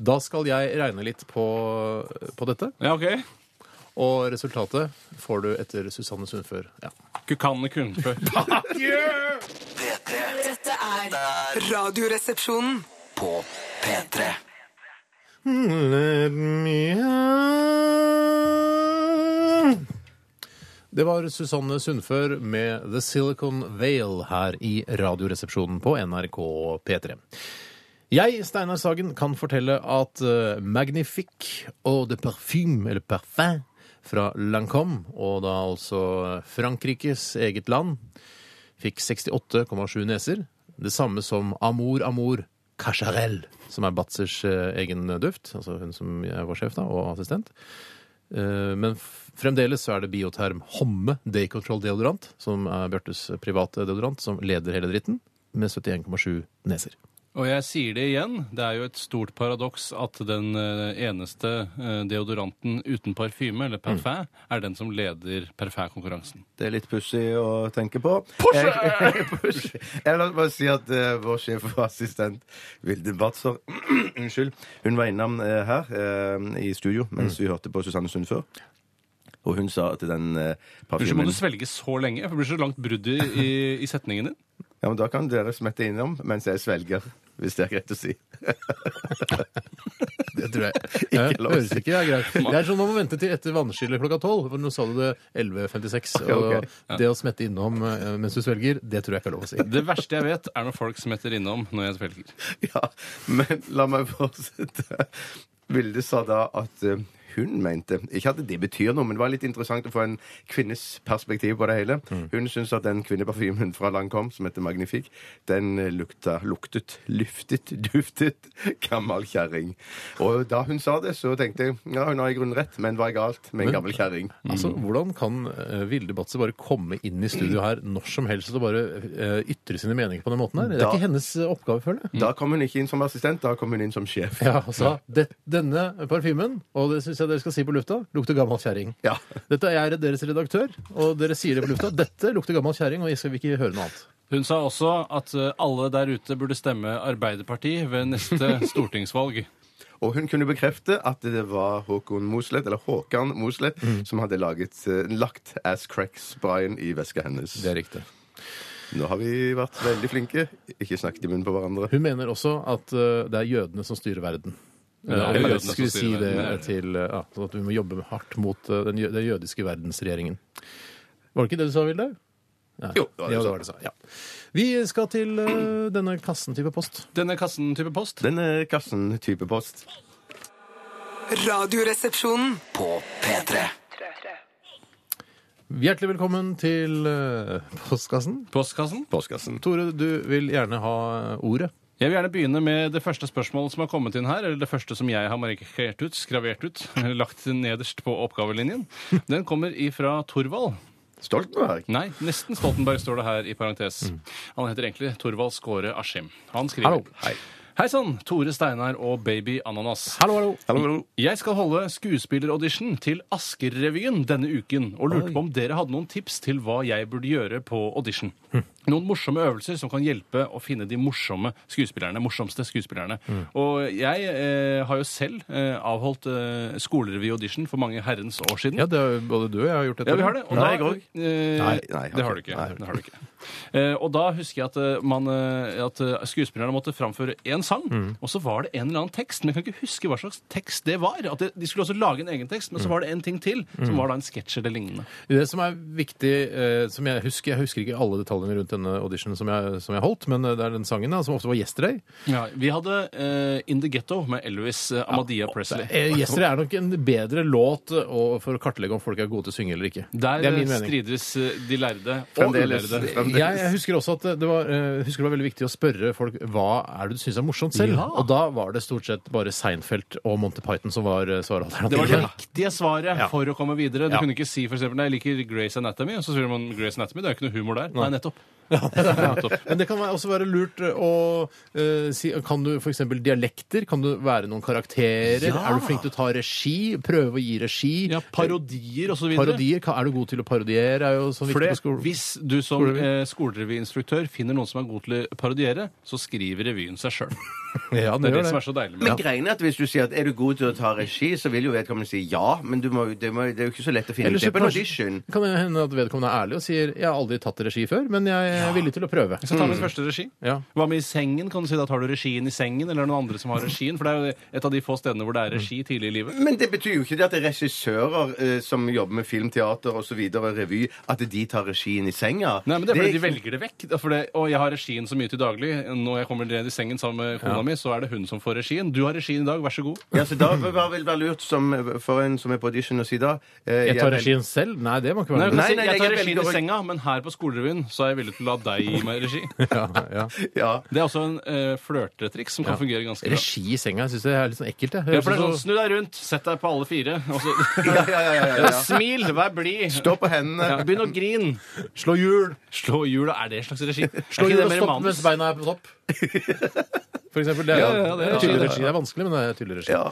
Speaker 3: Da skal jeg regne litt på, på dette,
Speaker 4: Ja, ok.
Speaker 3: og resultatet får du etter Susanne Sundfør. Ja.
Speaker 4: Kukanne kunnfør.
Speaker 2: P3
Speaker 1: Dette er Radioresepsjonen.
Speaker 2: på P3
Speaker 3: Let me out. Det var Susanne Sundfør med The Silicon Veil her i Radioresepsjonen på NRK P3. Jeg, Steinar Sagen, kan fortelle at eh, Magnifique og de Parfume, eller Parfum, fra Lancôme, og da altså Frankrikes eget land, fikk 68,7 neser. Det samme som Amour Amour Cacharel, som er Batzers eh, egen duft. Altså hun som jeg var sjef da, og assistent. Eh, men f- fremdeles så er det bioterm Homme Day Control Deodorant, som er Bjørtes private deodorant, som leder hele dritten, med 71,7 neser.
Speaker 4: Og jeg sier det igjen, det er jo et stort paradoks at den eh, eneste eh, deodoranten uten parfyme, eller parfum, er den som leder parfumkonkurransen.
Speaker 5: Det er litt pussig å tenke på. Jeg, pussy. jeg la oss bare si at eh, vår sjef og assistent Vilde Batzer Unnskyld. Hun var innom eh, her eh, i studio
Speaker 4: Mm.
Speaker 5: mens vi hørte på Susanne Sund før. Og hun sa at den uh,
Speaker 4: Unnskyld, må
Speaker 5: parfymen
Speaker 4: du svelge så lenge? For det blir så langt brudd i, i, i setningen din.
Speaker 5: Ja, men Da kan dere smette innom mens jeg svelger, hvis det er greit å si.
Speaker 3: Det tror jeg.
Speaker 5: Ikke lov å
Speaker 3: høres
Speaker 5: si.
Speaker 3: ikke det er greit. Det er sånn man må vente til etter vannskillet klokka tolv. For nå sa du det 11.56.
Speaker 5: Ok, ok.
Speaker 3: Og det å smette innom eh, mens du svelger, det tror jeg ikke er lov å si.
Speaker 4: Det verste jeg vet, er når folk smetter innom når jeg svelger.
Speaker 5: Ja, men la meg fortsette. Vilde sa da at eh, hun mente Ikke at det betyr noe, men det var litt interessant å få en kvinnes perspektiv på det hele. Hun syntes at den kvinneparfymen fra Lancôme som heter Magnifique, den eh, lukta luktet, luftet, duftet gammel kjerring. Og da hun sa det, så tenkte jeg ja, hun har i grunnen rett, men hva er galt med en gammel kjerring?
Speaker 3: Altså, Hvordan kan eh, Vilde Batzer bare komme inn i studio her når som helst og bare eh, ytre sine meninger på den måten her? Det er
Speaker 5: Da-
Speaker 3: ikke hennes eh, oppgave, føler jeg.
Speaker 5: Da kom hun ikke inn som assistent, da kom hun inn som sjef.
Speaker 3: Ja, altså, det, Denne parfymen, og det syns jeg dere skal si på lufta, lukter gammel kjerring.
Speaker 5: Ja.
Speaker 3: Dette er jeg deres redaktør, og dere sier det på lufta. Dette lukter gammel kjerring, og jeg skal ikke høre noe annet.
Speaker 4: Hun sa også at eh, alle der ute burde stemme Arbeiderpartiet ved neste stortingsvalg.
Speaker 5: Og hun kunne bekrefte at det var Håkon Mosleth, eller Håkan Mosleth, som hadde laget, eh, lagt Ass Cracks-sprayen i veska hennes.
Speaker 3: Det er riktig.
Speaker 5: Nå har vi vært veldig flinke. Ikke snakket i munnen på hverandre.
Speaker 3: Hun mener også at eh, det er jødene som styrer verden.
Speaker 4: det er
Speaker 3: Eh,
Speaker 4: jødene
Speaker 3: jeg
Speaker 4: som
Speaker 3: skulle
Speaker 4: styrer
Speaker 3: si det
Speaker 4: verden,
Speaker 3: til eh, ja, sånn at vi må jobbe hardt mot eh, den, jø- den jødiske verdensregjeringen. Var det ikke det du sa, Vilde? Nei.
Speaker 5: Jo, det var
Speaker 3: ja,
Speaker 5: det jeg sa.
Speaker 3: det var det du sa. Ja. Vi skal til eh, denne kassen-type post.
Speaker 4: Denne kassen type post.
Speaker 5: Denne kassen-type eh, post.
Speaker 6: Radioresepsjonen.
Speaker 2: På P3.
Speaker 3: Hjertelig velkommen til eh, postkassen.
Speaker 4: Postkassen.
Speaker 5: Postkassen.
Speaker 3: Tore, du vil gjerne ha eh, ordet.
Speaker 4: Jeg vil gjerne begynne med det første spørsmålet som har kommet inn her, eller det første som jeg har markert ut, skravert ut, lagt nederst på oppgavelinjen. Den kommer ifra Torvald.
Speaker 5: Stoltenberg.
Speaker 4: Nei, nesten Stoltenberg står det her i parentes. Han heter egentlig Torvald Skåre Askim. Han
Speaker 3: Mm.
Speaker 4: skriver
Speaker 3: Hallo.
Speaker 4: Hei. Hei sann, Tore Steinar og Baby Ananas.
Speaker 3: Hallo, hallo.
Speaker 4: Jeg skal holde skuespilleraudition til Asker-revyen denne uken, og lurte på om dere hadde noen tips til hva jeg burde gjøre på audition. Noen morsomme øvelser som kan hjelpe å finne de morsomme skuespillerne, morsomste skuespillerne. Og jeg eh, har jo selv eh, avholdt eh, skolerevy-audition for mange herrens år siden.
Speaker 3: Ja, det har jo både du og jeg har gjort dette.
Speaker 4: Ja, vi har det. Og
Speaker 5: Nei,
Speaker 4: da,
Speaker 5: jeg
Speaker 4: eh,
Speaker 5: Nei, nei, jeg har
Speaker 4: det har du
Speaker 5: ikke.
Speaker 4: ikke.
Speaker 5: Nei.
Speaker 4: Det har du ikke. Eh, og da husker jeg at, eh, man, eh, at eh, skuespillerne måtte framføre én sang, og så var det en eller annen tekst. Men jeg kan ikke huske hva slags tekst det var. At det, de skulle også lage en egen tekst, men så var det en ting til, som var da en sketsj eller lignende.
Speaker 3: Det som er viktig, eh, som jeg husker Jeg husker ikke alle detaljene rundt denne auditionen som jeg, som jeg holdt, men eh, det er den sangen da, som ofte var Yesterday.
Speaker 4: vi hadde eh, In the Ghetto med Elvis eh, Amadia Presley.
Speaker 3: Eh, Yesterday er nok en bedre låt å- for å kartlegge om folk er gode til å synge eller ikke.
Speaker 4: Der
Speaker 3: det er
Speaker 4: eh,
Speaker 3: min mening.
Speaker 4: strides eh, de lærde og
Speaker 5: Fremdeles.
Speaker 4: ulærde.
Speaker 5: Fremdeles.
Speaker 3: Jeg, jeg husker også at det var, eh, husker det var veldig viktig å spørre folk hva er det du syns er morsomt selv.
Speaker 4: Ja.
Speaker 3: Og da var det stort sett bare Seinfeld og Monty Python som var eh,
Speaker 4: Det var det
Speaker 3: svaralternativet.
Speaker 4: riktige svaret
Speaker 3: Ja.
Speaker 4: for å komme videre. Du
Speaker 3: Ja.
Speaker 4: kunne ikke si f.eks. Nei, jeg liker Grace Anatomy, og så sier man Grace Anatomy. Det er jo ikke noe humor der. Nei, nettopp. nettopp.
Speaker 3: Men det kan være- også være lurt eh, å eh, si Kan du f.eks. dialekter? Kan du være noen karakterer?
Speaker 4: Ja.
Speaker 3: Er du flink til å ta regi? Prøve å gi regi? Eh,
Speaker 4: Ja, parodier og så videre.
Speaker 3: Parodier, ka- er du god til å parodiere? Er jo så
Speaker 4: For
Speaker 3: viktig
Speaker 4: det,
Speaker 3: på skolen.
Speaker 4: hvis du som
Speaker 3: Skolerevy.
Speaker 4: eh, skolerevyinstruktør finner noen som er god til å parodiere, så skriver revyen seg sjøl.
Speaker 3: ja,
Speaker 4: Det er det som er så deilig med
Speaker 5: Men
Speaker 4: det.
Speaker 5: greiene er at hvis du sier at er du god til å ta regi, så vil jo vedkommende si ja. Men du må, det, må, det er jo ikke så lett å finne
Speaker 3: Eller
Speaker 5: ut
Speaker 3: så
Speaker 5: det på en
Speaker 3: kanskje-
Speaker 5: audition.
Speaker 3: Kan det hende at vedkommende er ærlig og sier 'jeg har aldri tatt regi før, men jeg er villig til å prøve'.
Speaker 4: Så tar vi første regi.
Speaker 3: Ja.
Speaker 4: Hva med i sengen? Kan du si da tar du regien i sengen, eller er det noen andre som har regien? For det er jo et av de få stedene hvor det er regi tidlig i livet.
Speaker 5: Men det betyr jo ikke det at det er regissører eh, som jobber med film, teater osv., revy, at de tar regien i senga.
Speaker 4: Nei, men det er fordi de
Speaker 5: ikke-
Speaker 4: velger det vekk. Det er fordi, og jeg har regien så mye til daglig. Når jeg kommer ned i sengen sammen med kona mi, så er det hun som får regien. Du har regien i dag, vær så god.
Speaker 5: Ja, så Da vil det være lurt som, for en som er på audition, å si da eh,
Speaker 3: Jeg tar
Speaker 5: vel-
Speaker 3: regien selv? Nei, det må ikke være
Speaker 4: Nei, jeg,
Speaker 3: det.
Speaker 4: kan
Speaker 5: Nei,
Speaker 4: si,
Speaker 5: nei,
Speaker 4: altså, jeg tar
Speaker 5: jeg
Speaker 4: regien
Speaker 5: velger
Speaker 4: i
Speaker 5: å-
Speaker 4: senga, men her på skolerevyen så er jeg villig til å la deg gi meg regi. Det
Speaker 3: Ja, ja.
Speaker 5: Ja.
Speaker 4: er også en eh, flørtetriks som kan fungere ganske bra.
Speaker 3: Regi i senga jeg syns det er litt sånn ekkelt. Jeg.
Speaker 4: Ja, for det er sånn, Snu deg rundt, sett deg på alle fire. Og så,
Speaker 5: Ja, ja, ja, ja, ja, ja.
Speaker 4: Smil, vær blid.
Speaker 5: Stå på hendene.
Speaker 4: Ja, begynn å grine.
Speaker 3: Slå hjul!
Speaker 4: Slå hjula, er det en slags regi?
Speaker 3: Slå
Speaker 4: er ikke
Speaker 3: hjul
Speaker 4: det
Speaker 3: og
Speaker 4: mer
Speaker 3: stopp
Speaker 4: manus?
Speaker 3: mens beina er på topp. for eksempel. Det er,
Speaker 4: Ja, ja, det er-
Speaker 3: det er tydelig regi. Det er vanskelig, men det er tydelig regi.
Speaker 5: Ja.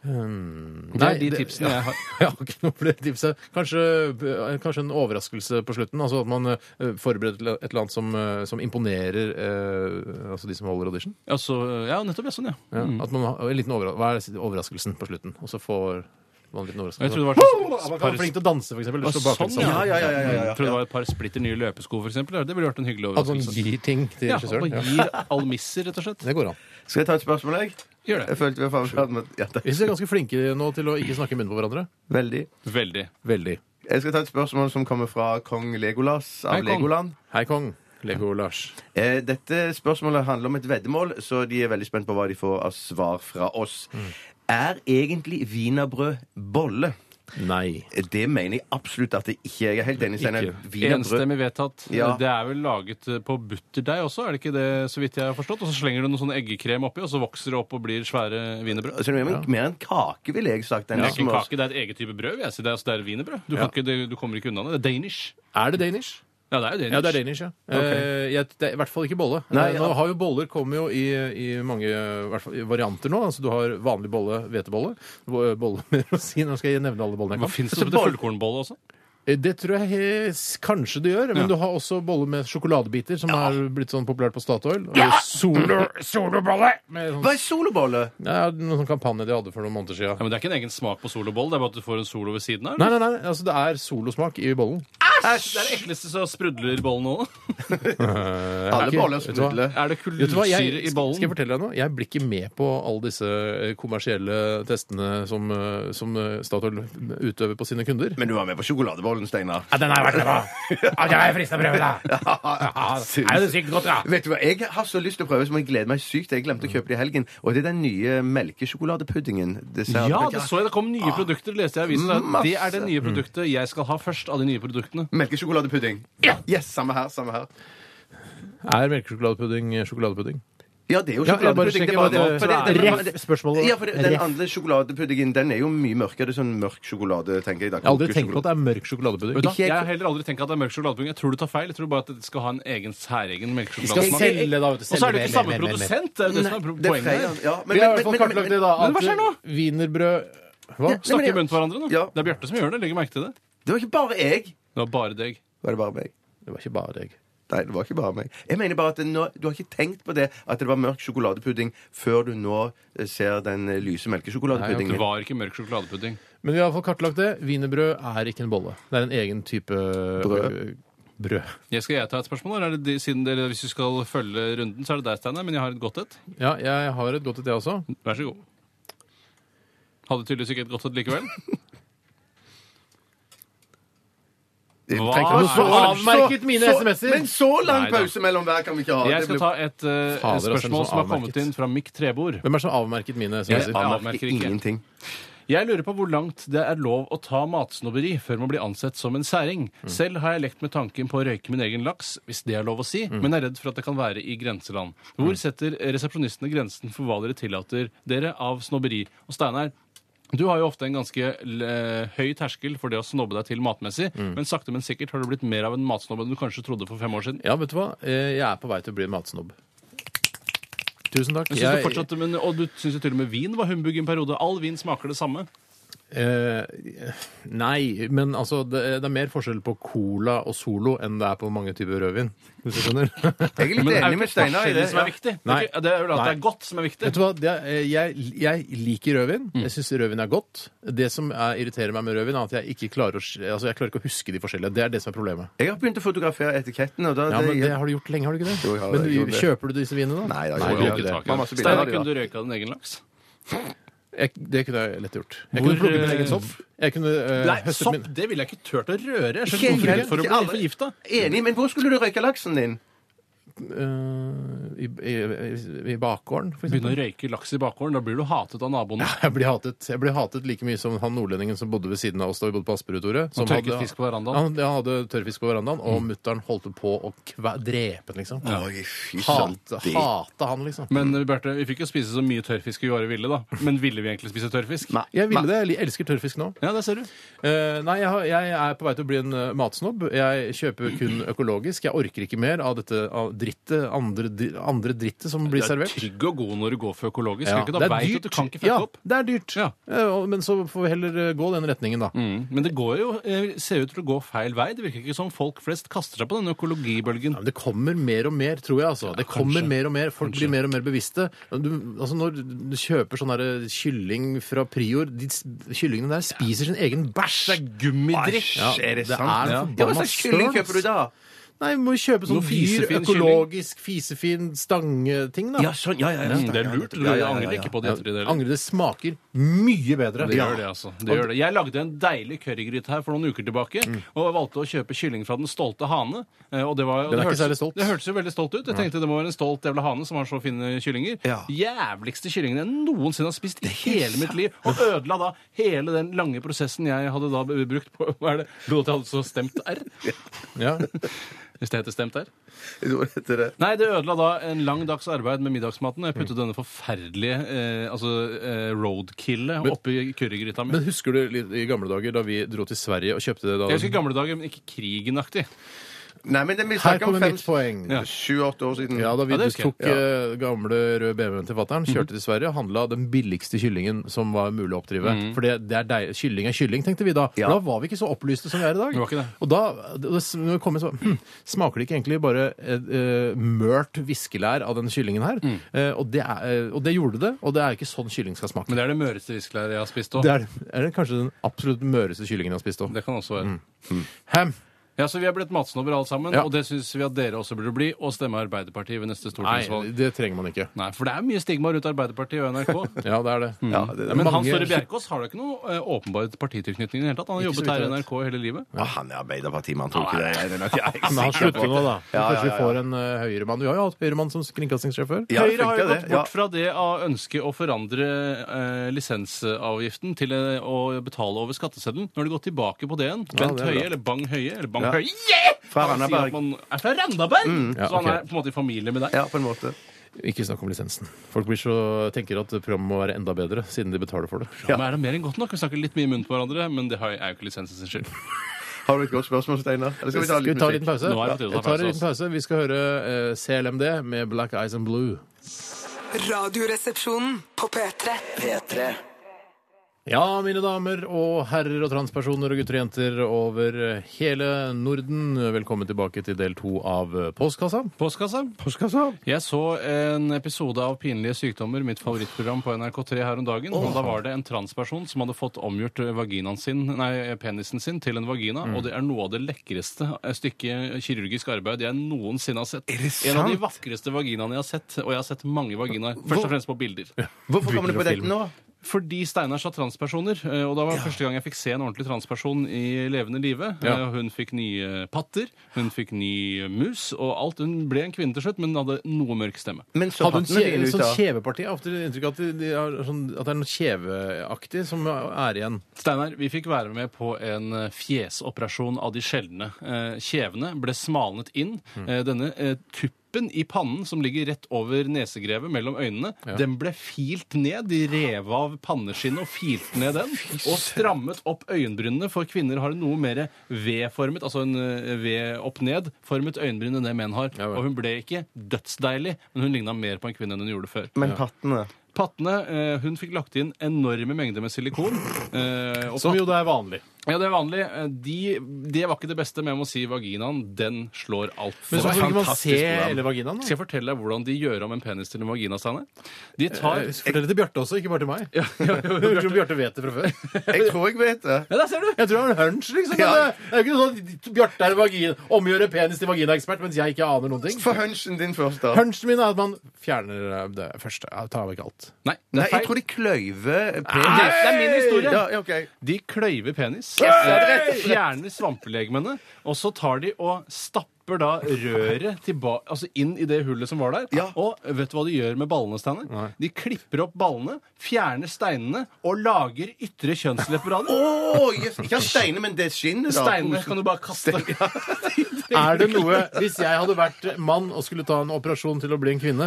Speaker 3: Hmm,
Speaker 4: Det er de
Speaker 3: det-
Speaker 4: tipsene jeg har.
Speaker 3: Jeg har ikke noe flere tips. her. Kanskje, eh, kanskje en overraskelse på slutten. Altså At man eh, forbereder et eller annet som, eh, som imponerer eh, altså de som holder audition.
Speaker 4: Altså, ja, nettopp. Ja, sånn, ja.
Speaker 3: Ja, At man har en liten overra Hva er overraskelsen på slutten? Og så får man en liten
Speaker 4: Og
Speaker 3: overraskelse.
Speaker 4: Jeg trodde det var et
Speaker 3: At man kan være flink til å danse, for eksempel.
Speaker 4: par,
Speaker 3: Slå baklengs
Speaker 4: sånn, ja.
Speaker 3: sammen.
Speaker 5: Ja, ja, ja, ja, ja, ja.
Speaker 4: Jeg trodde det var et par splitter nye løpesko, for eksempel. Det ville vært en hyggelig
Speaker 3: At man
Speaker 4: overraskelse.
Speaker 3: gir Sånn ting til
Speaker 4: Ja, og
Speaker 3: regissøren. Ja.
Speaker 4: gir almisser, rett og slett.
Speaker 3: Det går an.
Speaker 5: Skal jeg ta et spørsmål, jeg?
Speaker 4: Gjør
Speaker 5: Jeg
Speaker 4: det.
Speaker 5: følte vi var ferdig med ja, takk.
Speaker 3: Vi er ganske flinke nå til å ikke snakke i munnen på hverandre.
Speaker 5: Veldig.
Speaker 4: Veldig.
Speaker 3: Veldig.
Speaker 5: Jeg skal ta et spørsmål som kommer fra kong Legolas av
Speaker 4: Hei, kong.
Speaker 5: Legoland.
Speaker 3: Hei, kong. Lego Lars.
Speaker 5: Eh, Dette spørsmålet handler om et veddemål, så de er veldig spent på hva de får av svar fra oss.
Speaker 4: Mm.
Speaker 5: Er egentlig wienerbrød bolle? Eh,
Speaker 3: Nei.
Speaker 5: Det mener jeg absolutt at det ikke er. Jeg er helt enig. Steinar.
Speaker 3: Ikke.
Speaker 5: Wienerbrød-
Speaker 4: Enstemmig vedtatt.
Speaker 5: Ja.
Speaker 4: Det er vel laget eh, på butterdeig også, er det ikke det, så vidt jeg har forstått? Og så slenger du noe sånn eggekrem oppi, og så vokser det opp og blir svære wienerbrød.
Speaker 5: Altså, det er mer- mer enn kake, ville jeg sagt. enn
Speaker 4: Det er ikke en
Speaker 5: smør.
Speaker 4: kake, det er et eget type brød. vil Jeg. sier. Det er, altså, det er wienerbrød. Du,
Speaker 3: Ja.
Speaker 4: kan ikke, det, du kommer ikke unna det. Det er danish.
Speaker 3: Er det danish?
Speaker 4: Ja, det er jo danish.
Speaker 3: Ja, det er danish, ja. Eh, jeg, det er i hvert fall ikke bolle.
Speaker 5: Nei,
Speaker 3: Eh,
Speaker 5: ja.
Speaker 3: Nå har jo Boller kommer jo i, i mange eh, i hvert fall, i varianter nå. Altså, du har vanlig bolle, hvetebolle, bo- bolle med rosin Nå skal jeg nevne alle bollene jeg kan.
Speaker 4: Hva Fins det
Speaker 5: Altså,
Speaker 4: til
Speaker 5: boll-
Speaker 4: fullkornbolle også?
Speaker 3: Eh, Det tror jeg eh, s- kanskje det gjør. Men
Speaker 4: Ja.
Speaker 3: du har også boller med sjokoladebiter, som er blitt sånn populært på Statoil. Og Solo, solobolle! Med sånn,
Speaker 5: Hva er solobolle?
Speaker 3: ja, noen sånn kampanje de hadde for noen måneder
Speaker 4: Ja,
Speaker 3: siden.
Speaker 4: men Det er ikke en egen smak på soloboll. Det er bare at du får en solo ved siden av.
Speaker 3: Nei,
Speaker 4: eller?
Speaker 3: nei, nei, altså det er solosmak i bollen.
Speaker 4: Æsj! Det er det ekleste som sprudler bollen nå.
Speaker 5: Alle
Speaker 3: ikke-
Speaker 5: boller
Speaker 3: vet du hva?
Speaker 5: sprudler.
Speaker 4: Er det
Speaker 3: Vet du hva, jeg,
Speaker 4: kullsyre
Speaker 3: skal
Speaker 4: i
Speaker 3: jeg
Speaker 4: bollen?
Speaker 3: fortelle deg noe? Jeg blir ikke med på alle disse eh, kommersielle testene som, eh, som eh, Statoil utøver på sine kunder.
Speaker 5: Men du var med på sjokoladebollen, Steinar.
Speaker 3: Ja, den har jeg vært med på! Ja, det er fristende å prøve, da! det
Speaker 5: Syns-
Speaker 3: sykt godt, da?
Speaker 5: Vet du hva, Jeg har så lyst til å prøve, som jeg gleder meg sykt. Jeg glemte å kjøpe det i helgen. Og det er den nye melkesjokoladepuddingen. Dessert.
Speaker 4: Ja, det så jeg det kom nye produkter, leste jeg i avisen.
Speaker 5: Masse.
Speaker 4: Det er det nye produktet jeg skal ha først av de nye produktene.
Speaker 5: Melkesjokoladepudding. Ja. Yes, samme her, samme her.
Speaker 3: Er melkesjokoladepudding eh, sjokoladepudding?
Speaker 5: Ja, det er jo
Speaker 3: Ja, jeg bare
Speaker 5: sjokoladepudding.
Speaker 3: sjekker
Speaker 5: det er bare
Speaker 3: hva
Speaker 5: det-
Speaker 3: det-
Speaker 5: for det- det-
Speaker 3: Ref
Speaker 5: det- det-
Speaker 3: spørsmålet.
Speaker 5: Ja, for det- den
Speaker 3: Ref.
Speaker 5: andre sjokoladepuddingen den er jo mye mørkere. Sånn mørk sjokolade, tenker jeg.
Speaker 3: Jeg har aldri tenkt på at det er mørk sjokoladepudding.
Speaker 4: Vet du hva? Jeg
Speaker 5: Ikke-
Speaker 4: har heller aldri tenkt at det er mørk sjokoladepudding. Jeg tror du tar feil. Jeg tror bare at det skal ha en egen særegen
Speaker 3: Skal
Speaker 4: melkesjokoladesmak.
Speaker 3: selge, da, vet du.
Speaker 4: Og så er det jo
Speaker 3: Selge
Speaker 4: ikke
Speaker 3: mer,
Speaker 4: samme
Speaker 3: mer, mer, mer.
Speaker 4: produsent. Det er jo det som er pro- poenget. her.
Speaker 5: Ja, men-
Speaker 3: Vi har i
Speaker 5: men-
Speaker 3: hvert fall
Speaker 5: men- men-
Speaker 3: kartlagt det, da.
Speaker 4: men hva skjer nå?
Speaker 3: At wienerbrød Hva?
Speaker 5: Nei, men
Speaker 4: Snakke i
Speaker 5: jeg-
Speaker 4: munnen til hverandre nå.
Speaker 5: Ja.
Speaker 4: Det er Bjarte som gjør det. Legger merke til det.
Speaker 5: Det var ikke bare jeg.
Speaker 4: Det var bare deg.
Speaker 5: Var det bare meg?
Speaker 3: Det var ikke bare deg.
Speaker 5: Nei, det var ikke bare meg. Jeg mener bare at det nå, Du har ikke tenkt på det at det var mørk sjokoladepudding før du nå eh, ser den eh, lyse
Speaker 4: Det
Speaker 5: melkesjokoladepuddingen.
Speaker 4: var ikke mørk sjokoladepudding.
Speaker 3: Men vi har i hvert fall kartlagt det. Wienerbrød er ikke en bolle. Det er en egen type
Speaker 5: Brød.
Speaker 3: brød.
Speaker 4: Jeg skal jeg ta et spørsmål? eller Er det de, siden dere, hvis du skal følge runden, så er det deg, Steinar. Men jeg har et godt et.
Speaker 3: Ja, jeg har et godt et, jeg også.
Speaker 4: Vær så god. Hadde tydeligvis ikke et godt et likevel.
Speaker 5: Jeg
Speaker 4: Hva?
Speaker 5: tenker-
Speaker 4: Nå så
Speaker 3: avmerket mine
Speaker 5: så-
Speaker 3: SMS-er.
Speaker 5: Men så lang
Speaker 4: Nei da.
Speaker 5: pause mellom hver kan vi ikke ha.
Speaker 4: Jeg
Speaker 5: Det
Speaker 4: skal
Speaker 5: blir-
Speaker 4: ta et eh,
Speaker 3: Fader, altså,
Speaker 4: spørsmål
Speaker 3: sånn
Speaker 4: som har kommet
Speaker 3: avmerket.
Speaker 4: inn fra Mikk Trebord.
Speaker 3: Hvem er det som har avmerket mine
Speaker 4: Jeg
Speaker 3: SMS-er?
Speaker 4: av-
Speaker 5: Avmerker
Speaker 4: avmerker ikke.
Speaker 5: ingenting.
Speaker 4: Jeg lurer på hvor langt det er lov å ta matsnobberi før man blir ansett som en særing.
Speaker 5: Mm.
Speaker 4: Selv har jeg lekt med tanken på å røyke min egen laks, hvis det er lov å si,
Speaker 5: Mm.
Speaker 4: men er redd for at det kan være i grenseland. Hvor setter resepsjonistene grensen for hva dere tillater dere av snobberi? Og Steinar, du har jo ofte en ganske eh, høy terskel for det å snobbe deg til matmessig,
Speaker 5: Mm.
Speaker 4: men sakte, men sikkert har du blitt mer av en matsnobb enn du kanskje trodde for fem år siden.
Speaker 3: Ja, vet du hva? Eh, Jeg er på vei til å bli en matsnobb. Tusen takk.
Speaker 4: Jeg synes du fortsatte, men, og du syns jo til og med vin var humbug i en periode. All vin smaker det samme.
Speaker 3: eh, nei, men altså det, det er mer forskjell på cola og Solo enn det er på mange typer rødvin. Hvis du skjønner?
Speaker 5: Jeg er litt
Speaker 4: Men det er
Speaker 5: enig
Speaker 4: jo
Speaker 5: med
Speaker 4: ikke
Speaker 5: Steinar i
Speaker 4: forskjellen
Speaker 5: det.
Speaker 4: som
Speaker 5: Ja.
Speaker 4: er viktig. Det
Speaker 3: Nei.
Speaker 4: er, ikke, det er jo at det er godt som er viktig.
Speaker 3: Vet du hva? Det er, eh, jeg, jeg liker rødvin. Jeg syns rødvin er godt. Det som er, irriterer meg med rødvin, er at jeg ikke klarer å, sk- altså, jeg klarer ikke å huske de forskjellige. Det er det som er problemet.
Speaker 5: Jeg har begynt å fotografere etiketten, og da
Speaker 3: Ja, men det har du gjort lenge, har du ikke det?
Speaker 5: Jo, jeg har
Speaker 3: men
Speaker 5: det, jeg
Speaker 3: du,
Speaker 5: gjorde det.
Speaker 3: Kjøper du disse vinene, da?
Speaker 5: Nei, jeg har
Speaker 3: jeg
Speaker 5: gjorde
Speaker 3: gjør
Speaker 5: ikke
Speaker 3: ikke det.
Speaker 5: det. Man har masse bilder av
Speaker 4: Steinar,
Speaker 5: det,
Speaker 4: kunne
Speaker 5: da.
Speaker 4: du røyka din egen laks?
Speaker 3: Jeg, det kunne jeg lett gjort. Jeg
Speaker 4: Hvor,
Speaker 3: kunne plukket min
Speaker 4: eh,
Speaker 3: egen sopp. Jeg kunne eh,
Speaker 4: Nei,
Speaker 3: høstet
Speaker 4: sopp
Speaker 3: min
Speaker 4: det ville jeg ikke turt å røre. Jeg
Speaker 5: Ikke
Speaker 4: skjønner hvorfor
Speaker 5: helt,
Speaker 4: ikke, for å
Speaker 5: ikke
Speaker 4: bli
Speaker 5: alle.
Speaker 4: forgifta.
Speaker 5: Enig, men hvor skulle du røyke laksen din?
Speaker 3: eh, i, i, i- i bakgården, for
Speaker 4: Begynne
Speaker 3: eksempel.
Speaker 4: å røyke laks i bakgården, da blir du hatet av naboene.
Speaker 3: Jeg blir, hatet. jeg blir hatet like mye som han nordlendingen som bodde ved siden av oss da vi bodde på Asperud, Tore. Som
Speaker 4: tørket fisk på verandaen. Mm.
Speaker 3: Han, ja, han hadde tørrfisk på verandaen, og mutter'n holdt på å kve, drepe den, liksom.
Speaker 5: Oi, fy søren.
Speaker 3: Hate, hate han, liksom.
Speaker 4: Men eh, Bjarte, vi fikk jo spise så mye tørrfisk vi bare ville, da. Men ville vi egentlig spise tørrfisk?
Speaker 5: Nei.
Speaker 3: jeg ville det. Jeg elsker tørrfisk nå.
Speaker 4: Ja, der ser du.
Speaker 3: Eh, nei, jeg, har, jeg er på vei til å bli en eh, matsnobb. Jeg kjøper kun økologisk. Jeg orker ikke mer av dette av drittet, andre, dri- andre drittet som blir
Speaker 4: Du er
Speaker 3: servert.
Speaker 4: trygg og god når du går for økologisk.
Speaker 3: Ja,
Speaker 4: Ja. Du, da
Speaker 3: det er
Speaker 4: vet du
Speaker 3: dyrt.
Speaker 4: at du kan ikke fucke
Speaker 3: ja,
Speaker 4: opp.
Speaker 3: det er dyrt.
Speaker 4: Ja.
Speaker 3: Eh, og- Men så får vi heller eh, gå den retningen, da.
Speaker 4: Mm. Men det går jo, eh, ser ut til å gå feil vei. Det virker ikke som folk flest kaster seg på denne økologibølgen.
Speaker 3: Ja, men det kommer mer og mer, tror jeg. altså. Det kommer
Speaker 4: kanskje.
Speaker 3: mer og mer. Folk blir mer og mer bevisste. Du, altså Når du kjøper sånn der kylling fra Prior de, s- Kyllingene der spiser sin egen
Speaker 4: Det
Speaker 3: bæsj!
Speaker 4: er gummidrikk!
Speaker 5: Æsj,
Speaker 3: Ja,
Speaker 5: er det
Speaker 3: det
Speaker 5: sant?
Speaker 3: er
Speaker 5: ja.
Speaker 3: forbanna
Speaker 5: Ja, hva slags
Speaker 3: søren,
Speaker 5: kylling
Speaker 3: ass.
Speaker 5: kjøper du da?
Speaker 3: Nei, vi må jo kjøpe sånn
Speaker 4: Noe
Speaker 3: dyr,
Speaker 4: fisefin
Speaker 3: økologisk, fisefin stangeting, da.
Speaker 5: Ja, sånn, ja, ja, ja.
Speaker 4: Mm, det er lurt.
Speaker 5: Ja, ja,
Speaker 4: Jeg
Speaker 5: ja,
Speaker 4: angrer
Speaker 5: ja.
Speaker 4: ikke på det.
Speaker 3: Ja,
Speaker 4: etter det.
Speaker 3: Angre, det smaker mye bedre.
Speaker 4: Det gjør det, altså. Det gjør det. Jeg lagde en deilig currygryte her for noen uker tilbake,
Speaker 3: Mm.
Speaker 4: og valgte å kjøpe kylling fra den stolte hane. eh, Og det var, og
Speaker 3: Den er
Speaker 4: det
Speaker 3: ikke særlig stolt.
Speaker 4: Det hørtes jo veldig stolt ut. Jeg tenkte det må være en stolt jævla hane som har så fine kyllinger.
Speaker 5: Ja.
Speaker 4: Jævligste kyllingen jeg noensinne har spist i hele mitt liv. Og ødela da hele den lange prosessen jeg hadde da brukt på Hva er det? Lot jeg hadde så stemt R?
Speaker 3: Ja.
Speaker 4: Hvis det heter stemt R?
Speaker 5: Jeg tror det heter det.
Speaker 4: Nei, det ødela da en lang dags arbeid med middagsmaten. Og jeg
Speaker 3: Mm.
Speaker 4: puttet denne forferdelige eh, altså, eh, roadkillet oppi currygryta mi.
Speaker 3: Men husker du litt i gamle dager da vi dro til Sverige og kjøpte det? da?
Speaker 4: Jeg husker gamle dager, men ikke krigenaktig.
Speaker 5: Nei, men det vi
Speaker 3: Her
Speaker 5: snakker om
Speaker 3: kommer
Speaker 5: fem,
Speaker 3: mitt poeng.
Speaker 4: Ja.
Speaker 5: sju-åtte år siden.
Speaker 3: Ja, da vi
Speaker 4: Ja, Mhm. det husker jeg.
Speaker 3: tok eh, gamle røde BMW-en til fattern, kjørte til Sverige og handla den billigste kyllingen som var mulig å oppdrive.
Speaker 4: Mhm.
Speaker 3: For det, det er deil, kylling er kylling, tenkte vi da.
Speaker 5: Ja.
Speaker 3: For da var vi ikke så opplyste som vi er i dag.
Speaker 4: Vi var ikke det.
Speaker 3: Og da det, det, når vi kom inn, så, hm, smaker det ikke egentlig bare et, eh, mørt viskelær av den kyllingen her?
Speaker 4: Mhm.
Speaker 3: Eh, og, det er, eh, og det gjorde det, og det er ikke sånn kylling skal smake.
Speaker 4: Men det er det møreste viskelæret jeg har spist òg.
Speaker 3: Det
Speaker 4: Det,
Speaker 3: er, er det kanskje den absolutt møreste kyllingen jeg har spist òg.
Speaker 4: kan også være.
Speaker 3: Ham!
Speaker 4: Ja, Så vi er blitt matsnobber alle sammen,
Speaker 3: Mm. Ja.
Speaker 4: og det syns vi at dere også burde bli. Og stemme Arbeiderpartiet ved neste
Speaker 3: Nei,
Speaker 4: stortingsvalg. Nei,
Speaker 3: det trenger man ikke.
Speaker 4: for det er mye stigma rundt Arbeiderpartiet og NRK.
Speaker 3: Ja, det er det.
Speaker 5: Ja,
Speaker 4: Mhm.
Speaker 5: det,
Speaker 4: Men
Speaker 3: Mange-
Speaker 4: han Snorre Bjerkås har da ikke noe eh, åpenbar partitilknytning i det hele tatt. Han har
Speaker 3: Ikke så
Speaker 4: jobbet
Speaker 3: vidt
Speaker 4: her i
Speaker 3: jeg vet.
Speaker 4: NRK hele livet.
Speaker 5: Ah, han er Arbeiderpartimann, tror ikke det. Jeg er nok- jeg er ikke
Speaker 3: Men han
Speaker 5: sikker
Speaker 3: slutter
Speaker 5: på
Speaker 3: nå,
Speaker 5: det.
Speaker 3: da.
Speaker 5: Ja, ja,
Speaker 3: Kanskje vi
Speaker 5: ja,
Speaker 3: får en eh, høyremann. Vi har jo hatt høyremann som kringkastingssjef før.
Speaker 5: Ja, det
Speaker 4: Høyre har jo
Speaker 5: funker
Speaker 4: gått
Speaker 5: det, ja.
Speaker 4: bort fra det av ønsket å forandre eh, lisensavgiften til eh, å betale over skatteseddelen. Nå har de gått tilbake på det igjen. Bent
Speaker 3: det er bra.
Speaker 4: Høie, eller Bang Høie, eller Bang
Speaker 5: Ja.
Speaker 4: Høie! Yeah!
Speaker 5: Fra
Speaker 4: Han sier
Speaker 5: Randaberg.
Speaker 4: at Man er fra Randaberg!
Speaker 3: Ja,
Speaker 4: Så
Speaker 3: ok.
Speaker 4: han er på en måte i familie med deg.
Speaker 5: Ja, på en måte.
Speaker 3: Ikke snakk om lisensen. Folk blir så, tenker at programmet må være enda bedre, siden de betaler for det.
Speaker 4: Ja. Men er det mer enn godt nok? Vi snakker litt mye i munnen på hverandre, men det har- er jo ikke lisensen sin skyld.
Speaker 5: Har du et godt spørsmål, Steinar? Eller skal vi ta
Speaker 3: Skal vi
Speaker 5: litt
Speaker 3: ta en liten
Speaker 5: musikk?
Speaker 3: pause?
Speaker 4: Nå er det på tide å ta
Speaker 3: Jeg tar en
Speaker 4: pause,
Speaker 3: liten pause. Vi skal høre eh, CLMD med Black Eyes and Blue.
Speaker 6: Radioresepsjonen på P3.
Speaker 2: P3.
Speaker 3: Ja, mine damer og herrer og transpersoner og gutter og jenter over hele Norden, velkommen tilbake til del to av eh, Postkassa.
Speaker 4: Postkassa. Jeg så en episode av Pinlige sykdommer, mitt favorittprogram på NRK3 her om dagen. Og da var det en transperson som hadde fått omgjort vaginaen sin, nei, penisen sin til en vagina. Og det er noe av det lekreste eh, stykket kirurgisk arbeid jeg noensinne har sett. En av de vakreste vaginaene jeg har sett, og jeg har sett mange vaginaer. Først og fremst på bilder.
Speaker 5: Hvorfor kommer du på dette nå?
Speaker 4: Fordi Steinar sa transpersoner, eh, og da var det første gang jeg fikk se en ordentlig transperson i levende live.
Speaker 3: Ja.
Speaker 4: Eh, Hun fikk nye patter, hun fikk ny mus, og alt. Hun ble en kvinne til slutt, men hadde noe mørk stemme.
Speaker 5: Men så
Speaker 3: Hadde hun
Speaker 5: hatten
Speaker 3: kje,
Speaker 5: din ut
Speaker 3: sånn
Speaker 5: da.
Speaker 3: kjeveparti? Jeg har ofte inntrykk av at, de, de har sånn, at det er noe kjeveaktig som er igjen.
Speaker 4: Steinar, vi fikk være med på en eh, fjesoperasjon av de sjeldne. Eh, Kjevene ble smalnet inn.
Speaker 3: Mm.
Speaker 4: Eh, Denne eh, tuppen i pannen som ligger rett over nesegrevet mellom øynene, den ble filt ned. De rev av panneskinnet og filte ned den. Og strammet opp øyenbrynene, for kvinner har en noe mer V-formet, altså en eh, V opp ned-formet øyenbryn enn det menn har.
Speaker 3: Ja vel.
Speaker 4: Og hun ble ikke dødsdeilig, men hun ligna mer på en kvinne enn hun gjorde før.
Speaker 5: Men pattene
Speaker 4: Pattene, eh, hun fikk lagt inn enorme mengder med silikon. eh, og
Speaker 3: Som jo det er vanlig.
Speaker 4: ja, det er vanlig. Eh, De, det var ikke det beste, men jeg må si vaginaen, den slår alt.
Speaker 3: Men så
Speaker 4: Det
Speaker 3: får
Speaker 4: var
Speaker 3: ikke man
Speaker 4: fantastisk
Speaker 3: se
Speaker 4: program.
Speaker 3: hele vaginaen,
Speaker 4: Skal
Speaker 3: da.
Speaker 4: jeg fortelle deg hvordan de gjør om en penis til en vagina, Steinar? De tar
Speaker 3: Eh, Fortell det til Bjarte også, ikke bare til meg. Jeg tror Bjarte vet det fra før.
Speaker 5: Jeg tror jeg vet det.
Speaker 4: Ja, der ser du!
Speaker 3: Jeg tror det var en hunch, liksom. men
Speaker 5: Ja.
Speaker 3: Det det er jo ikke sånn at Bjarte er vagin, omgjøre penis til vaginaekspert, mens jeg ikke aner noen ting.
Speaker 5: Få hunchen din først, da.
Speaker 3: Hunchen min er at man fjerner eh, det første. Ja, Tar vekk alt.
Speaker 4: Nei, det
Speaker 5: Nei,
Speaker 4: er
Speaker 5: jeg
Speaker 4: feil.
Speaker 5: tror de kløyver eh,
Speaker 4: Det er min historie.
Speaker 5: Ja, ja, ok.
Speaker 4: De kløyver penis, fjerner svampelegemene, og så tar de og stapper da røret tilba- altså inn i det hullet som var der.
Speaker 5: Ja.
Speaker 4: Og vet du hva de gjør med ballene, Steinar? De klipper opp ballene, fjerner steinene og lager ytre kjønnslepper av dem.
Speaker 5: Åh, yes. Ikke av steiner, men det er skinnet, da.
Speaker 4: Steinene kan du bare kaste.
Speaker 3: Er det noe Hvis jeg hadde vært mann og skulle ta en operasjon til å bli en kvinne,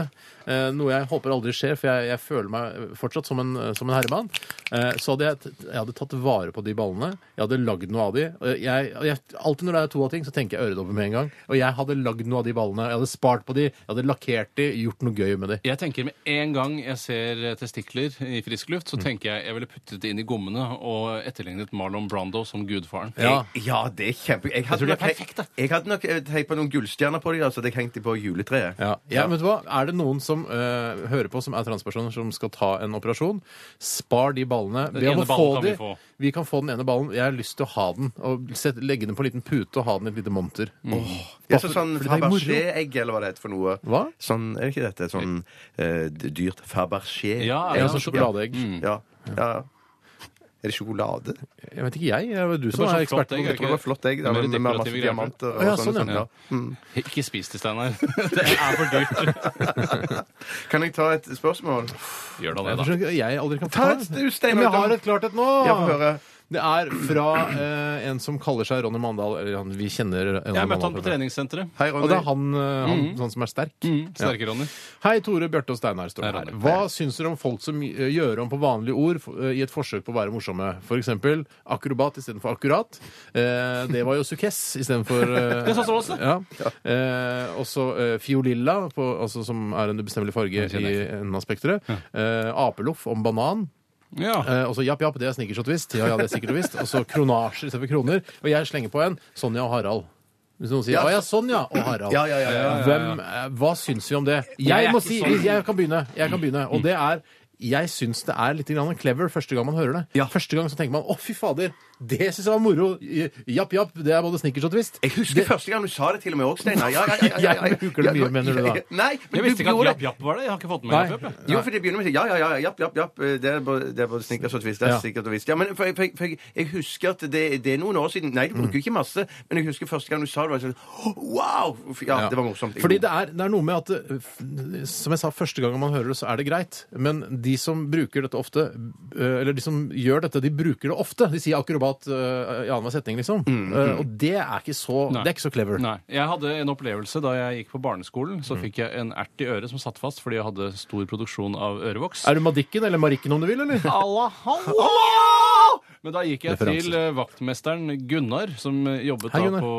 Speaker 3: eh, noe jeg håper aldri skjer, for jeg, jeg føler meg fortsatt som en, som en herremann, eh, så hadde jeg, t- jeg hadde tatt vare på de ballene. Jeg hadde lagd noe av de. Eh, Jeg, jeg, alltid når det er to av ting, så tenker jeg øredobber med en gang. Og jeg hadde lagd noe av de ballene. Jeg hadde spart på de, jeg hadde lakkert de, gjort noe gøy med de.
Speaker 4: Jeg tenker Med en gang jeg ser testikler i frisk luft, så tenker jeg jeg ville puttet det inn i gommene og etterlignet Marlon Brando som gudfaren.
Speaker 3: Ja.
Speaker 5: Ja, det er kjempe... Jeg
Speaker 4: tror
Speaker 5: hadde,
Speaker 4: det er
Speaker 5: nok,
Speaker 4: perfekt, da.
Speaker 5: jeg, hadde nok eh, teipa noen gullstjerner på altså. dem, så hadde jeg hengt dem på juletreet.
Speaker 3: Ja. Ja, men vet du hva? Er det noen som eh, hører på som er transpersoner som skal ta en operasjon, spar de ballene.
Speaker 4: Den
Speaker 3: Vi
Speaker 4: ene
Speaker 3: må
Speaker 4: ballen
Speaker 3: få
Speaker 4: kan vi
Speaker 3: de.
Speaker 4: få.
Speaker 3: Vi kan få den ene ballen. Jeg har lyst til å ha den. Og sette- legge den på en liten pute og ha den i et lite monter.
Speaker 5: Ja, så sånn
Speaker 3: For det er moro.
Speaker 5: Fabergé-egg, eller hva det heter for noe.
Speaker 3: Hva?
Speaker 5: Sånn, er det ikke dette? Sånn eh, dyrt Fabergé? Mm.
Speaker 4: Ja,
Speaker 3: Ja,
Speaker 4: ja,
Speaker 3: sånn sjokoladeegg.
Speaker 5: Ja. ja. Er det sjokolade?
Speaker 3: Jeg vet ikke, jeg. Det er du som er
Speaker 4: bare så flott
Speaker 3: ekspert på
Speaker 4: egg,
Speaker 5: Jeg
Speaker 3: det.
Speaker 5: tror det var flott egg. Da,
Speaker 4: Mer
Speaker 5: med, med
Speaker 4: dekorative
Speaker 5: masse
Speaker 4: greier.
Speaker 5: diamanter og
Speaker 3: Å, ja,
Speaker 5: sånne
Speaker 3: sånn,
Speaker 5: ting.
Speaker 3: ja.
Speaker 5: Ja. Mm.
Speaker 4: Ikke spis det, Steinar. Det er for dyrt.
Speaker 5: Kan jeg ta et spørsmål?
Speaker 4: Gjør da det,
Speaker 3: Jeg
Speaker 4: da.
Speaker 3: forstår ikke, jeg aldri kan
Speaker 5: Ta
Speaker 3: få
Speaker 5: et,
Speaker 3: det.
Speaker 5: du, Steinar,
Speaker 3: Men jeg
Speaker 5: da-
Speaker 3: har et klart et nå!
Speaker 5: Ja, få høre.
Speaker 3: Det er fra eh, en som kaller seg Ronny Mandal. Eller han, vi kjenner Ronny
Speaker 4: Jeg møtte han på
Speaker 3: fra før.
Speaker 4: treningssenteret.
Speaker 5: Hei,
Speaker 3: Og det
Speaker 5: Ronny.
Speaker 3: er han, eh, han sånn som er sterk.
Speaker 4: Mm, Sterke, Ronny.
Speaker 3: Hei, Tore, Bjarte og Steinar står
Speaker 4: Hei,
Speaker 3: her.
Speaker 4: Ronny.
Speaker 3: Hva syns dere om folk som eh, gjør om på vanlige ord f- eh, i et forsøk på å være morsomme? For eksempel akrobat istedenfor akkurat. Eh, det var jo sukkess istedenfor eh,
Speaker 4: Det sånn sa så også.
Speaker 3: ja. eh, Også eh, fiolilla, på, altså, som er en ubestemmelig farge
Speaker 4: kjenner
Speaker 3: i enden av spekteret. Eh, apeloff om banan.
Speaker 4: Ja.
Speaker 3: Eh, og så japp, japp, det er snickers og twist. Ja, ja, det er sikkert og visst. Og så kronasjer istedenfor kroner. Og jeg slenger på en Sonja og Harald. Hvis noen sier
Speaker 5: Ja.
Speaker 3: 'Å ja, Sonja og Harald'.
Speaker 5: Ja, ja, ja, ja, ja.
Speaker 3: Hvem, eh, hva syns vi om det?
Speaker 4: Jeg
Speaker 3: Jeg
Speaker 4: er
Speaker 3: må
Speaker 4: ikke
Speaker 3: si
Speaker 4: sånn.
Speaker 3: Jeg kan begynne. Jeg kan begynne.
Speaker 5: Mm.
Speaker 3: Og det er jeg syns det er litt grann clever første gang man hører det.
Speaker 5: Ja.
Speaker 3: Første gang så tenker man 'Å, fy fader, det syns jeg var moro'. Japp, japp, det er både snickers og twist.
Speaker 5: Jeg husker første gang du sa det til og med òg, Steinar. Ja, ja, ja, ja, ja,
Speaker 3: Jeg bruker det mye,
Speaker 5: Ja, ja,
Speaker 3: mener du da?
Speaker 5: ja, ja. Nei, men
Speaker 4: Jeg visste
Speaker 5: du
Speaker 4: ikke at
Speaker 5: gjorde
Speaker 4: Japp Japp var det. Jeg har ikke fått med meg
Speaker 3: Nei.
Speaker 4: Japp Japp. jeg.
Speaker 5: Jo, for det begynner med å si, ja, ja, ja, japp, japp, japp, eh, det er både, det er både snickers og twist, det
Speaker 3: Ja.
Speaker 5: er sikkert og visst. Ja, men for, for, for, jeg- jeg husker at det, det er noen år siden, nei, du
Speaker 3: Mm.
Speaker 5: bruker ikke masse, men jeg husker første gang du sa det, var jeg sånn, «Åh, wow! Ja, det var morsomt.
Speaker 3: Fordi det er, det er noe med at eh, f- Som jeg sa, første gang man hører det, så er det greit. Men de som bruker dette ofte, eh, eller de som gjør dette, de bruker det ofte. De sier akrobat eh, i annenhver setning, liksom.
Speaker 5: Mm,
Speaker 3: Eh, Og det er ikke så,
Speaker 4: Nei.
Speaker 3: det er ikke så clever.
Speaker 4: Nei. Jeg hadde en opplevelse da jeg gikk på barneskolen. Så fikk jeg en ert i øret som satt fast fordi jeg hadde stor produksjon av ørevoks.
Speaker 3: Er du Madikken eller Marikken om du vil, eller?
Speaker 4: Allah, Allah! Men da gikk jeg
Speaker 3: Referanser.
Speaker 4: til eh, vaktmesteren Gunnar, som eh, jobbet
Speaker 3: Hei,
Speaker 4: da
Speaker 3: Gunnar.
Speaker 4: på,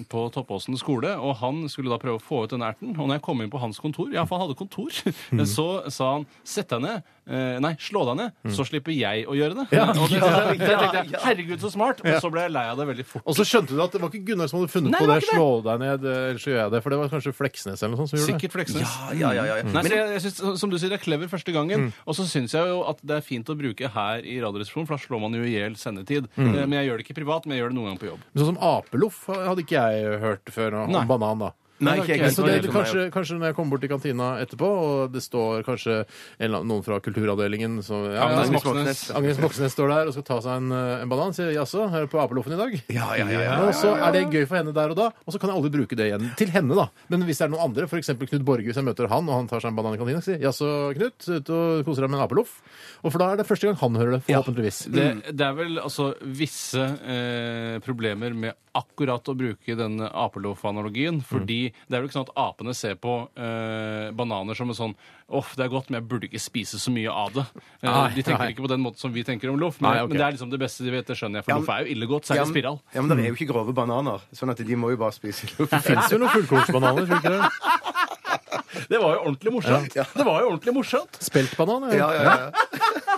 Speaker 4: eh, på Toppåsen skole. Og han skulle da prøve å få ut den erten. Og når jeg kom inn på hans kontor, ja, for han hadde kontor,
Speaker 3: Mhm.
Speaker 4: så sa han 'sett deg ned'. eh, Nei, slå deg ned,
Speaker 3: Mhm.
Speaker 4: så slipper jeg å gjøre det. Og det, det, det tenkte jeg, Herregud, så smart! Og så ble jeg lei av det veldig fort.
Speaker 3: Og så skjønte du at det var ikke Gunnar som hadde funnet
Speaker 4: Nei,
Speaker 3: på
Speaker 4: det var
Speaker 3: det.
Speaker 4: ikke det.
Speaker 3: Slå deg ned, eh, eller så gjør jeg det. For det var kanskje Fleksnes eller noe sånt som gjorde
Speaker 4: Sikkert Fleksnes.
Speaker 5: Ja, ja, ja, ja, ja.
Speaker 4: Nei, så jeg, jeg synes, som du sier, det er clever første gangen. Og så syns jeg jo at det er fint å bruke her i Radioresepsjonen, for da slår man jo i hjel sendetid. Eh, Men jeg gjør det ikke privat, men jeg gjør det noen gang på jobb.
Speaker 3: det. Sånn som apeloff hadde ikke jeg hørt før. nå,
Speaker 4: Nei.
Speaker 3: Om banan, da.
Speaker 5: Nei,
Speaker 4: Nei,
Speaker 5: ikke
Speaker 4: ok,
Speaker 5: jeg.
Speaker 3: Så
Speaker 4: Nei,
Speaker 3: det,
Speaker 4: det
Speaker 3: det,
Speaker 5: Nei,
Speaker 3: kanskje, kanskje når jeg kommer bort til kantina etterpå, og det står kanskje en, eller annen- noen fra kulturavdelingen som ja, ja,
Speaker 4: Ja, men det er
Speaker 5: Agnes
Speaker 4: Moxnes.
Speaker 5: Moxnes.
Speaker 3: Agnes Moxnes står der og skal ta seg en, eh, en banan. Sier jaså, er du på apeloffen i dag?
Speaker 5: Ja, ja, ja, ja,
Speaker 3: Og så er det gøy for henne der og da, og så kan jeg aldri bruke det igjen. Til henne, da. Men hvis det er noen andre, f.eks. Knut Borge, hvis jeg møter han og han tar seg en banan i kantina, sier jeg, jaså, Knut, ute og koser deg med en apeloff? Og for da er det første gang han hører det, forhåpentligvis.
Speaker 4: Det, det er vel altså visse eh, problemer med akkurat å bruke den apeloff-analogien. Fordi det er vel ikke sånn at apene ser på eh, bananer som en sånn Åh, det er godt, men jeg burde ikke spise så mye av det. Eh,
Speaker 3: Nei,
Speaker 4: de tenker
Speaker 3: nei.
Speaker 4: ikke på den måten som vi tenker om loff, men,
Speaker 3: Nei, ok.
Speaker 4: men det er liksom det beste de vet. Det skjønner jeg, for
Speaker 5: Ja,
Speaker 4: loff er jo ille godt,
Speaker 5: Ja,
Speaker 4: særlig
Speaker 5: men-
Speaker 4: spiral.
Speaker 5: Ja, men det er jo ikke grove bananer, sånn at de må jo bare spise.
Speaker 3: Det fins jo noen fullkornsbananer, tror du ikke det?
Speaker 4: Det var jo ordentlig morsomt! Det var jo ordentlig morsomt!
Speaker 3: Speltbanan? ja.
Speaker 5: Ja, ja, ja.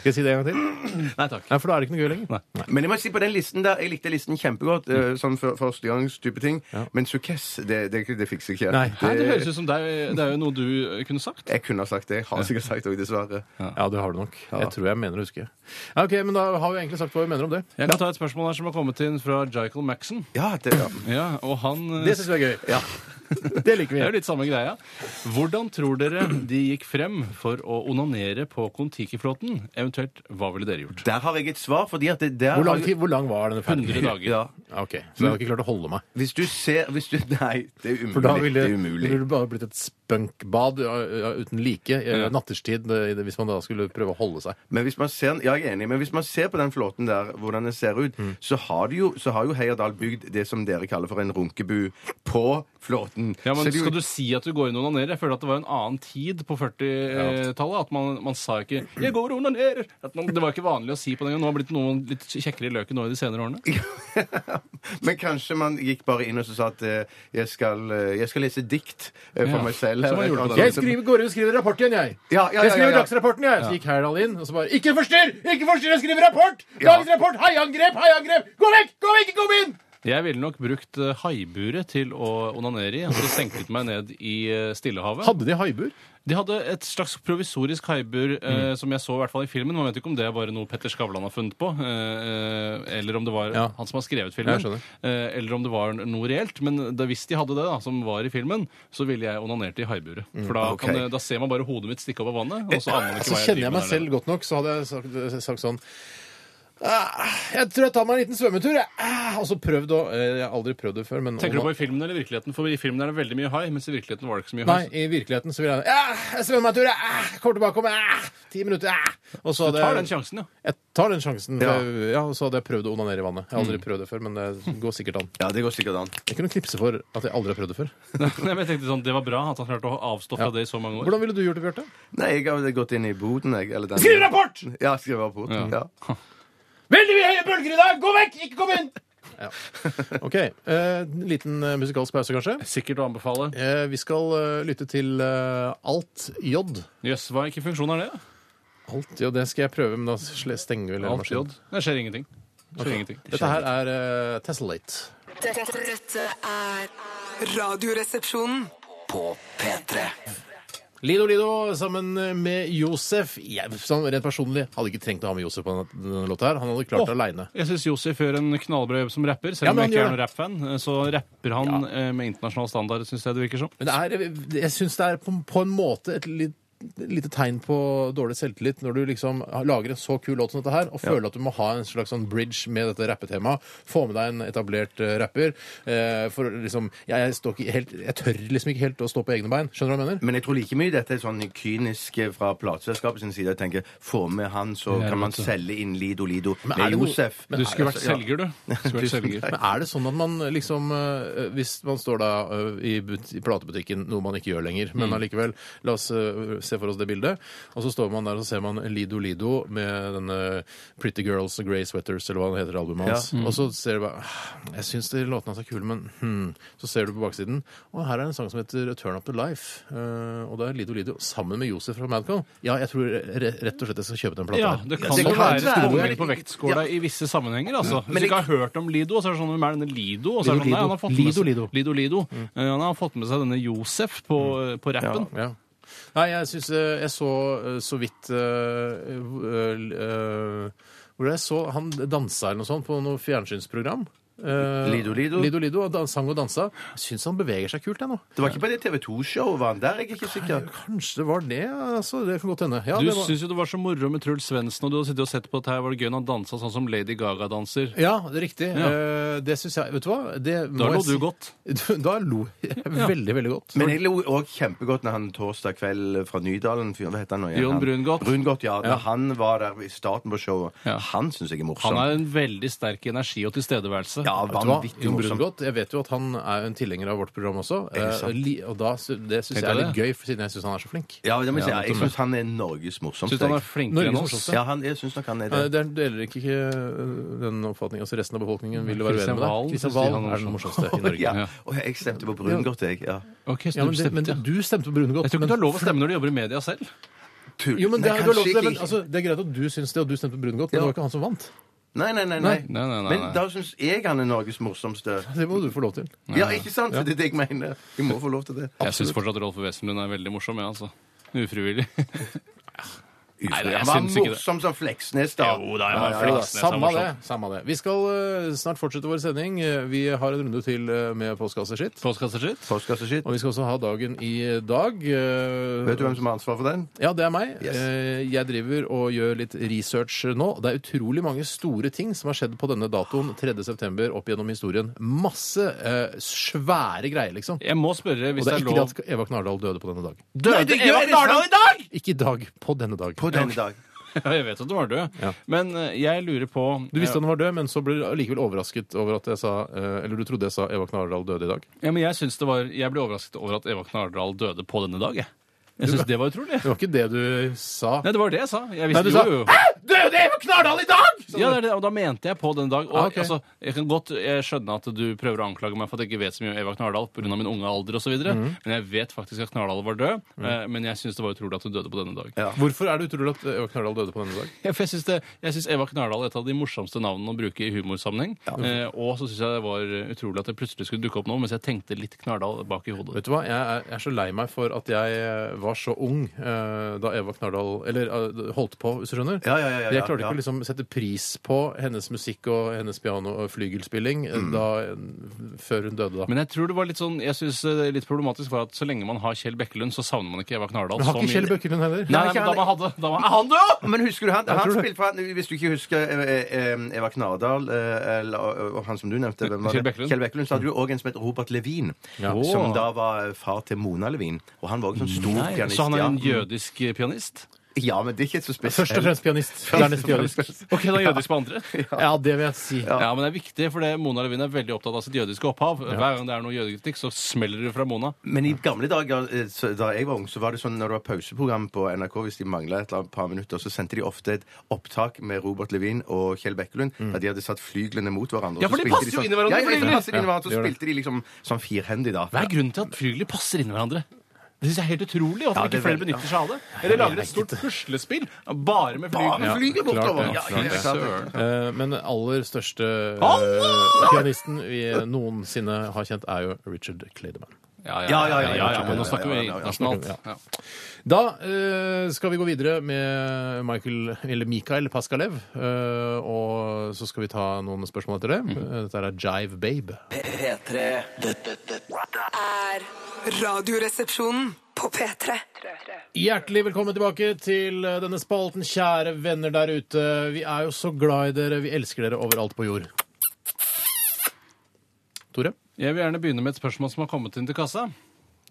Speaker 3: Skal jeg si det en gang til?
Speaker 4: Nei takk.
Speaker 3: Nei, for da er det ikke noe gøy lenger.
Speaker 5: Men jeg må si på den listen der, jeg likte listen kjempegodt,
Speaker 3: Mm.
Speaker 5: eh, sånn for, førstegangstype ting, men sukkess, det, det, det fikser jeg ikke.
Speaker 3: Nei.
Speaker 4: Hæ, det høres ut som det er, det er jo noe du eh, kunne sagt.
Speaker 5: Jeg kunne ha sagt det, jeg har sikkert sagt det også, dessverre.
Speaker 3: Ja, det har du nok. Jeg tror jeg mener å huske. Ja, ok, Men da har vi egentlig sagt hva vi mener om det.
Speaker 4: Jeg kan ta et spørsmål her som har kommet inn fra Jichel Maxon.
Speaker 5: Ja, det, ja.
Speaker 4: Ja, og han eh,
Speaker 3: Det syns vi er gøy. Det liker
Speaker 4: Det er jo
Speaker 3: vi.
Speaker 4: litt samme greia. Hvordan tror dere de gikk frem for å onanere på Kon-Tiki-flåten? Eventuelt, hva ville dere gjort?
Speaker 5: Der har jeg et svar, fordi at det, der
Speaker 3: Hvor lang,
Speaker 5: har-
Speaker 3: tid, hvor lang var denne ferden?
Speaker 4: 100 dager.
Speaker 5: Ja.
Speaker 3: Ja, Ok, Så jeg har ikke klart å holde meg.
Speaker 5: Hvis du ser hvis du, Nei, det er umulig.
Speaker 3: For da ville
Speaker 5: det er umulig.
Speaker 3: ville det bare blitt et bunkbad ja, ja, uten like eh, natterstid, eh, i det- hvis man da skulle prøve å holde seg.
Speaker 5: Men hvis man ser, ja, jeg er enig, men hvis man ser på den flåten der, hvordan den ser ut,
Speaker 3: Mm.
Speaker 5: så, har de jo, så har jo Heyerdahl bygd det som dere kaller for en runkebu på flåten.
Speaker 4: Ja, men
Speaker 5: Så det er jo-
Speaker 4: Skal du si at du går inn og onanerer? Jeg føler at det var en annen tid på 40-tallet. At man, man sa ikke 'jeg går og onanerer'. At man, det var ikke vanlig å si på den gangen. Nå har det blitt noen litt kjekkere i løken nå i de senere årene.
Speaker 5: Men kanskje man gikk bare inn og så sa at eh, jeg skal, eh, jeg skal lese dikt eh, for
Speaker 4: Ja,
Speaker 5: meg selv.
Speaker 4: som man gjorde på
Speaker 3: Jeg skriver, går inn og skriver rapport igjen, jeg.
Speaker 5: Ja, ja, ja,
Speaker 3: Jeg skriver
Speaker 5: ja, ja.
Speaker 3: Dagsrapporten, jeg. Så gikk Heyerdahl inn og så bare Ikke forstyrr! Ikke forstyrr! Jeg skriver rapport! Dagens rapport! Haiangrep! Haiangrep! Gå vekk! Gå vekk! Ikke kom inn!
Speaker 4: Jeg ville nok brukt eh, haiburet til å onanere i. Altså senket meg ned i eh, Stillehavet.
Speaker 3: Hadde de haibur?
Speaker 4: De hadde et slags provisorisk haibur
Speaker 3: Mm.
Speaker 4: eh, som jeg så i hvert fall i filmen. Man vet jo ikke om det er bare noe Petter Skavlan har funnet på, eh, eh, eller om det var
Speaker 3: Ja.
Speaker 4: han som har skrevet
Speaker 3: Jeg
Speaker 4: filmen,
Speaker 3: skjønner.
Speaker 4: eh, eller om det var noe reelt. Men eh, da, hvis de hadde det, da, som var i filmen, så ville jeg onanert i haiburet. For da,
Speaker 5: ok.
Speaker 4: kan, eh, da ser man bare hodet mitt stikke opp av vannet, og så aner
Speaker 3: Mm, Så Eh,
Speaker 4: man ikke hva jeg
Speaker 3: altså, kjenner jeg meg selv godt nok, så hadde jeg sagt, sagt sånn «Ah, Jeg tror jeg tar meg en liten svømmetur, jeg. Ah, Og så prøvd å eh, Jeg har aldri prøvd det før, men
Speaker 4: Tenker du på i filmen eller i virkeligheten? For i filmen er det veldig mye hai, mens i virkeligheten var det ikke så mye hai.
Speaker 3: Nei, i virkeligheten så ville jeg ah, Jeg svømmer meg en tur, jeg. Ah, kommer tilbake om ah, ti minutter. Ah. Og så
Speaker 4: Du
Speaker 3: hadde
Speaker 4: tar
Speaker 3: jeg-
Speaker 4: den sjansen, ja.
Speaker 3: Jeg tar den sjansen. for
Speaker 5: Ja.
Speaker 3: jeg- Ja, og så hadde jeg prøvd å onanere i vannet. Jeg har
Speaker 4: Mm.
Speaker 3: aldri prøvd det før, men det går sikkert an.
Speaker 5: Ja, det går sikkert an.
Speaker 3: Jeg kunne knipse for at jeg aldri har prøvd det før.
Speaker 4: Nei, men jeg tenkte sånn, Det var bra at han klarte å avstå fra
Speaker 3: Ja.
Speaker 4: det i så mange år.
Speaker 3: Hvordan ville du gjort det, Bjarte?
Speaker 5: Nei, jeg har gått inn i boden, jeg. Eller den.
Speaker 3: rapport!
Speaker 5: Ja, skrive rapport. Ja.
Speaker 3: Veldig mye høye bølger i dag! Gå vekk! Ikke kom inn! Ja. OK. eh, En liten eh, musikalsk pause, kanskje.
Speaker 4: Sikkert å anbefale.
Speaker 3: Eh, vi skal eh, lytte til eh, Alt J.
Speaker 4: Jøss, hva hvilken funksjon er det? da?
Speaker 3: Alt J, det skal jeg prøve, men da sle- stenger vi hele
Speaker 4: Alt
Speaker 3: maskinen.
Speaker 4: jod. Det skjer ingenting. Det skjer ingenting.
Speaker 3: Dette her er uh, Tessellate.
Speaker 6: Dette, dette er Radioresepsjonen.
Speaker 2: På P3.
Speaker 3: Lido Lido sammen med Josef. Jeg sånn, rent personlig hadde ikke trengt å ha med Josef på denne, denne låta. her. Han hadde klart det
Speaker 4: Åh.
Speaker 3: aleine.
Speaker 4: Jeg syns Josef gjør en knallbra jobb som rapper.
Speaker 3: Ja,
Speaker 4: Selv om
Speaker 3: men
Speaker 4: jeg ikke
Speaker 3: han
Speaker 4: er noen rappfan, eh, så rapper han eh, med internasjonal standard, syns jeg det virker som.
Speaker 3: Men det er, jeg syns det er på, på en måte et litt lite tegn på dårlig selvtillit når du liksom lager en så kul låt som dette her, og føler at du må ha en slags sånn bridge med dette rappetemaet. Få med deg en etablert eh, rapper. Eh, for liksom jeg, jeg, står ikke helt, jeg tør liksom ikke helt å stå på egne bein. Skjønner du hva jeg mener?
Speaker 5: Men jeg tror like mye dette er sånn kynisk fra plateselskapet sin side. Jeg tenker, Få med han, så
Speaker 4: Ja,
Speaker 5: kan man
Speaker 4: vet du.
Speaker 5: selge inn Lido Lido
Speaker 3: Men er
Speaker 5: med
Speaker 3: det noe-
Speaker 5: Josef.
Speaker 3: Men altså,
Speaker 4: Du skulle
Speaker 3: er-
Speaker 4: vært selger, du. du skulle vært
Speaker 5: Tusen
Speaker 4: selger.
Speaker 5: takk.
Speaker 3: Men er det sånn at man liksom eh, Hvis man står da eh, i, but i platebutikken, noe man ikke gjør lenger,
Speaker 4: Mm.
Speaker 3: men allikevel La oss eh, se for oss det bildet. Og så står man der og så ser man Lido Lido med denne Pretty Girls og Grey Sweaters, eller hva det heter albumet hans.
Speaker 4: Mm.
Speaker 3: Og så ser du bare «Ah, Jeg syns de låtene hans er kule, men hmm. Så ser du på baksiden, og her er en sang som heter Turn Up To Life. Eh, og det er Lido Lido sammen med Josef fra Madcon. Ja, jeg tror re rett og slett jeg skal kjøpe den plata.
Speaker 4: Ja,
Speaker 3: her.
Speaker 4: det kan
Speaker 5: det
Speaker 4: nok
Speaker 5: kan
Speaker 4: være
Speaker 5: være.
Speaker 4: stor på vektskåla i visse sammenhenger. altså. Hvis du ikke har hørt om Lido, så er det sånn hvem er denne Lido? Og så er det sånn, nei, han har fått med
Speaker 3: Mm. Lido,
Speaker 4: seg,
Speaker 3: Lido. Mm.
Speaker 4: Lido, Lido. Eh, han har fått med seg denne Josef på, på rappen.
Speaker 3: Ja. Nei, jeg syns eh, jeg så eh, så vidt eh, eh, eh, Hvor er det jeg så han dansa eller noe sånt på noe fjernsynsprogram. Eh,
Speaker 5: Lido Lido?
Speaker 3: Lido Lido, og dan- sang og dansa. Jeg syns han beveger seg kult, jeg nå.
Speaker 5: Det var ikke på det TV 2-showet, var han der? Jeg er ikke sikker.
Speaker 3: Kanskje det var det, altså. Det kan godt hende. Ja,
Speaker 4: Du
Speaker 3: det var...
Speaker 4: syns jo det var så moro med Truls Svendsen, og du har sittet og sett på at her var det gøy når han dansa sånn som Lady Gaga danser.
Speaker 3: ja, det er riktig.
Speaker 4: Ja.
Speaker 3: Eh, det syns jeg Vet du hva? Det
Speaker 4: Da
Speaker 3: må
Speaker 4: lo
Speaker 3: jeg
Speaker 4: du
Speaker 3: si-
Speaker 4: godt.
Speaker 3: Da lo jeg veldig, veldig godt.
Speaker 5: Men jeg lo òg kjempegodt når han torsdag kveld fra Nydalen fyren- Hva heter han nå? igjen?
Speaker 4: Jon
Speaker 5: Han-
Speaker 4: Brungot.
Speaker 5: Brungot, ja.
Speaker 4: Ja.
Speaker 5: Når han var der i starten på showet.
Speaker 4: Ja.
Speaker 5: Han syns jeg er morsom.
Speaker 4: Han har en veldig sterk energi og tilstedeværelse.
Speaker 5: Ja,
Speaker 3: Vet du hva?
Speaker 5: vanvittig
Speaker 3: Jon
Speaker 5: morsom.
Speaker 3: Brungot, jeg vet jo at han er en tilhenger av vårt program også.
Speaker 5: det sant?
Speaker 3: Eh, li- og da, sy- det syns
Speaker 4: Tenkte
Speaker 3: jeg er litt
Speaker 4: jeg
Speaker 3: gøy, for siden jeg syns han er så flink.
Speaker 5: Ja, det må jeg si.
Speaker 4: Ja,
Speaker 5: Jeg syns han er Norges morsomste.
Speaker 4: Syns han er
Speaker 5: jeg.
Speaker 4: flinkere enn
Speaker 3: Norges
Speaker 4: oss.
Speaker 3: morsomste.
Speaker 5: Ja, han, jeg syns nok han er
Speaker 3: Nei,
Speaker 5: det.
Speaker 3: det er- deler ikke, ikke den oppfatningen. Altså resten av befolkningen vil jo være uenig
Speaker 4: Christian
Speaker 3: med deg.
Speaker 4: Valen
Speaker 3: Kristian
Speaker 4: synes de
Speaker 3: Valen
Speaker 4: han
Speaker 3: er
Speaker 4: er
Speaker 3: den
Speaker 4: morsom.
Speaker 3: morsomste i Norge.
Speaker 5: Ja.
Speaker 4: Ja.
Speaker 5: Og jeg stemte på Brungot, jeg. Ja.
Speaker 4: Ok, så
Speaker 3: Ja, men,
Speaker 4: du
Speaker 3: det, men
Speaker 4: bestemte.
Speaker 3: du du stemte på Brunegård.
Speaker 4: Jeg tror ikke du har lov å stemme når du jobber i media selv.
Speaker 5: Tull.
Speaker 3: Jo, men det,
Speaker 5: Nei,
Speaker 3: er- du har lov til
Speaker 5: kanskje
Speaker 3: det, men
Speaker 5: ikke.
Speaker 3: altså, det er greit at du syns det, og du stemte på Brunegård, men det
Speaker 5: Ja.
Speaker 3: var ikke han som vant.
Speaker 5: Nei, nei, nei.
Speaker 4: Nei,
Speaker 5: nei.
Speaker 4: nei, nei, nei.
Speaker 5: Men da syns jeg han er Norges morsomste.
Speaker 3: Det må du få lov til.
Speaker 5: Ja, ikke sant? Det er det jeg mener. Vi må få lov til det.
Speaker 4: Jeg syns fortsatt Rolf Wesenlund er veldig morsom, jeg, altså. Ufrivillig. Nei, nei, jeg
Speaker 5: Han var
Speaker 4: syns ikke det.
Speaker 5: morsom som Fleksnes, da.
Speaker 4: Jo da, jeg var
Speaker 5: Ja, ja, ja.
Speaker 4: flink. Fleksnes er
Speaker 3: Samme det.
Speaker 4: morsomt.
Speaker 3: samme det. Vi skal eh, snart fortsette vår sending. Eh, Vi har en runde til eh, med postkasseskritt.
Speaker 4: Postkasseskitt?
Speaker 5: Postkasseskitt.
Speaker 3: Og vi skal også ha dagen i dag. øh,
Speaker 5: Vet
Speaker 3: Vet
Speaker 5: du hvem som har ansvar for den?
Speaker 3: Ja, det er meg.
Speaker 5: Yes.
Speaker 3: Eh, Jeg driver og gjør litt research nå. Det er utrolig mange store ting som har skjedd på denne datoen 3.9. opp gjennom historien. Masse eh, svære greier, liksom.
Speaker 4: Jeg må spørre
Speaker 3: Og
Speaker 4: hvis
Speaker 3: det er
Speaker 4: det er
Speaker 3: ikke det
Speaker 4: lov
Speaker 3: at Eva Knardal døde på denne dag.
Speaker 5: Nei,
Speaker 4: Døde
Speaker 5: det
Speaker 4: Eva
Speaker 5: gjør det
Speaker 4: Knardal i dag?!
Speaker 3: Ikke i dag, på denne dag.
Speaker 5: På denne dag.
Speaker 4: Ja, jeg vet at hun var død.
Speaker 3: Ja.
Speaker 4: Men eh, jeg lurer på
Speaker 3: Du visste han var død, men så ble du likevel overrasket over at jeg sa eh, Eller du trodde jeg sa Eva Knardal døde i dag.
Speaker 4: eh, Ja, men jeg, syns det var, jeg ble overrasket over at Eva Knardal døde på denne dag. Jeg, jeg syns det var utrolig.
Speaker 3: Det var ikke det du sa.
Speaker 4: Nei, det var det jeg sa. Jeg
Speaker 3: Nei,
Speaker 4: visste
Speaker 3: du sa
Speaker 4: jo, jo.
Speaker 3: Døde Eva Knardal i dag?!
Speaker 4: Ja, det er det, og da mente jeg på denne dag. Og
Speaker 3: Ah, ok.
Speaker 4: altså, jeg kan godt jeg skjønner at du prøver å anklage meg for at jeg ikke vet så mye om Eva Knardal pga. min unge alder osv., videre
Speaker 3: Mhm.
Speaker 4: men jeg vet faktisk at Knardal var død. eh, Men jeg syns det var utrolig at hun døde på denne dag.
Speaker 3: Hvorfor er det utrolig at Eva Knardal døde på denne dag?
Speaker 4: Ja, for jeg syns, det, jeg syns Eva Knardal er et av de morsomste navnene å bruke i humorsammenheng. Eh, og så syns jeg det var utrolig at det plutselig skulle dukke opp nå, mens jeg tenkte litt Knardal bak i hodet.
Speaker 3: Vet du hva, jeg er, jeg er så lei meg for at jeg eh, var så ung eh, da Eva Knardal Eller eh, holdt på, hvis du skjønner.
Speaker 5: Ja, ja, ja, ja,
Speaker 3: jeg klarte
Speaker 5: ja.
Speaker 3: ikke å liksom sette pris på hennes musikk og hennes piano- og flygelspilling eh,
Speaker 5: Mm.
Speaker 3: da, eh, før hun døde, da.
Speaker 4: Men jeg tror det var litt sånn, jeg synes det er litt problematisk var at så lenge man har Kjell Bekkelund, så savner man ikke Eva Knardal.
Speaker 3: Men har
Speaker 4: så
Speaker 3: ikke
Speaker 4: mye.
Speaker 3: Kjell Bøkkelund heller?
Speaker 4: Nei,
Speaker 5: Nei,
Speaker 4: men da
Speaker 5: ikke
Speaker 4: man hadde, da man, er han død?!
Speaker 5: Men husker du han?
Speaker 3: tror
Speaker 5: han
Speaker 3: det.
Speaker 5: spilte for, han- hvis du ikke husker eh, eh, Eva Knardal, eh, eller og- og han som du nevnte hvem var det?
Speaker 4: Kjell Bekkelund.
Speaker 5: Kjell Bekkelund så hadde du òg en som het Robert Levin, som da var eh, far til Mona Levin. Og han var også en sånn stor
Speaker 4: Nei,
Speaker 5: pianist.
Speaker 4: så han er en
Speaker 5: ja.
Speaker 4: jødisk pianist?
Speaker 5: ja, men det er ikke så spesielt.
Speaker 3: Først og fremst pianist. Dernest pianist.
Speaker 4: Ok, da jødisk på andre. Ja.
Speaker 3: Ja, det vil jeg si.
Speaker 4: men det er viktig, for det, Mona Levin er veldig opptatt av sitt jødiske opphav. Hver gang det er noe jødekritikk, så smeller det fra Mona.
Speaker 5: Men i gamle dager, eh, så- da jeg var ung, så var det sånn når det var pauseprogram på NRK, hvis de mangla et eller annet par minutter, så sendte de ofte et opptak med Robert Levin og Kjell Bekkelund,
Speaker 3: Mm.
Speaker 5: der de hadde satt flyglene mot hverandre.
Speaker 4: Ja,
Speaker 5: og
Speaker 4: for
Speaker 5: så
Speaker 4: de
Speaker 5: spilte
Speaker 4: passer jo
Speaker 5: sånn-
Speaker 4: inn i hverandre,
Speaker 5: Ja, ja,
Speaker 4: for
Speaker 5: de
Speaker 4: de-
Speaker 5: passer inn i hverandre,
Speaker 3: Ja,
Speaker 5: så
Speaker 3: gjør det.
Speaker 5: spilte de liksom sånn firhendig, da.
Speaker 4: Hva er grunnen til at flygler passer inn i hverandre? Det syns jeg er helt utrolig at
Speaker 5: Ja,
Speaker 4: ikke
Speaker 5: det er
Speaker 4: flere
Speaker 5: veldig-
Speaker 4: benytter seg av det. Eller lager et stort puslespill bare med flygler.
Speaker 5: Bare flygler bortover!
Speaker 3: klart det.
Speaker 5: Ja, ja, ja,
Speaker 4: Søren.
Speaker 5: sant.
Speaker 3: Eh, Men den aller største eh, pianisten vi noensinne har kjent, er jo Richard Clayderman.
Speaker 4: Ja,
Speaker 5: Ja, ja, ja, ja, ja,
Speaker 4: men Nå
Speaker 5: ja,
Speaker 4: snakker vi
Speaker 5: ja, ja, ja.
Speaker 4: internasjonalt. Ja.
Speaker 3: Da eh, skal vi gå videre med Michael, eller Mikael Paskalev. eh, og så skal vi ta noen spørsmål etter det. Eh, Dette er Jive Babe.
Speaker 2: P3. Dette, dette
Speaker 6: er Radioresepsjonen på P3.
Speaker 3: Hjertelig velkommen tilbake til eh, denne spalten, kjære venner der ute. Vi er jo så glad i dere. Vi elsker dere overalt på jord. Tore?
Speaker 4: Jeg vil gjerne begynne med et spørsmål som har kommet inn til kassa.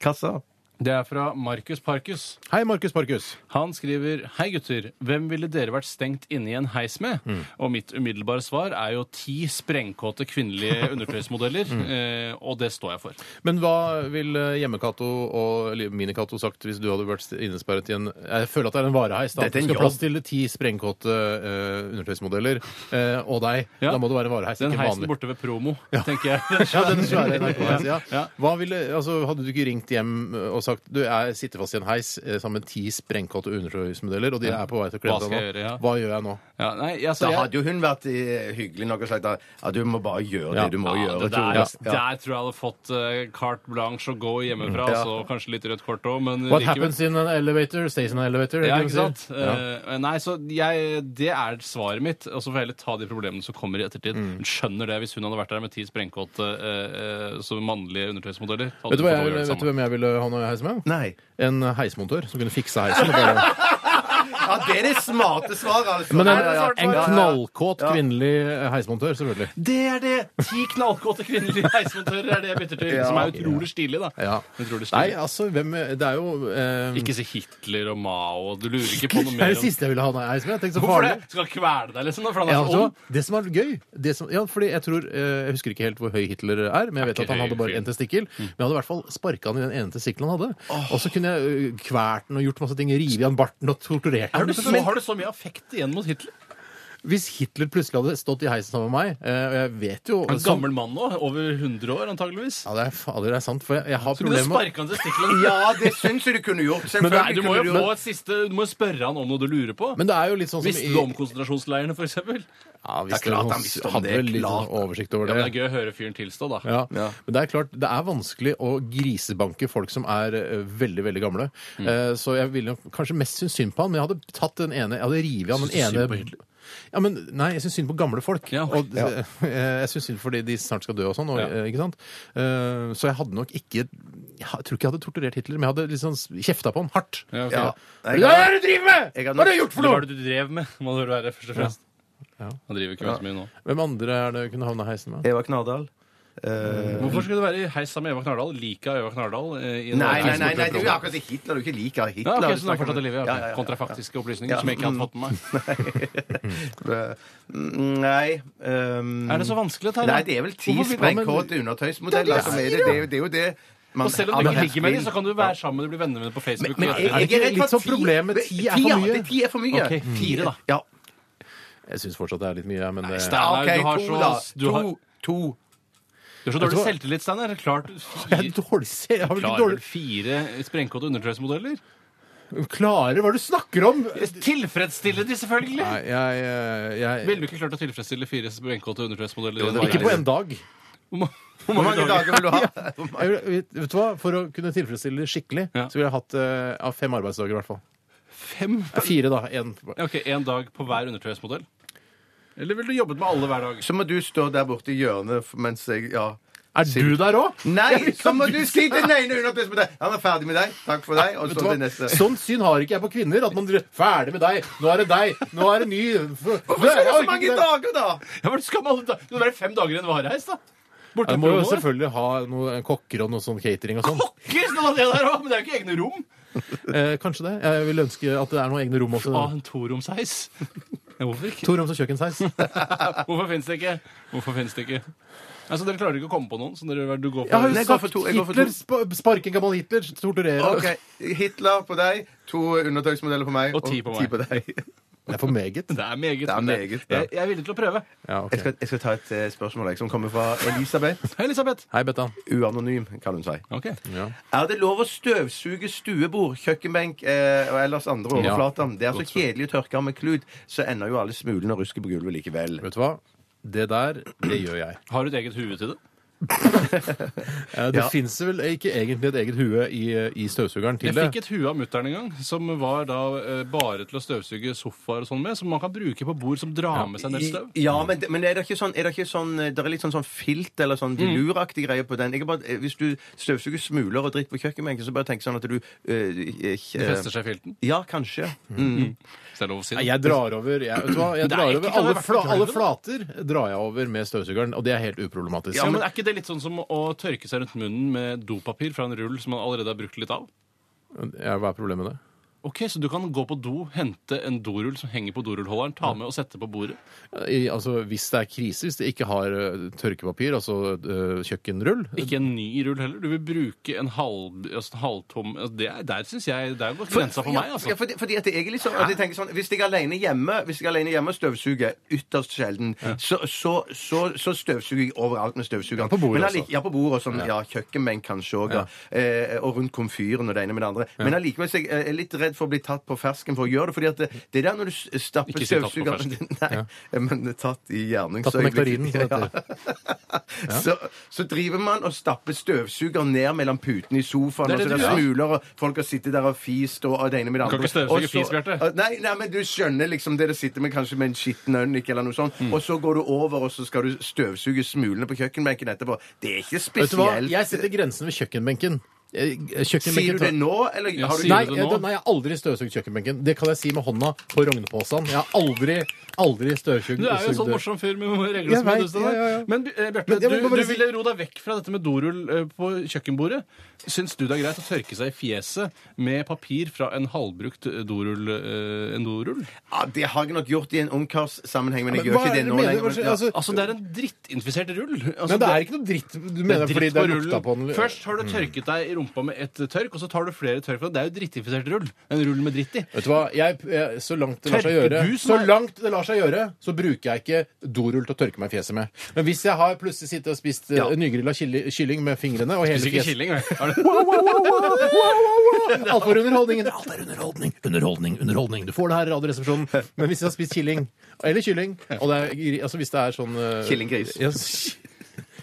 Speaker 5: Kassa.
Speaker 4: Det er fra Markus Parkus.
Speaker 3: Hei, Markus Parkus.
Speaker 4: Han skriver Hei gutter, hvem ville dere vært stengt inne i en heis med?
Speaker 5: Mm.
Speaker 4: Og mitt umiddelbare svar er jo ti sprengkåte kvinnelige undertøysmodeller.
Speaker 5: Mm.
Speaker 4: eh, og det står jeg for.
Speaker 3: Men hva ville Hjemme-Cato og eller Mini-Cato sagt hvis du hadde vært innesperret i en Jeg føler at det er en vareheis. da.
Speaker 5: Dette er en
Speaker 3: Du skal
Speaker 5: jobb.
Speaker 3: plass til ti sprengkåte eh, undertøysmodeller eh, og deg.
Speaker 4: Ja.
Speaker 3: Da må det være en vareheis,
Speaker 4: Den
Speaker 3: ikke
Speaker 4: heisen
Speaker 3: vanlig.
Speaker 4: borte ved promo, tenker jeg.
Speaker 3: Ja, den svære NRK-heisen, ja.
Speaker 4: Ja.
Speaker 3: Hva ville, altså, Hadde du ikke ringt hjem eh, og sagt du jeg sitter fast i en heis eh, sammen med ti sprengkåte undertøysmodeller, og de er på vei til å
Speaker 4: Hva
Speaker 3: klemme
Speaker 4: skal
Speaker 3: deg
Speaker 4: jeg
Speaker 3: nå?
Speaker 4: gjøre, ja?
Speaker 3: Hva gjør jeg nå?
Speaker 4: Ja, nei, altså,
Speaker 5: Da
Speaker 4: jeg-
Speaker 5: hadde jo hun vært eh, hyggelig nok og sagt at ja, du må bare gjøre
Speaker 3: Ja.
Speaker 5: det du må
Speaker 4: ja,
Speaker 5: gjøre.
Speaker 4: det der,
Speaker 5: Tore. Ja.
Speaker 4: der tror jeg hadde fått eh, carte blanche og gå hjemmefra.
Speaker 5: Ja.
Speaker 4: Så kanskje litt rødt kort òg, men
Speaker 3: What
Speaker 4: likevel.
Speaker 3: happens in an elevator stays in an elevator.
Speaker 4: Ja,
Speaker 3: er det
Speaker 4: ikke
Speaker 3: det de
Speaker 4: sant?
Speaker 3: sier? Ja.
Speaker 4: Eh, nei, så jeg, det er svaret mitt. Og så får jeg heller ta de problemene som kommer i ettertid.
Speaker 3: Mm.
Speaker 4: Hun Skjønner det hvis hun hadde vært der med ti sprengkåte eh, eh, som mannlige undertøysmodeller. hadde
Speaker 3: Vet du, hva
Speaker 4: hun fått
Speaker 3: jeg,
Speaker 4: lov å gjøre det
Speaker 3: vet du
Speaker 4: samme.
Speaker 3: hvem jeg ville ha noe heis med?
Speaker 5: Nei.
Speaker 3: En heismontør som kunne fikse heisen. og Bare
Speaker 5: Ja, det er det smarte svaret, altså.
Speaker 3: Men en,
Speaker 5: Ja, ja, ja.
Speaker 3: en knallkåt kvinnelig heismontør, selvfølgelig.
Speaker 4: Det er det! Ti knallkåte kvinnelige heismontører er det jeg bytter til.
Speaker 5: Ja.
Speaker 4: Som er utrolig stilig, da.
Speaker 3: Ja.
Speaker 4: Utrolig
Speaker 3: Nei,
Speaker 4: stilig.
Speaker 3: altså, hvem Det er jo eh,
Speaker 4: Ikke si Hitler og Mao. Du lurer ikke på noe
Speaker 3: Det er
Speaker 4: mer
Speaker 3: det
Speaker 4: om
Speaker 3: siste jeg ville ha nei, heis med. Jeg tenkte så
Speaker 4: Hvorfor
Speaker 3: farlig.
Speaker 4: det? Skal han kvele deg, liksom? da, For han
Speaker 3: Ja,
Speaker 4: er så
Speaker 3: altså,
Speaker 4: ung?
Speaker 3: det som er gøy det som, ja, fordi Jeg tror, eh, jeg husker ikke helt hvor høy Hitler er, men jeg vet
Speaker 4: Er ikke
Speaker 3: at han hadde
Speaker 4: høy
Speaker 3: bare
Speaker 4: fyr.
Speaker 3: én testikkel.
Speaker 4: Mm.
Speaker 3: Men jeg hadde i hvert fall sparka han i den ene testikkelen han hadde. Og så kunne jeg eh, kvert den og gjort masse ting. Revet han barten og torturert
Speaker 4: Er
Speaker 3: han.
Speaker 4: du så, har du så mye affekt igjen mot Hitler?
Speaker 3: Hvis Hitler plutselig hadde stått i heisen sammen med meg eh, Og jeg vet jo
Speaker 4: En
Speaker 3: som-
Speaker 4: gammel mann nå, over 100 år antageligvis.
Speaker 3: Ja, det er, fader, det er sant, for jeg, jeg har
Speaker 4: Du kunne
Speaker 3: problemer med
Speaker 4: sparke han til stikkelen.
Speaker 5: Ja, det syns jeg du kunne gjort.
Speaker 4: Men
Speaker 5: Selvfølgelig
Speaker 4: du må jo
Speaker 5: kunne
Speaker 4: få
Speaker 5: gjort-
Speaker 4: et siste, du må jo spørre han om noe du lurer på.
Speaker 3: Men det er jo litt sånn som
Speaker 4: Visste du om konsentrasjonsleirene, f.eks.? Ja,
Speaker 3: Ja,
Speaker 5: Det
Speaker 3: hvis
Speaker 5: er klart han
Speaker 3: noen-
Speaker 5: visste om
Speaker 3: hadde
Speaker 5: det,
Speaker 3: vel litt
Speaker 5: klart.
Speaker 3: sånn oversikt over det.
Speaker 4: men det er gøy å høre fyren tilstå, da.
Speaker 3: Ja. Men det er klart, det er vanskelig å grisebanke folk som er eh, veldig veldig gamle. Eh, så jeg ville nok kanskje mest synes synd på han, men jeg hadde tatt den ene, jeg hadde revet av den
Speaker 4: Synes du synd på
Speaker 3: ene ja, men, Nei, jeg syns synd på gamle folk.
Speaker 4: Ja.
Speaker 3: Og, eh, Jeg syns synd fordi de snart skal dø og sånn. Og,
Speaker 4: Ja.
Speaker 3: eh, ikke sant? Eh, så jeg hadde nok ikke Jeg ha- tror ikke jeg hadde torturert Hitler, men jeg hadde liksom kjefta på han hardt.
Speaker 4: Ja, ok.
Speaker 5: Ja.
Speaker 3: Hva er det du driver med?!
Speaker 5: Jeg hadde
Speaker 3: Hva har du
Speaker 5: nok-
Speaker 3: gjort for
Speaker 4: Eller hva er
Speaker 3: noe?!
Speaker 4: det du drev med? Må det være først og fremst.
Speaker 3: Ja.
Speaker 4: Han driver ikke med så mye nå.
Speaker 3: Hvem andre er det kunne havna i heisen med?
Speaker 5: Eva Knardal. Eh,
Speaker 4: Hvorfor skulle du være i heis sammen med Eva Knardal? Lika Eva Knardal? eh, I en
Speaker 5: nei, nei,
Speaker 4: heis borte
Speaker 5: nei, nei,
Speaker 4: i
Speaker 5: det er jo
Speaker 4: Trondheim.
Speaker 5: akkurat det Hitler du ikke liker. Hitler
Speaker 4: Ja, ok,
Speaker 5: du
Speaker 4: så den er
Speaker 5: snakker
Speaker 4: fortsatt i
Speaker 5: om.
Speaker 4: liv. ja,
Speaker 5: Ja,
Speaker 4: ok.
Speaker 5: ja, ja.
Speaker 4: Kontrafaktiske opplysninger
Speaker 5: Ja.
Speaker 4: som jeg ikke hadde fått med meg.
Speaker 5: Mm, Nei. ehm,
Speaker 4: Er det så vanskelig, Tara?
Speaker 5: Nei, det er vel ti
Speaker 4: Hvorfor vil-
Speaker 5: sprengkåte undertøysmodeller som er altså, det. Det er jo det, er jo det man
Speaker 4: Og selv om du
Speaker 5: alle
Speaker 4: ikke ligger med
Speaker 5: vil.
Speaker 4: dem, så kan du være sammen med dem, bli venner med dem på Facebook.
Speaker 5: Men
Speaker 4: og
Speaker 5: jeg,
Speaker 4: være-
Speaker 3: Er det
Speaker 5: jeg er
Speaker 3: ikke
Speaker 5: redd
Speaker 3: litt
Speaker 5: for
Speaker 3: sånn problem med ti er for
Speaker 5: ja,
Speaker 3: mye?
Speaker 5: det- Ti er for mye.
Speaker 4: Ok, fire da.
Speaker 5: Ja.
Speaker 3: Jeg syns fortsatt det er litt mye, ja, men det
Speaker 4: Steinar,
Speaker 5: Ja, ok,
Speaker 4: du har
Speaker 5: to,
Speaker 4: så,
Speaker 5: da.
Speaker 4: du har,
Speaker 5: To. to.
Speaker 4: du har så
Speaker 3: Vet du
Speaker 4: dårlig
Speaker 3: hva?
Speaker 4: selvtillit, Steinar. Klart
Speaker 3: Jeg er dårlig, se- jeg har vel ikke
Speaker 4: Klarer
Speaker 3: dårlig
Speaker 4: du fire sprengkåte undertøysmodeller?
Speaker 3: Klarer hva er det du snakker om?
Speaker 4: Tilfredsstille de, selvfølgelig!
Speaker 3: Nei, jeg, eh, jeg,
Speaker 4: Ville du ikke klart å tilfredsstille fire sprengkåte undertøysmodeller? i en
Speaker 3: Ikke
Speaker 4: dag?
Speaker 3: på en dag.
Speaker 4: Hvor ma-
Speaker 5: Hvor mange dager vil du ha?
Speaker 3: Jeg, vil- vet du hva? For å kunne tilfredsstille det skikkelig,
Speaker 4: Ja.
Speaker 3: så ville jeg hatt eh, ja, fem arbeidsdager i hvert fall.
Speaker 4: Fem?
Speaker 3: Ja, Fire, da. En.
Speaker 4: Ja, Ok, En dag på hver undertøysmodell? Eller ville du jobbet med alle hver dag?
Speaker 5: Så må du stå der borte i hjørnet f- mens jeg Ja.
Speaker 3: Er du der òg?
Speaker 5: Nei, så må du si den ene undertøysmodellen! Han er ferdig med deg. Takk for deg. Og så det neste.
Speaker 3: Sånn syn har ikke jeg på kvinner. At man dri- Ferdig med deg. Nå er det deg. Nå er det ny Hvorfor
Speaker 5: Hvorfor skal du ha så mange dager, da?
Speaker 4: Ja, men skal man alle da- Det må være fem dager i en vareheis, da! Borte
Speaker 3: Du
Speaker 4: på
Speaker 3: må jo
Speaker 4: noe.
Speaker 3: selvfølgelig ha noen kokker og noe sånn catering og sånn.
Speaker 4: Pokker, skal man det der også? Men det er jo ikke egne rom!
Speaker 3: Eh, kanskje det. Jeg vil ønske at det er noen egne rom også.
Speaker 4: Ah, en toromsheis. Ja, Hvorfor ikke?
Speaker 3: To roms og kjøkkensheis.
Speaker 4: Hvorfor finnes det ikke? Hvorfor finnes det ikke? Altså, Dere klarer ikke å komme på noen? Så dere, du går for
Speaker 3: Jeg har jo
Speaker 5: Nei, jeg går for
Speaker 3: sagt
Speaker 5: to, jeg går for to.
Speaker 3: Hitler, sp- sparke en gammel Hitler, torturere
Speaker 5: Ok, Hitler på deg, to undertøysmodeller på meg
Speaker 4: Og ti på meg.
Speaker 5: deg.
Speaker 3: Det er for meget.
Speaker 4: Det er meget.
Speaker 5: er
Speaker 4: men
Speaker 5: meget, ja.
Speaker 4: jeg, jeg er villig til å prøve.
Speaker 3: Ja, ok.
Speaker 5: Jeg skal, jeg skal ta et eh, spørsmål jeg, som kommer fra Elisabeth.
Speaker 4: Hei, Elisabeth.
Speaker 3: Hei, Bettan.
Speaker 5: Uanonym, kan hun si.
Speaker 4: Ok.
Speaker 5: Er det lov å støvsuge stuebord, kjøkkenbenk eh, og ellers andre
Speaker 3: Ja.
Speaker 5: overflater? Det er så
Speaker 3: Godt spørsmål.
Speaker 5: kjedelig å tørke av med klut, så ender jo alle smulene og rusket på gulvet likevel.
Speaker 3: Vet du hva? Det der, det gjør jeg.
Speaker 4: Har du et eget hue til det?
Speaker 3: Eh, Det
Speaker 5: Ja.
Speaker 3: finnes vel ikke egentlig et eget hue i, i støvsugeren til
Speaker 4: Jeg
Speaker 3: det.
Speaker 4: fikk et hue av mutter'n en gang, som var da eh, bare til å støvsuge sofaer og sånn med, som man kan bruke på bord som drar med seg en del støv.
Speaker 5: I- Ja, men, det- men er det ikke sånn, er det ikke sånn eh, Det er litt sånn, sånn filt eller
Speaker 4: Mm.
Speaker 5: sånn veluraktig greie på den. Jeg er bare, eh, hvis du støvsuger smuler og dritt på kjøkkenbenken, så bare tenk sånn at du eh, ikke-
Speaker 4: Det fester seg i filten.
Speaker 5: Ja, kanskje.
Speaker 4: Hvis det er lov å si
Speaker 3: Nei,
Speaker 4: det.
Speaker 3: Jeg drar over jeg, vet du hva? Jeg
Speaker 4: Det er
Speaker 3: drar
Speaker 4: ikke-
Speaker 3: over
Speaker 4: kan
Speaker 3: alle,
Speaker 4: det være
Speaker 3: fla,
Speaker 4: verdt å
Speaker 3: alle
Speaker 4: prøve,
Speaker 3: flater drar jeg over med støvsugeren, og det er helt uproblematisk.
Speaker 4: Ja, men Er ikke det litt sånn som å tørke seg rundt munnen med dopapir fra en rull som man allerede har brukt litt av?
Speaker 3: Ja, Hva er problemet med det?
Speaker 4: Ok, Så du kan gå på do, hente en dorull som henger på dorullholderen, ta med og sette på bordet?
Speaker 3: I, altså, Hvis det er krise, hvis det ikke har eh, tørkepapir, altså eh, kjøkkenrull
Speaker 4: Ikke en ny rull heller. Du vil bruke en halv, altså, en halvtom altså, det er, Der syns jeg Der går grensa for meg,
Speaker 5: Ja,
Speaker 4: altså.
Speaker 5: fordi, fordi at jeg er litt sånn, at jeg tenker sånn Hvis jeg er alene hjemme Hvis jeg er alene hjemme og støvsuger ytterst sjelden, så, så, så, så støvsuger jeg overalt med støvsugeren.
Speaker 3: på bordet
Speaker 5: Men
Speaker 3: også.
Speaker 5: allike- Ja, på bordet og sånn. Ja, kjøkkenbenk kanskje òg. Eh, og rundt komfyren og det ene med det andre. Men allikevel så jeg er jeg litt redd for å bli tatt på fersken for å gjøre det. fordi at det, det der når du s- stapper
Speaker 4: Ikke si tatt på
Speaker 5: støvsugeren Nei, men tatt i
Speaker 3: Tatt på nektarinen, som
Speaker 5: gjerningsøyeblikket.
Speaker 3: det heter.
Speaker 5: Så, så driver man og stapper støvsuger ned mellom putene i sofaen.
Speaker 4: Det er
Speaker 5: og så
Speaker 4: det
Speaker 5: det
Speaker 4: du
Speaker 5: er
Speaker 4: gjør.
Speaker 5: smuler, og folk har sittet der og fist og og det ene med det
Speaker 4: Du kan
Speaker 5: andre.
Speaker 4: ikke støvsuge
Speaker 5: Og så-
Speaker 4: fis, Bjarte.
Speaker 5: Nei, nei, men du skjønner liksom det du sitter med, kanskje med en skitten ønik eller noe sånt, og så går du over, og så skal du støvsuge smulene på kjøkkenbenken etterpå. Det er ikke
Speaker 3: Vet du hva?
Speaker 5: spesielt.
Speaker 3: Jeg setter grensen ved kjøkkenbenken. Eh,
Speaker 5: Sier
Speaker 3: kjøkkenbenken
Speaker 5: du
Speaker 3: tar-
Speaker 5: det nå, eller
Speaker 4: Ja,
Speaker 5: har du
Speaker 4: sier
Speaker 3: Nei,
Speaker 4: du det
Speaker 3: jeg,
Speaker 4: nå?
Speaker 3: nei, jeg har aldri støvsugd kjøkkenbenken. Det kan jeg si med hånda på rognepåsen. Jeg har aldri, aldri støvsugd
Speaker 4: Du er jo en sånn morsom fyr med regler
Speaker 3: Jeg
Speaker 4: som er
Speaker 3: vet,
Speaker 4: du sånn der.
Speaker 3: ja, ja, ja.
Speaker 4: Men eh, Bjarte,
Speaker 3: Men jeg
Speaker 4: du,
Speaker 3: vil bare
Speaker 4: du
Speaker 3: si-
Speaker 4: ville ro deg vekk fra dette med dorull eh, på kjøkkenbordet. Syns du det er greit å tørke seg i fjeset med papir fra en halvbrukt eh, dorull? eh, En dorull?
Speaker 5: Ja, det har jeg nok gjort i en ungkarssammenheng, men jeg
Speaker 3: Men
Speaker 5: gjør
Speaker 3: hva
Speaker 5: ikke
Speaker 3: er det
Speaker 5: det
Speaker 3: du
Speaker 5: nå
Speaker 3: mener?
Speaker 5: lenger. men-
Speaker 3: Hva- altså-
Speaker 4: Altså, det er en drittinfisert rull. Altså,
Speaker 3: Men det er ikke noe dritt du
Speaker 4: det er
Speaker 3: mener
Speaker 4: dritt
Speaker 3: fordi det
Speaker 4: på
Speaker 3: er
Speaker 4: Mm.
Speaker 3: lukta
Speaker 4: rullen.
Speaker 3: på den?
Speaker 4: Først har du tørket deg i rumpa med et tørk, og så tar du flere tørk. for Det er jo drittifisert rull. En rull med dritt i.
Speaker 3: Vet du hva? Jeg, jeg, så langt det lar seg
Speaker 4: Tørker
Speaker 3: gjøre,
Speaker 4: du som
Speaker 3: så
Speaker 4: er-
Speaker 3: langt det lar seg gjøre, så bruker jeg ikke dorull til å tørke meg i fjeset med. Men hvis jeg har plutselig sittet og spist eh, ja.
Speaker 4: Ja.
Speaker 3: nygrilla kylli- kylling med fingrene og hele
Speaker 4: Hvis ikke
Speaker 3: fjeset
Speaker 4: killing, vel. Er det-
Speaker 3: Wow, wow, wow, wow, wow, wow, wow. Alt for underholdningen. Alt er underholdning, underholdning, underholdning. Du får det her i Radioresepsjonen. Men hvis jeg har spist kylling, eller kylling og det er, gri- altså Hvis det er sånn eh,
Speaker 5: Killinggris.
Speaker 3: ja, s-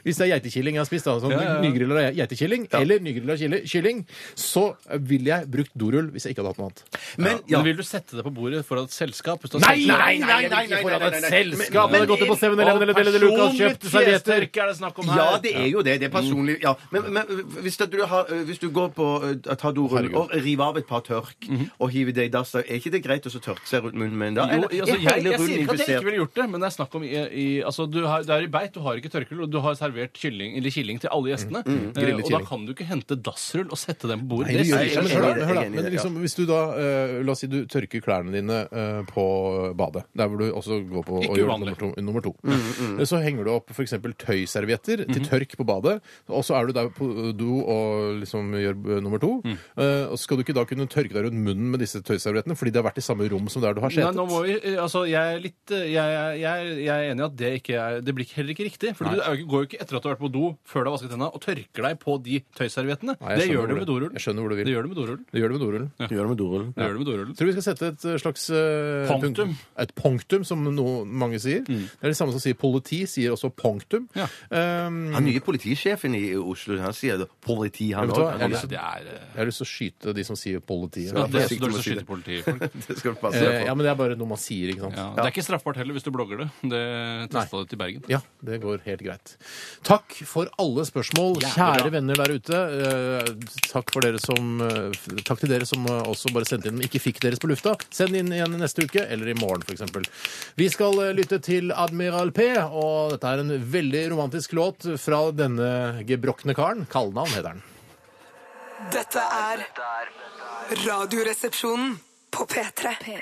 Speaker 3: hvis det er geitekilling jeg har spist, da, sånn
Speaker 4: Ja, ja, ja.
Speaker 3: nygrilla geitekilling eller nygrilla kille- kylling, så ville jeg brukt dorull hvis jeg ikke hadde hatt noe annet.
Speaker 5: Men,
Speaker 4: Men vil du sette det på bordet foran et selskap? Hvis du har
Speaker 3: Nei,
Speaker 4: selskap?
Speaker 3: nei, nei, nei, nei, nei, nei, nei. Selskap hadde gått på 7-Eleven eller Deli de Luca og
Speaker 4: Personlig
Speaker 3: kjøpt servietter.
Speaker 4: fjestørke er det snakk om her.
Speaker 5: Ja, det er jo det. Det er personlig. Ja. Men, men hvis, at du har, hvis du går på eh, tar dorull
Speaker 3: Herregud.
Speaker 5: og river av et par tørk og hiver det i dass, da er ikke det greit å så tørke seg rundt munnen med en da?
Speaker 4: Jo,
Speaker 5: Eller
Speaker 4: altså,
Speaker 5: er
Speaker 4: jeg,
Speaker 5: hele
Speaker 4: jeg, sier
Speaker 5: rullen
Speaker 4: ikke at jeg ikke
Speaker 5: infisert?
Speaker 4: ville gjort det, men det er snakk om i, i, altså, du, har, du er i beit, du har ikke tørkerull, og du har servert kylling, eller killing til alle gjestene. eh,
Speaker 3: grillet
Speaker 4: og da
Speaker 3: kylling.
Speaker 4: kan du ikke hente dassrull og sette den på
Speaker 3: Mm,
Speaker 4: bordet.
Speaker 3: Nei, det gjør
Speaker 5: jeg
Speaker 4: sier
Speaker 3: ikke
Speaker 5: er
Speaker 3: men hør
Speaker 5: enig i
Speaker 3: da,
Speaker 5: det, jeg er
Speaker 3: hør da.
Speaker 5: enig i
Speaker 3: Men
Speaker 5: det, ja.
Speaker 3: liksom, hvis du da eh, La oss si du tørker klærne dine eh, på badet, der hvor du også går på
Speaker 4: Ikke
Speaker 3: og gjør
Speaker 4: uvanlig.
Speaker 3: nummer to. Nummer to.
Speaker 5: Mm,
Speaker 3: Eh, Så henger du opp f.eks. tøyservietter til
Speaker 4: Mhm.
Speaker 3: tørk på badet, og så er du der på do og liksom gjør eh, nummer to.
Speaker 4: Mm.
Speaker 3: Eh, og Skal du ikke da kunne tørke deg rundt munnen med disse tøyserviettene fordi det har vært i samme rom som der du har
Speaker 4: Nei,
Speaker 3: setet?
Speaker 4: nå må vi, eh, altså, jeg er litt eh, jeg, jeg, jeg, er- jeg er enig i at det, ikke er, det blir ikke- heller ikke riktig. For du er jo ikke- går jo ikke etter at du har vært på do før du har vasket hendene, og tørker deg på de tøyserviettene.
Speaker 3: Nei, jeg
Speaker 4: det
Speaker 3: skjønner
Speaker 4: gjør du
Speaker 3: hvor
Speaker 4: med dorull.
Speaker 3: Jeg skjønner hvor du vil.
Speaker 4: Det gjør du med dorullen.
Speaker 3: Det gjør du med dorullen.
Speaker 5: Gjør det med dorullen.
Speaker 4: Det gjør du med dorullen.
Speaker 3: Jeg tror vi skal sette et eh, slags eh,
Speaker 4: Punktum. Mm.
Speaker 3: punkt- Et punktum, som no, mange sier. Det er det samme som sier politi, sier også punktum.
Speaker 4: Ja.
Speaker 3: Um,
Speaker 5: Han nye politisjefen i Oslo han sier det. politi, han
Speaker 3: Vet du hva?
Speaker 5: òg.
Speaker 3: Jeg har
Speaker 4: Ja,
Speaker 3: lyst
Speaker 4: det er, eh,
Speaker 3: Jeg har lyst til å skyte de som sier politiet.
Speaker 4: ja, det er så
Speaker 5: forsiktig med
Speaker 4: dårlig
Speaker 5: å
Speaker 4: å
Speaker 5: si
Speaker 4: skyte
Speaker 5: det.
Speaker 4: politifolk.
Speaker 5: Det skal du passe
Speaker 3: Eh,
Speaker 5: deg
Speaker 3: ja,
Speaker 5: for.
Speaker 3: men det er bare noe man sier, ikke sant.
Speaker 4: Ja, det er ikke straffbart heller hvis du blogger det. Det testa du til Bergen.
Speaker 3: Ja, det går helt greit. Takk for alle spørsmål, kjære venner der ute. Eh, Takk, for dere som, eh, f- takk til dere som eh, også bare sendte inn, men ikke fikk deres på lufta. Send inn igjen neste uke, eller i morgen f.eks. Vi skal eh, lytte til Admiral P, og dette er en veldig romantisk låt fra denne gebrokne karen. Kallenavn heter han.
Speaker 6: Dette er Radioresepsjonen på P3.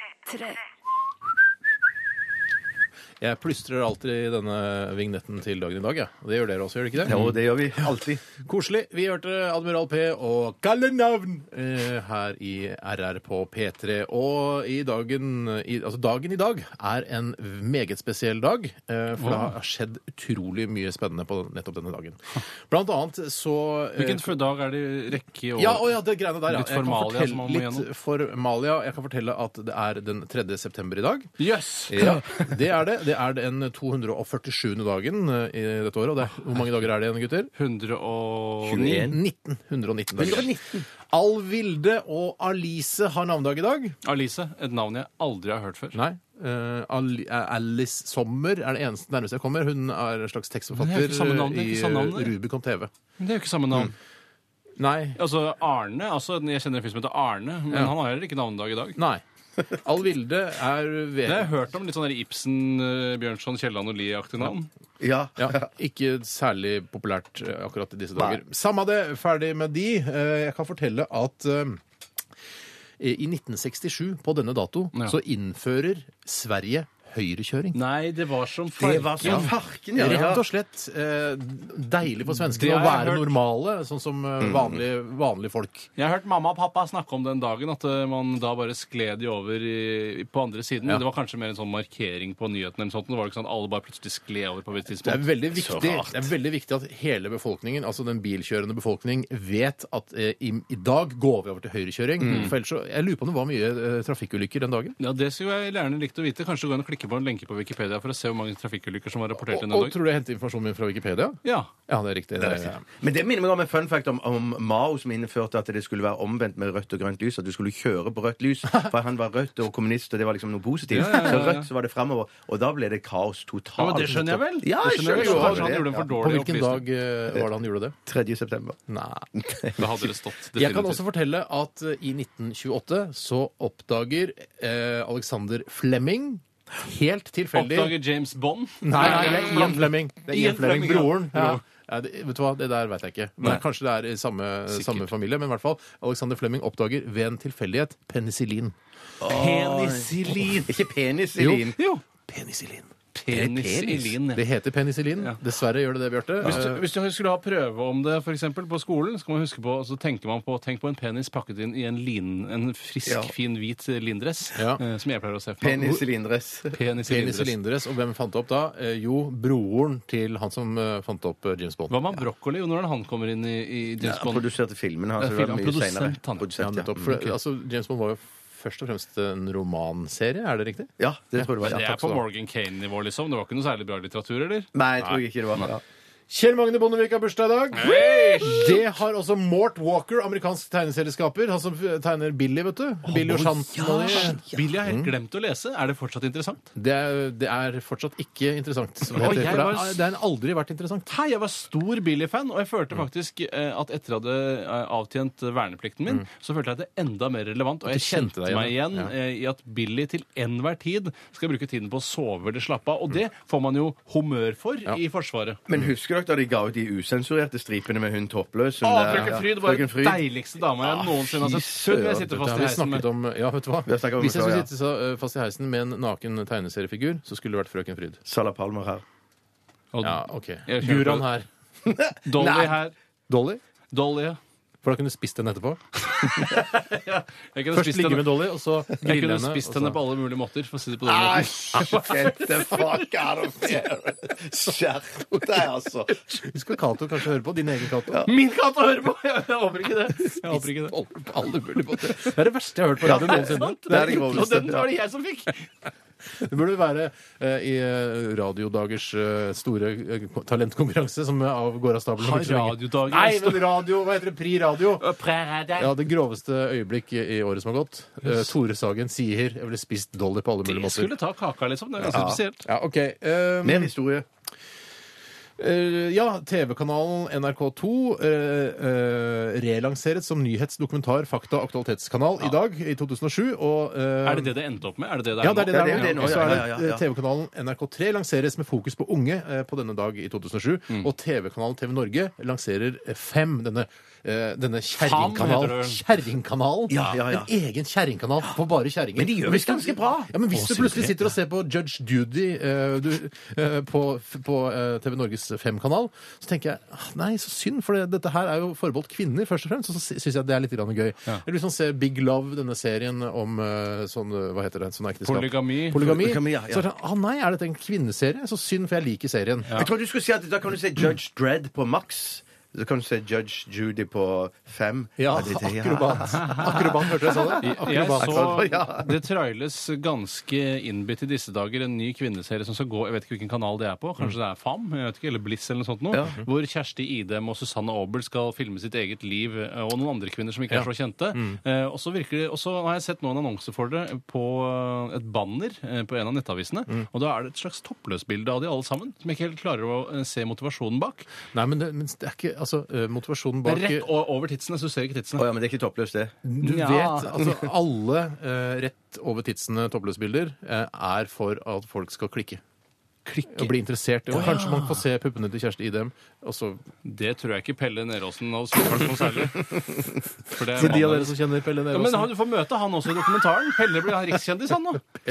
Speaker 3: Jeg plystrer alltid denne vignetten til dagen i dag, jeg. Ja. Det gjør dere også, gjør dere ikke det?
Speaker 5: Jo, det gjør vi alltid.
Speaker 3: Koselig. Vi hørte Admiral P og kallenavn eh, her i RR på P3. Og i dagen, i, altså dagen i dag er en meget spesiell dag, eh, for det har skjedd utrolig mye spennende på nettopp denne dagen. Blant annet så eh,
Speaker 4: Hvilken fø- dag er det i rekke og
Speaker 3: ja, å ja, det greiene der, ja.
Speaker 4: Litt formalia
Speaker 3: jeg kan
Speaker 4: som man må
Speaker 3: fortelle, litt formalia. Jeg kan fortelle at det er den 3. september i dag.
Speaker 4: Jøss!
Speaker 3: Ja, det er det. Det er den 247. dagen eh, i dette året. Og det er, hvor mange dager er det igjen, gutter?
Speaker 4: 109
Speaker 3: 1919 dager. Alvilde og Alice har navnedag i dag.
Speaker 4: Alice, et navn jeg aldri har hørt før.
Speaker 3: Nei. eh, Ali- eh, Alice Sommer er det eneste nærmeste jeg kommer. Hun er en slags
Speaker 4: Men det er
Speaker 3: tekstforfatter
Speaker 4: ikke samme navn, det er
Speaker 3: eh, i
Speaker 4: ikke samme navn, det.
Speaker 3: Rubicon TV.
Speaker 4: Men det er jo ikke samme navn.
Speaker 3: Nei.
Speaker 4: Altså Arne, altså, Jeg kjenner en fyr som heter Arne, men
Speaker 3: Ja.
Speaker 4: han har heller ikke navnedag i dag.
Speaker 3: Nei. Alvilde er
Speaker 4: Det har jeg
Speaker 3: ved
Speaker 4: hørt om litt sånn der Ibsen, eh, Bjørnson, Kielland og Lie-aktig navn.
Speaker 5: Ja.
Speaker 3: ja, ikke særlig populært eh, akkurat i disse dager. Samme det, ferdig med de. Eh, Jeg kan fortelle at eh, i 1967, på denne dato,
Speaker 4: Ja.
Speaker 3: så innfører Sverige høyrekjøring.
Speaker 4: Nei, det var som
Speaker 5: Det var som farken, ja.
Speaker 3: Rett og slett eh, deilig for
Speaker 4: Det
Speaker 3: svenskene
Speaker 4: har
Speaker 3: å
Speaker 4: jeg
Speaker 3: være
Speaker 4: hørt.
Speaker 3: normale, sånn som
Speaker 4: Mm.
Speaker 3: eh, vanlige, vanlige folk.
Speaker 4: Jeg har hørt mamma og pappa snakke om den dagen, at eh, man da bare skled de over i, på andre siden.
Speaker 3: Ja.
Speaker 4: Det var kanskje mer en sånn markering på nyhetene eller sånt. Det var ikke sånn at alle bare plutselig skled over på et
Speaker 3: Det er,
Speaker 4: tidspunkt.
Speaker 3: veldig viktig, det er veldig viktig at hele befolkningen, altså den bilkjørende befolkning, vet at eh, i, i dag går vi over til høyrekjøring.
Speaker 4: Mm.
Speaker 3: For ellers så, jeg lurer på om det var mye eh, trafikkulykker den dagen.
Speaker 4: Ja, Det skulle jeg gjerne likt å vite. Kanskje gå inn og klikke på en lenke på Wikipedia for å se hvor mange trafikkulykker som var rapportert
Speaker 3: Og,
Speaker 4: inn
Speaker 3: og
Speaker 4: den dag.
Speaker 3: tror du jeg henter informasjonen min fra Wikipedia?
Speaker 4: Ja.
Speaker 3: Ja, det er riktig. Eh, Det er, ja.
Speaker 5: Men det minner meg om en fun fact om, om Mao, som innførte at det skulle være omvendt med rødt og grønt lys. At du skulle kjøre på rødt lys. For han var rødt og kommunist, og det var liksom noe positivt.
Speaker 4: Ja, ja, ja, ja.
Speaker 5: Så rødt så var det framover. Og da ble det kaos
Speaker 4: Ja,
Speaker 5: totalt.
Speaker 4: men det skjønner jeg vel. Det
Speaker 5: Ja,
Speaker 4: skjønner
Speaker 5: jeg skjønner
Speaker 4: jeg jo.
Speaker 5: jo
Speaker 4: Kanskje han gjorde en for
Speaker 5: det.
Speaker 3: På
Speaker 4: dårlig
Speaker 3: hvilken dag eh, var det han gjorde det?
Speaker 5: 3. september.
Speaker 3: Nei.
Speaker 4: Da hadde det stått.
Speaker 3: Jeg kan også
Speaker 4: definitivt.
Speaker 3: fortelle at eh, i 1928 så oppdager eh, Alexander Flemming helt tilfeldig
Speaker 4: Oppdager James Bond.
Speaker 3: Nei, nei, det er Ian Flemming. Det er Ian
Speaker 4: Ian
Speaker 3: Flemming,
Speaker 4: Fleming, ja.
Speaker 3: broren. Ja. Ja, det, vet du hva, Det der veit jeg ikke. Men
Speaker 4: Nei.
Speaker 3: Kanskje det er i samme, samme familie. Men i hvert fall, Alexander Flemming oppdager ved en tilfeldighet penicillin.
Speaker 5: Penicillin. Ikke penicillin.
Speaker 3: Jo. Penicillin.
Speaker 4: penicillin.
Speaker 3: Det heter penicillin.
Speaker 4: Ja.
Speaker 3: Dessverre gjør det det, Bjarte. Eh,
Speaker 4: Hvis
Speaker 5: Eh,
Speaker 4: du, hvis du skulle ha prøve om det for eksempel, på skolen, så, kan man huske på, så tenker man på tenk på en penis pakket inn i en, lin, en frisk,
Speaker 5: Ja.
Speaker 4: fin, hvit lindress,
Speaker 3: Ja.
Speaker 4: eh, som jeg pleier å se for meg.
Speaker 5: Penis i lindress.
Speaker 4: Penis i
Speaker 3: Penicillindress.
Speaker 4: lindress.
Speaker 3: Og hvem fant det opp da? Eh, Jo, broren til han som eh, fant opp eh, James Bond.
Speaker 4: Hva med brokkoli og når han kommer inn i, i James
Speaker 5: Han
Speaker 4: Bond?
Speaker 5: produserte filmen hans.
Speaker 4: Ja,
Speaker 5: så det var
Speaker 4: filmen,
Speaker 5: mye
Speaker 4: produsent,
Speaker 5: senere.
Speaker 4: han.
Speaker 3: Ja,
Speaker 5: Produsent, Mm.
Speaker 3: nettopp. For, altså, James Bond var jo først og fremst en romanserie, er det riktig?
Speaker 5: ja. ja, det tror jeg det var.
Speaker 4: Det
Speaker 5: Ja,
Speaker 4: er
Speaker 5: takk
Speaker 4: på
Speaker 5: skal du ha.
Speaker 4: Morgan Kane-nivå, liksom. Det var ikke noe særlig bra litteratur, eller?
Speaker 5: Nei, jeg tror ikke det var. Ja.
Speaker 3: Kjell Magne Bondevik har bursdag i dag. Det har også Mort Walker, amerikansk tegneserieskaper. Han som tegner Billy, vet du. Billy og Shanten og de.
Speaker 4: Billy har helt
Speaker 5: Mm.
Speaker 4: glemt å lese. Er det fortsatt interessant?
Speaker 3: Det er, det er fortsatt ikke interessant. som det
Speaker 4: Oi,
Speaker 3: heter,
Speaker 4: jeg
Speaker 3: for det,
Speaker 4: var-
Speaker 3: er- det har aldri vært interessant.
Speaker 4: Hei, jeg var stor Billy-fan, og jeg følte faktisk eh, at etter jeg hadde eh, avtjent verneplikten min, så følte jeg det enda mer relevant, og
Speaker 3: Mm. du
Speaker 4: jeg
Speaker 3: kjente
Speaker 4: kjente
Speaker 3: deg igjen,
Speaker 4: meg igjen
Speaker 3: ja.
Speaker 4: eh, i at Billy til enhver tid skal bruke tiden på å sove eller slappe
Speaker 3: Mm.
Speaker 4: av, og det får man jo humør for i Forsvaret.
Speaker 5: Men husker dere da de ga ut de usensurerte stripene med hun toppløs? Hun
Speaker 4: Å,
Speaker 5: der-
Speaker 4: frøken Ah, Fryd var
Speaker 5: Frøken
Speaker 4: den
Speaker 5: Fryd.
Speaker 4: deiligste dama jeg noensinne har sett. Hun jeg sitter
Speaker 3: Ah, Det
Speaker 4: fast
Speaker 3: har
Speaker 4: i
Speaker 3: vi
Speaker 4: heisen
Speaker 3: snakket
Speaker 4: med.
Speaker 3: om Ja, vet du hva?
Speaker 5: har snakket om det
Speaker 3: Hvis jeg
Speaker 5: før,
Speaker 3: skulle
Speaker 5: ja.
Speaker 3: sitte så, eh, fast i heisen med en naken tegneseriefigur, så skulle det vært Frøken Fryd.
Speaker 5: Sala Palmer her.
Speaker 4: Og
Speaker 3: Ja, OK.
Speaker 4: Jeg kjøper
Speaker 3: Guran
Speaker 4: det.
Speaker 3: her.
Speaker 4: Dolly her.
Speaker 3: Dolly?
Speaker 4: Dolly, ja.
Speaker 3: For da kunne du spist den etterpå.
Speaker 4: Jeg kunne
Speaker 3: Først
Speaker 4: spist
Speaker 3: ligge
Speaker 4: henne,
Speaker 3: med Dolly, og så
Speaker 4: jeg
Speaker 3: grille
Speaker 4: kunne
Speaker 3: henne.
Speaker 4: spist
Speaker 3: og så-
Speaker 4: henne på alle mulige måter, for å si det på den måten.
Speaker 5: Get the fuck out of here! Skjerp deg, altså.
Speaker 3: Husk hva Cato kanskje hører på. Din egen Cato.
Speaker 4: Min katt å høre på! Jeg håper ikke det. Jeg håper ikke det.
Speaker 3: På alle mulige måter. Det er det verste jeg har hørt på radio noensinne.
Speaker 5: Det er det
Speaker 4: Og
Speaker 5: groveste.
Speaker 4: den var det jeg som fikk!
Speaker 3: Det burde være eh, i eh, radiodagers eh, store eh, talentkonkurranse som eh, av, går av stabelen. om
Speaker 4: Har
Speaker 3: ikke så lenge.
Speaker 4: radiodager-
Speaker 3: Nei, men radio, hva heter det? Pri radio. Ja, Det groveste øyeblikk i i året som har gått. Eh, Tore Sagen sier 'jeg ville spist Dolly på alle mulige
Speaker 4: Jeg
Speaker 3: måter'.
Speaker 4: skulle ta kaka, liksom. Det er ganske spesielt.
Speaker 3: Ja, ok. Um,
Speaker 5: Mer historie.
Speaker 3: Eh, ja, TV-kanalen NRK2 eh, eh, relanseres som nyhets-, dokumentar-, fakta- og aktualitetskanal i dag, i 2007. Og, eh,
Speaker 4: Er det det det endte opp med? Er det det det er
Speaker 3: Ja, det er det
Speaker 5: Ja,
Speaker 3: det
Speaker 5: det er
Speaker 3: er
Speaker 5: det
Speaker 3: nå.
Speaker 5: nå,
Speaker 3: Og så
Speaker 5: ja,
Speaker 3: er
Speaker 5: ja, ja,
Speaker 3: det
Speaker 5: ja.
Speaker 3: eh, TV-kanalen NRK3 lanseres med fokus på unge eh, på denne dag i 2007.
Speaker 4: Mm.
Speaker 3: Og TV-kanalen TV Norge lanserer eh, Fem, denne eh, denne
Speaker 4: heter det
Speaker 3: kjerringkanalen.
Speaker 4: vel.
Speaker 3: Kjerringkanalen.
Speaker 5: Ja, ja, ja.
Speaker 3: En egen kjerringkanal for bare kjerringer.
Speaker 5: Men de gjør
Speaker 3: Og hvis
Speaker 5: det
Speaker 3: du-
Speaker 5: ganske bra.
Speaker 3: Ja, men Hvis
Speaker 4: Å,
Speaker 3: du
Speaker 4: sier du
Speaker 3: plutselig
Speaker 4: det?
Speaker 3: sitter og ser på Judge Judy eh, du, eh, på, f- på eh, TV Norges Fem-kanal, så tenker jeg ah, nei, så synd, for det, dette her er jo forbeholdt kvinner, først og fremst. Og så sy- syns jeg det er litt grann gøy. Eller hvis man ser Big Love, denne serien om eh, sånn eh, Hva heter det? Sånn ekteskap.
Speaker 4: Polygami.
Speaker 3: Polygami.
Speaker 5: Polygami, ja, ja.
Speaker 3: Så er det sånn, ah, nei, er dette en kvinneserie? Så synd, for jeg liker serien.
Speaker 5: Jeg tror du skulle si at Da kan du se Judge Dredd på Max. Så kan du se Judge Judy på fem.
Speaker 3: Ja,
Speaker 5: det er det,
Speaker 3: akrobat. Akrobat, hørte du jeg sa det?
Speaker 4: Jeg
Speaker 3: Akrobat.
Speaker 4: så Det trailes ganske innbitt i disse dager en ny kvinneserie som skal gå Jeg vet ikke hvilken kanal det er på. Kanskje det er FAM jeg vet ikke, eller Bliss eller noe sånt noe. Hvor Kjersti Idem og Susanne Aabel skal filme sitt eget liv eh, og noen andre kvinner som ikke er så kjente. Eh, Og så virker det, og så har jeg sett nå en annonse for det på eh, et banner eh, på en av nettavisene. Og da er det et slags toppløsbilde av de alle sammen, som jeg ikke helt klarer å eh, se motivasjonen bak.
Speaker 3: Nei, men det, men det er ikke altså, eh, motivasjonen
Speaker 4: Det
Speaker 3: bak
Speaker 4: er rett o- over titsene, så du ser ikke
Speaker 5: Å
Speaker 4: titsene.
Speaker 5: ja, men det er ikke toppløst, det.
Speaker 3: Du
Speaker 4: Ja.
Speaker 3: vet, altså alle eh, rett over titsene toppløsbilder eh, er for at folk skal klikke. Og bli interessert. Og kanskje man får se puppene til Kjersti Idem. Og så,
Speaker 4: Det tror jeg ikke Pelle Neråsen hadde spurt noe særlig. For det er
Speaker 3: til de av
Speaker 4: mannen-
Speaker 3: dere som kjenner Pelle
Speaker 4: Ja, men han,
Speaker 3: Neråsen.
Speaker 4: Du får møte han også i dokumentaren. Pelle blir han rikskjendis, han nå. Han var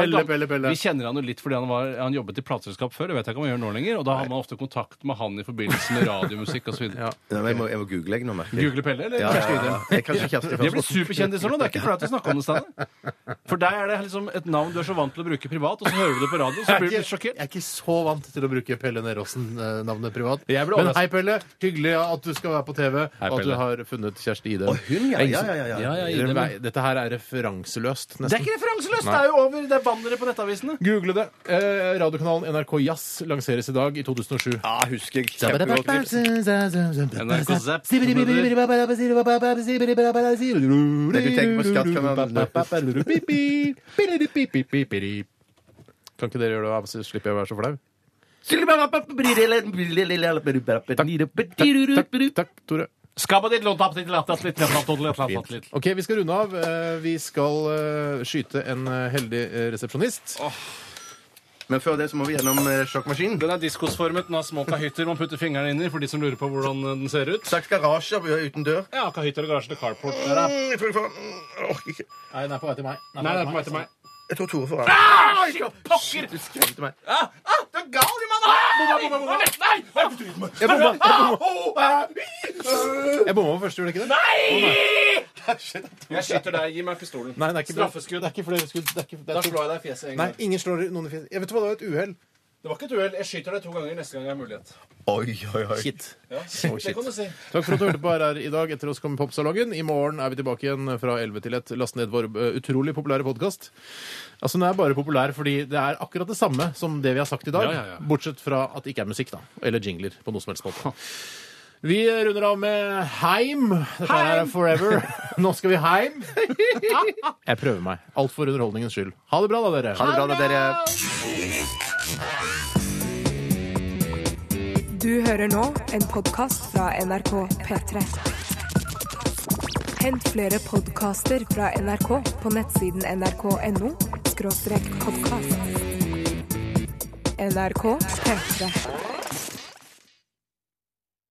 Speaker 3: Pelle,
Speaker 4: gam-
Speaker 3: Pelle, Pelle.
Speaker 4: Vi kjenner han jo litt fordi han, var, han jobbet i plateselskap før. Det vet jeg ikke om han gjør nå lenger. Og da har man ofte kontakt med han i forbindelse med radiomusikk osv.
Speaker 3: Ja.
Speaker 5: Nei, men jeg, må, jeg må google, jeg nå, merker jeg.
Speaker 4: Google Pelle, eller?
Speaker 5: Ja, ja, ja, ja. Jeg kan ikke
Speaker 4: De
Speaker 5: Kjersti
Speaker 4: er blitt
Speaker 5: først.
Speaker 4: superkjendiser nå. Det er ikke flaut å snakke om det. Steine. For deg er det liksom et navn du er så vant til å bruke privat, og så hører du det på radio, så
Speaker 3: Jeg er,
Speaker 4: blir du litt
Speaker 3: ikke, jeg
Speaker 4: sjokkert.
Speaker 3: er ikke så vant til å bruke Pelle Neråsen-navnet privat.
Speaker 4: Jeg ble
Speaker 3: Men
Speaker 4: overrasket.
Speaker 3: hei, Pelle. Hyggelig at du skal være på TV, og at du
Speaker 4: Pelle.
Speaker 3: har funnet Kjersti Idem.
Speaker 5: Og hun, ja. Ja, ja, ja.
Speaker 4: Ja, ja,
Speaker 3: Dere
Speaker 4: Idem,
Speaker 3: vei- Dette her er referanseløst, nesten.
Speaker 4: Det er ikke referanseløst! Det er jo over. Det er bannere på nettavisene.
Speaker 3: Google det. Eh, radiokanalen NRK Jazz lanseres i dag i 2007.
Speaker 5: Ja, husker jeg kjempegodt.
Speaker 4: NRK
Speaker 3: sånn,
Speaker 4: Zapp.
Speaker 3: Kan ikke dere gjøre det, av, så slipper jeg å være så flau? Takk, takk, Tore.
Speaker 4: Skabba ditt lån, tapp ditt latt, tatt litt, tapp ditt latt, tapp ditt.
Speaker 3: Ok, Vi skal runde av. Eh, Vi skal eh, skyte en eh, heldig eh, resepsjonist.
Speaker 5: Men før det så må vi gjennom eh, sjokkmaskinen.
Speaker 4: Den er diskosformet, den har små kahytter man putter fingrene inn i for de som lurer på hvordan den ser ut.
Speaker 5: Slags garasje vi har uten dør.
Speaker 4: Ja, kahytter og garasje til carport. Der, da.
Speaker 5: Mm, jeg tror jeg får- mm, jeg orker ikke.
Speaker 3: Nei, den er på vei til meg.
Speaker 4: Nei, det er på vei til meg.
Speaker 5: Jeg tror Tore får
Speaker 4: Ah!
Speaker 5: av.
Speaker 4: Pokker!
Speaker 5: Du skremte meg.
Speaker 4: Ah, ah, du er gal i mannen! Ah, Nei! Nei! Nei!
Speaker 3: Jeg bomma! Jeg
Speaker 4: Ah,
Speaker 3: bomma, jeg bomma på første, gjorde jeg ikke det?
Speaker 4: Nei! Jeg skyter deg. Gi meg pistolen.
Speaker 3: Nei, det er ikke
Speaker 4: Straffeskudd.
Speaker 3: Det er ikke flere skudd. Det er ikke, det
Speaker 4: Da
Speaker 3: er to.
Speaker 4: slår jeg deg i fjeset en
Speaker 3: Nei,
Speaker 4: gang.
Speaker 3: ingen slår noen i fjeset. Jeg vet du hva, det var et uhell.
Speaker 4: Det var ikke et uhell. Jeg skyter deg to ganger neste gang jeg har mulighet.
Speaker 5: Oi, oi, oi.
Speaker 3: Shit.
Speaker 4: Ja,
Speaker 3: shit.
Speaker 4: Det kan du si.
Speaker 3: Takk for at du hørte på RR i dag. Etter oss kommer Popsalongen. I morgen er vi tilbake igjen fra 11 til 1. Last ned vår eh, utrolig populære podkast. Altså, den er bare populær fordi det er akkurat det samme som det vi har sagt i dag.
Speaker 4: Ja, ja, ja.
Speaker 3: Bortsett fra at det ikke er musikk, da. Eller jingler på noe som helst måte. Vi runder av med Heim. Dette her er Forever. Nå skal vi heim. Jeg prøver meg. Alt for underholdningens skyld. Ha det bra, da, dere.
Speaker 5: Ha det bra, da, dere.
Speaker 1: Du hører nå en podkast fra NRK P3. Hent flere podkaster fra NRK på nettsiden nrk.no podkast. NRK P3.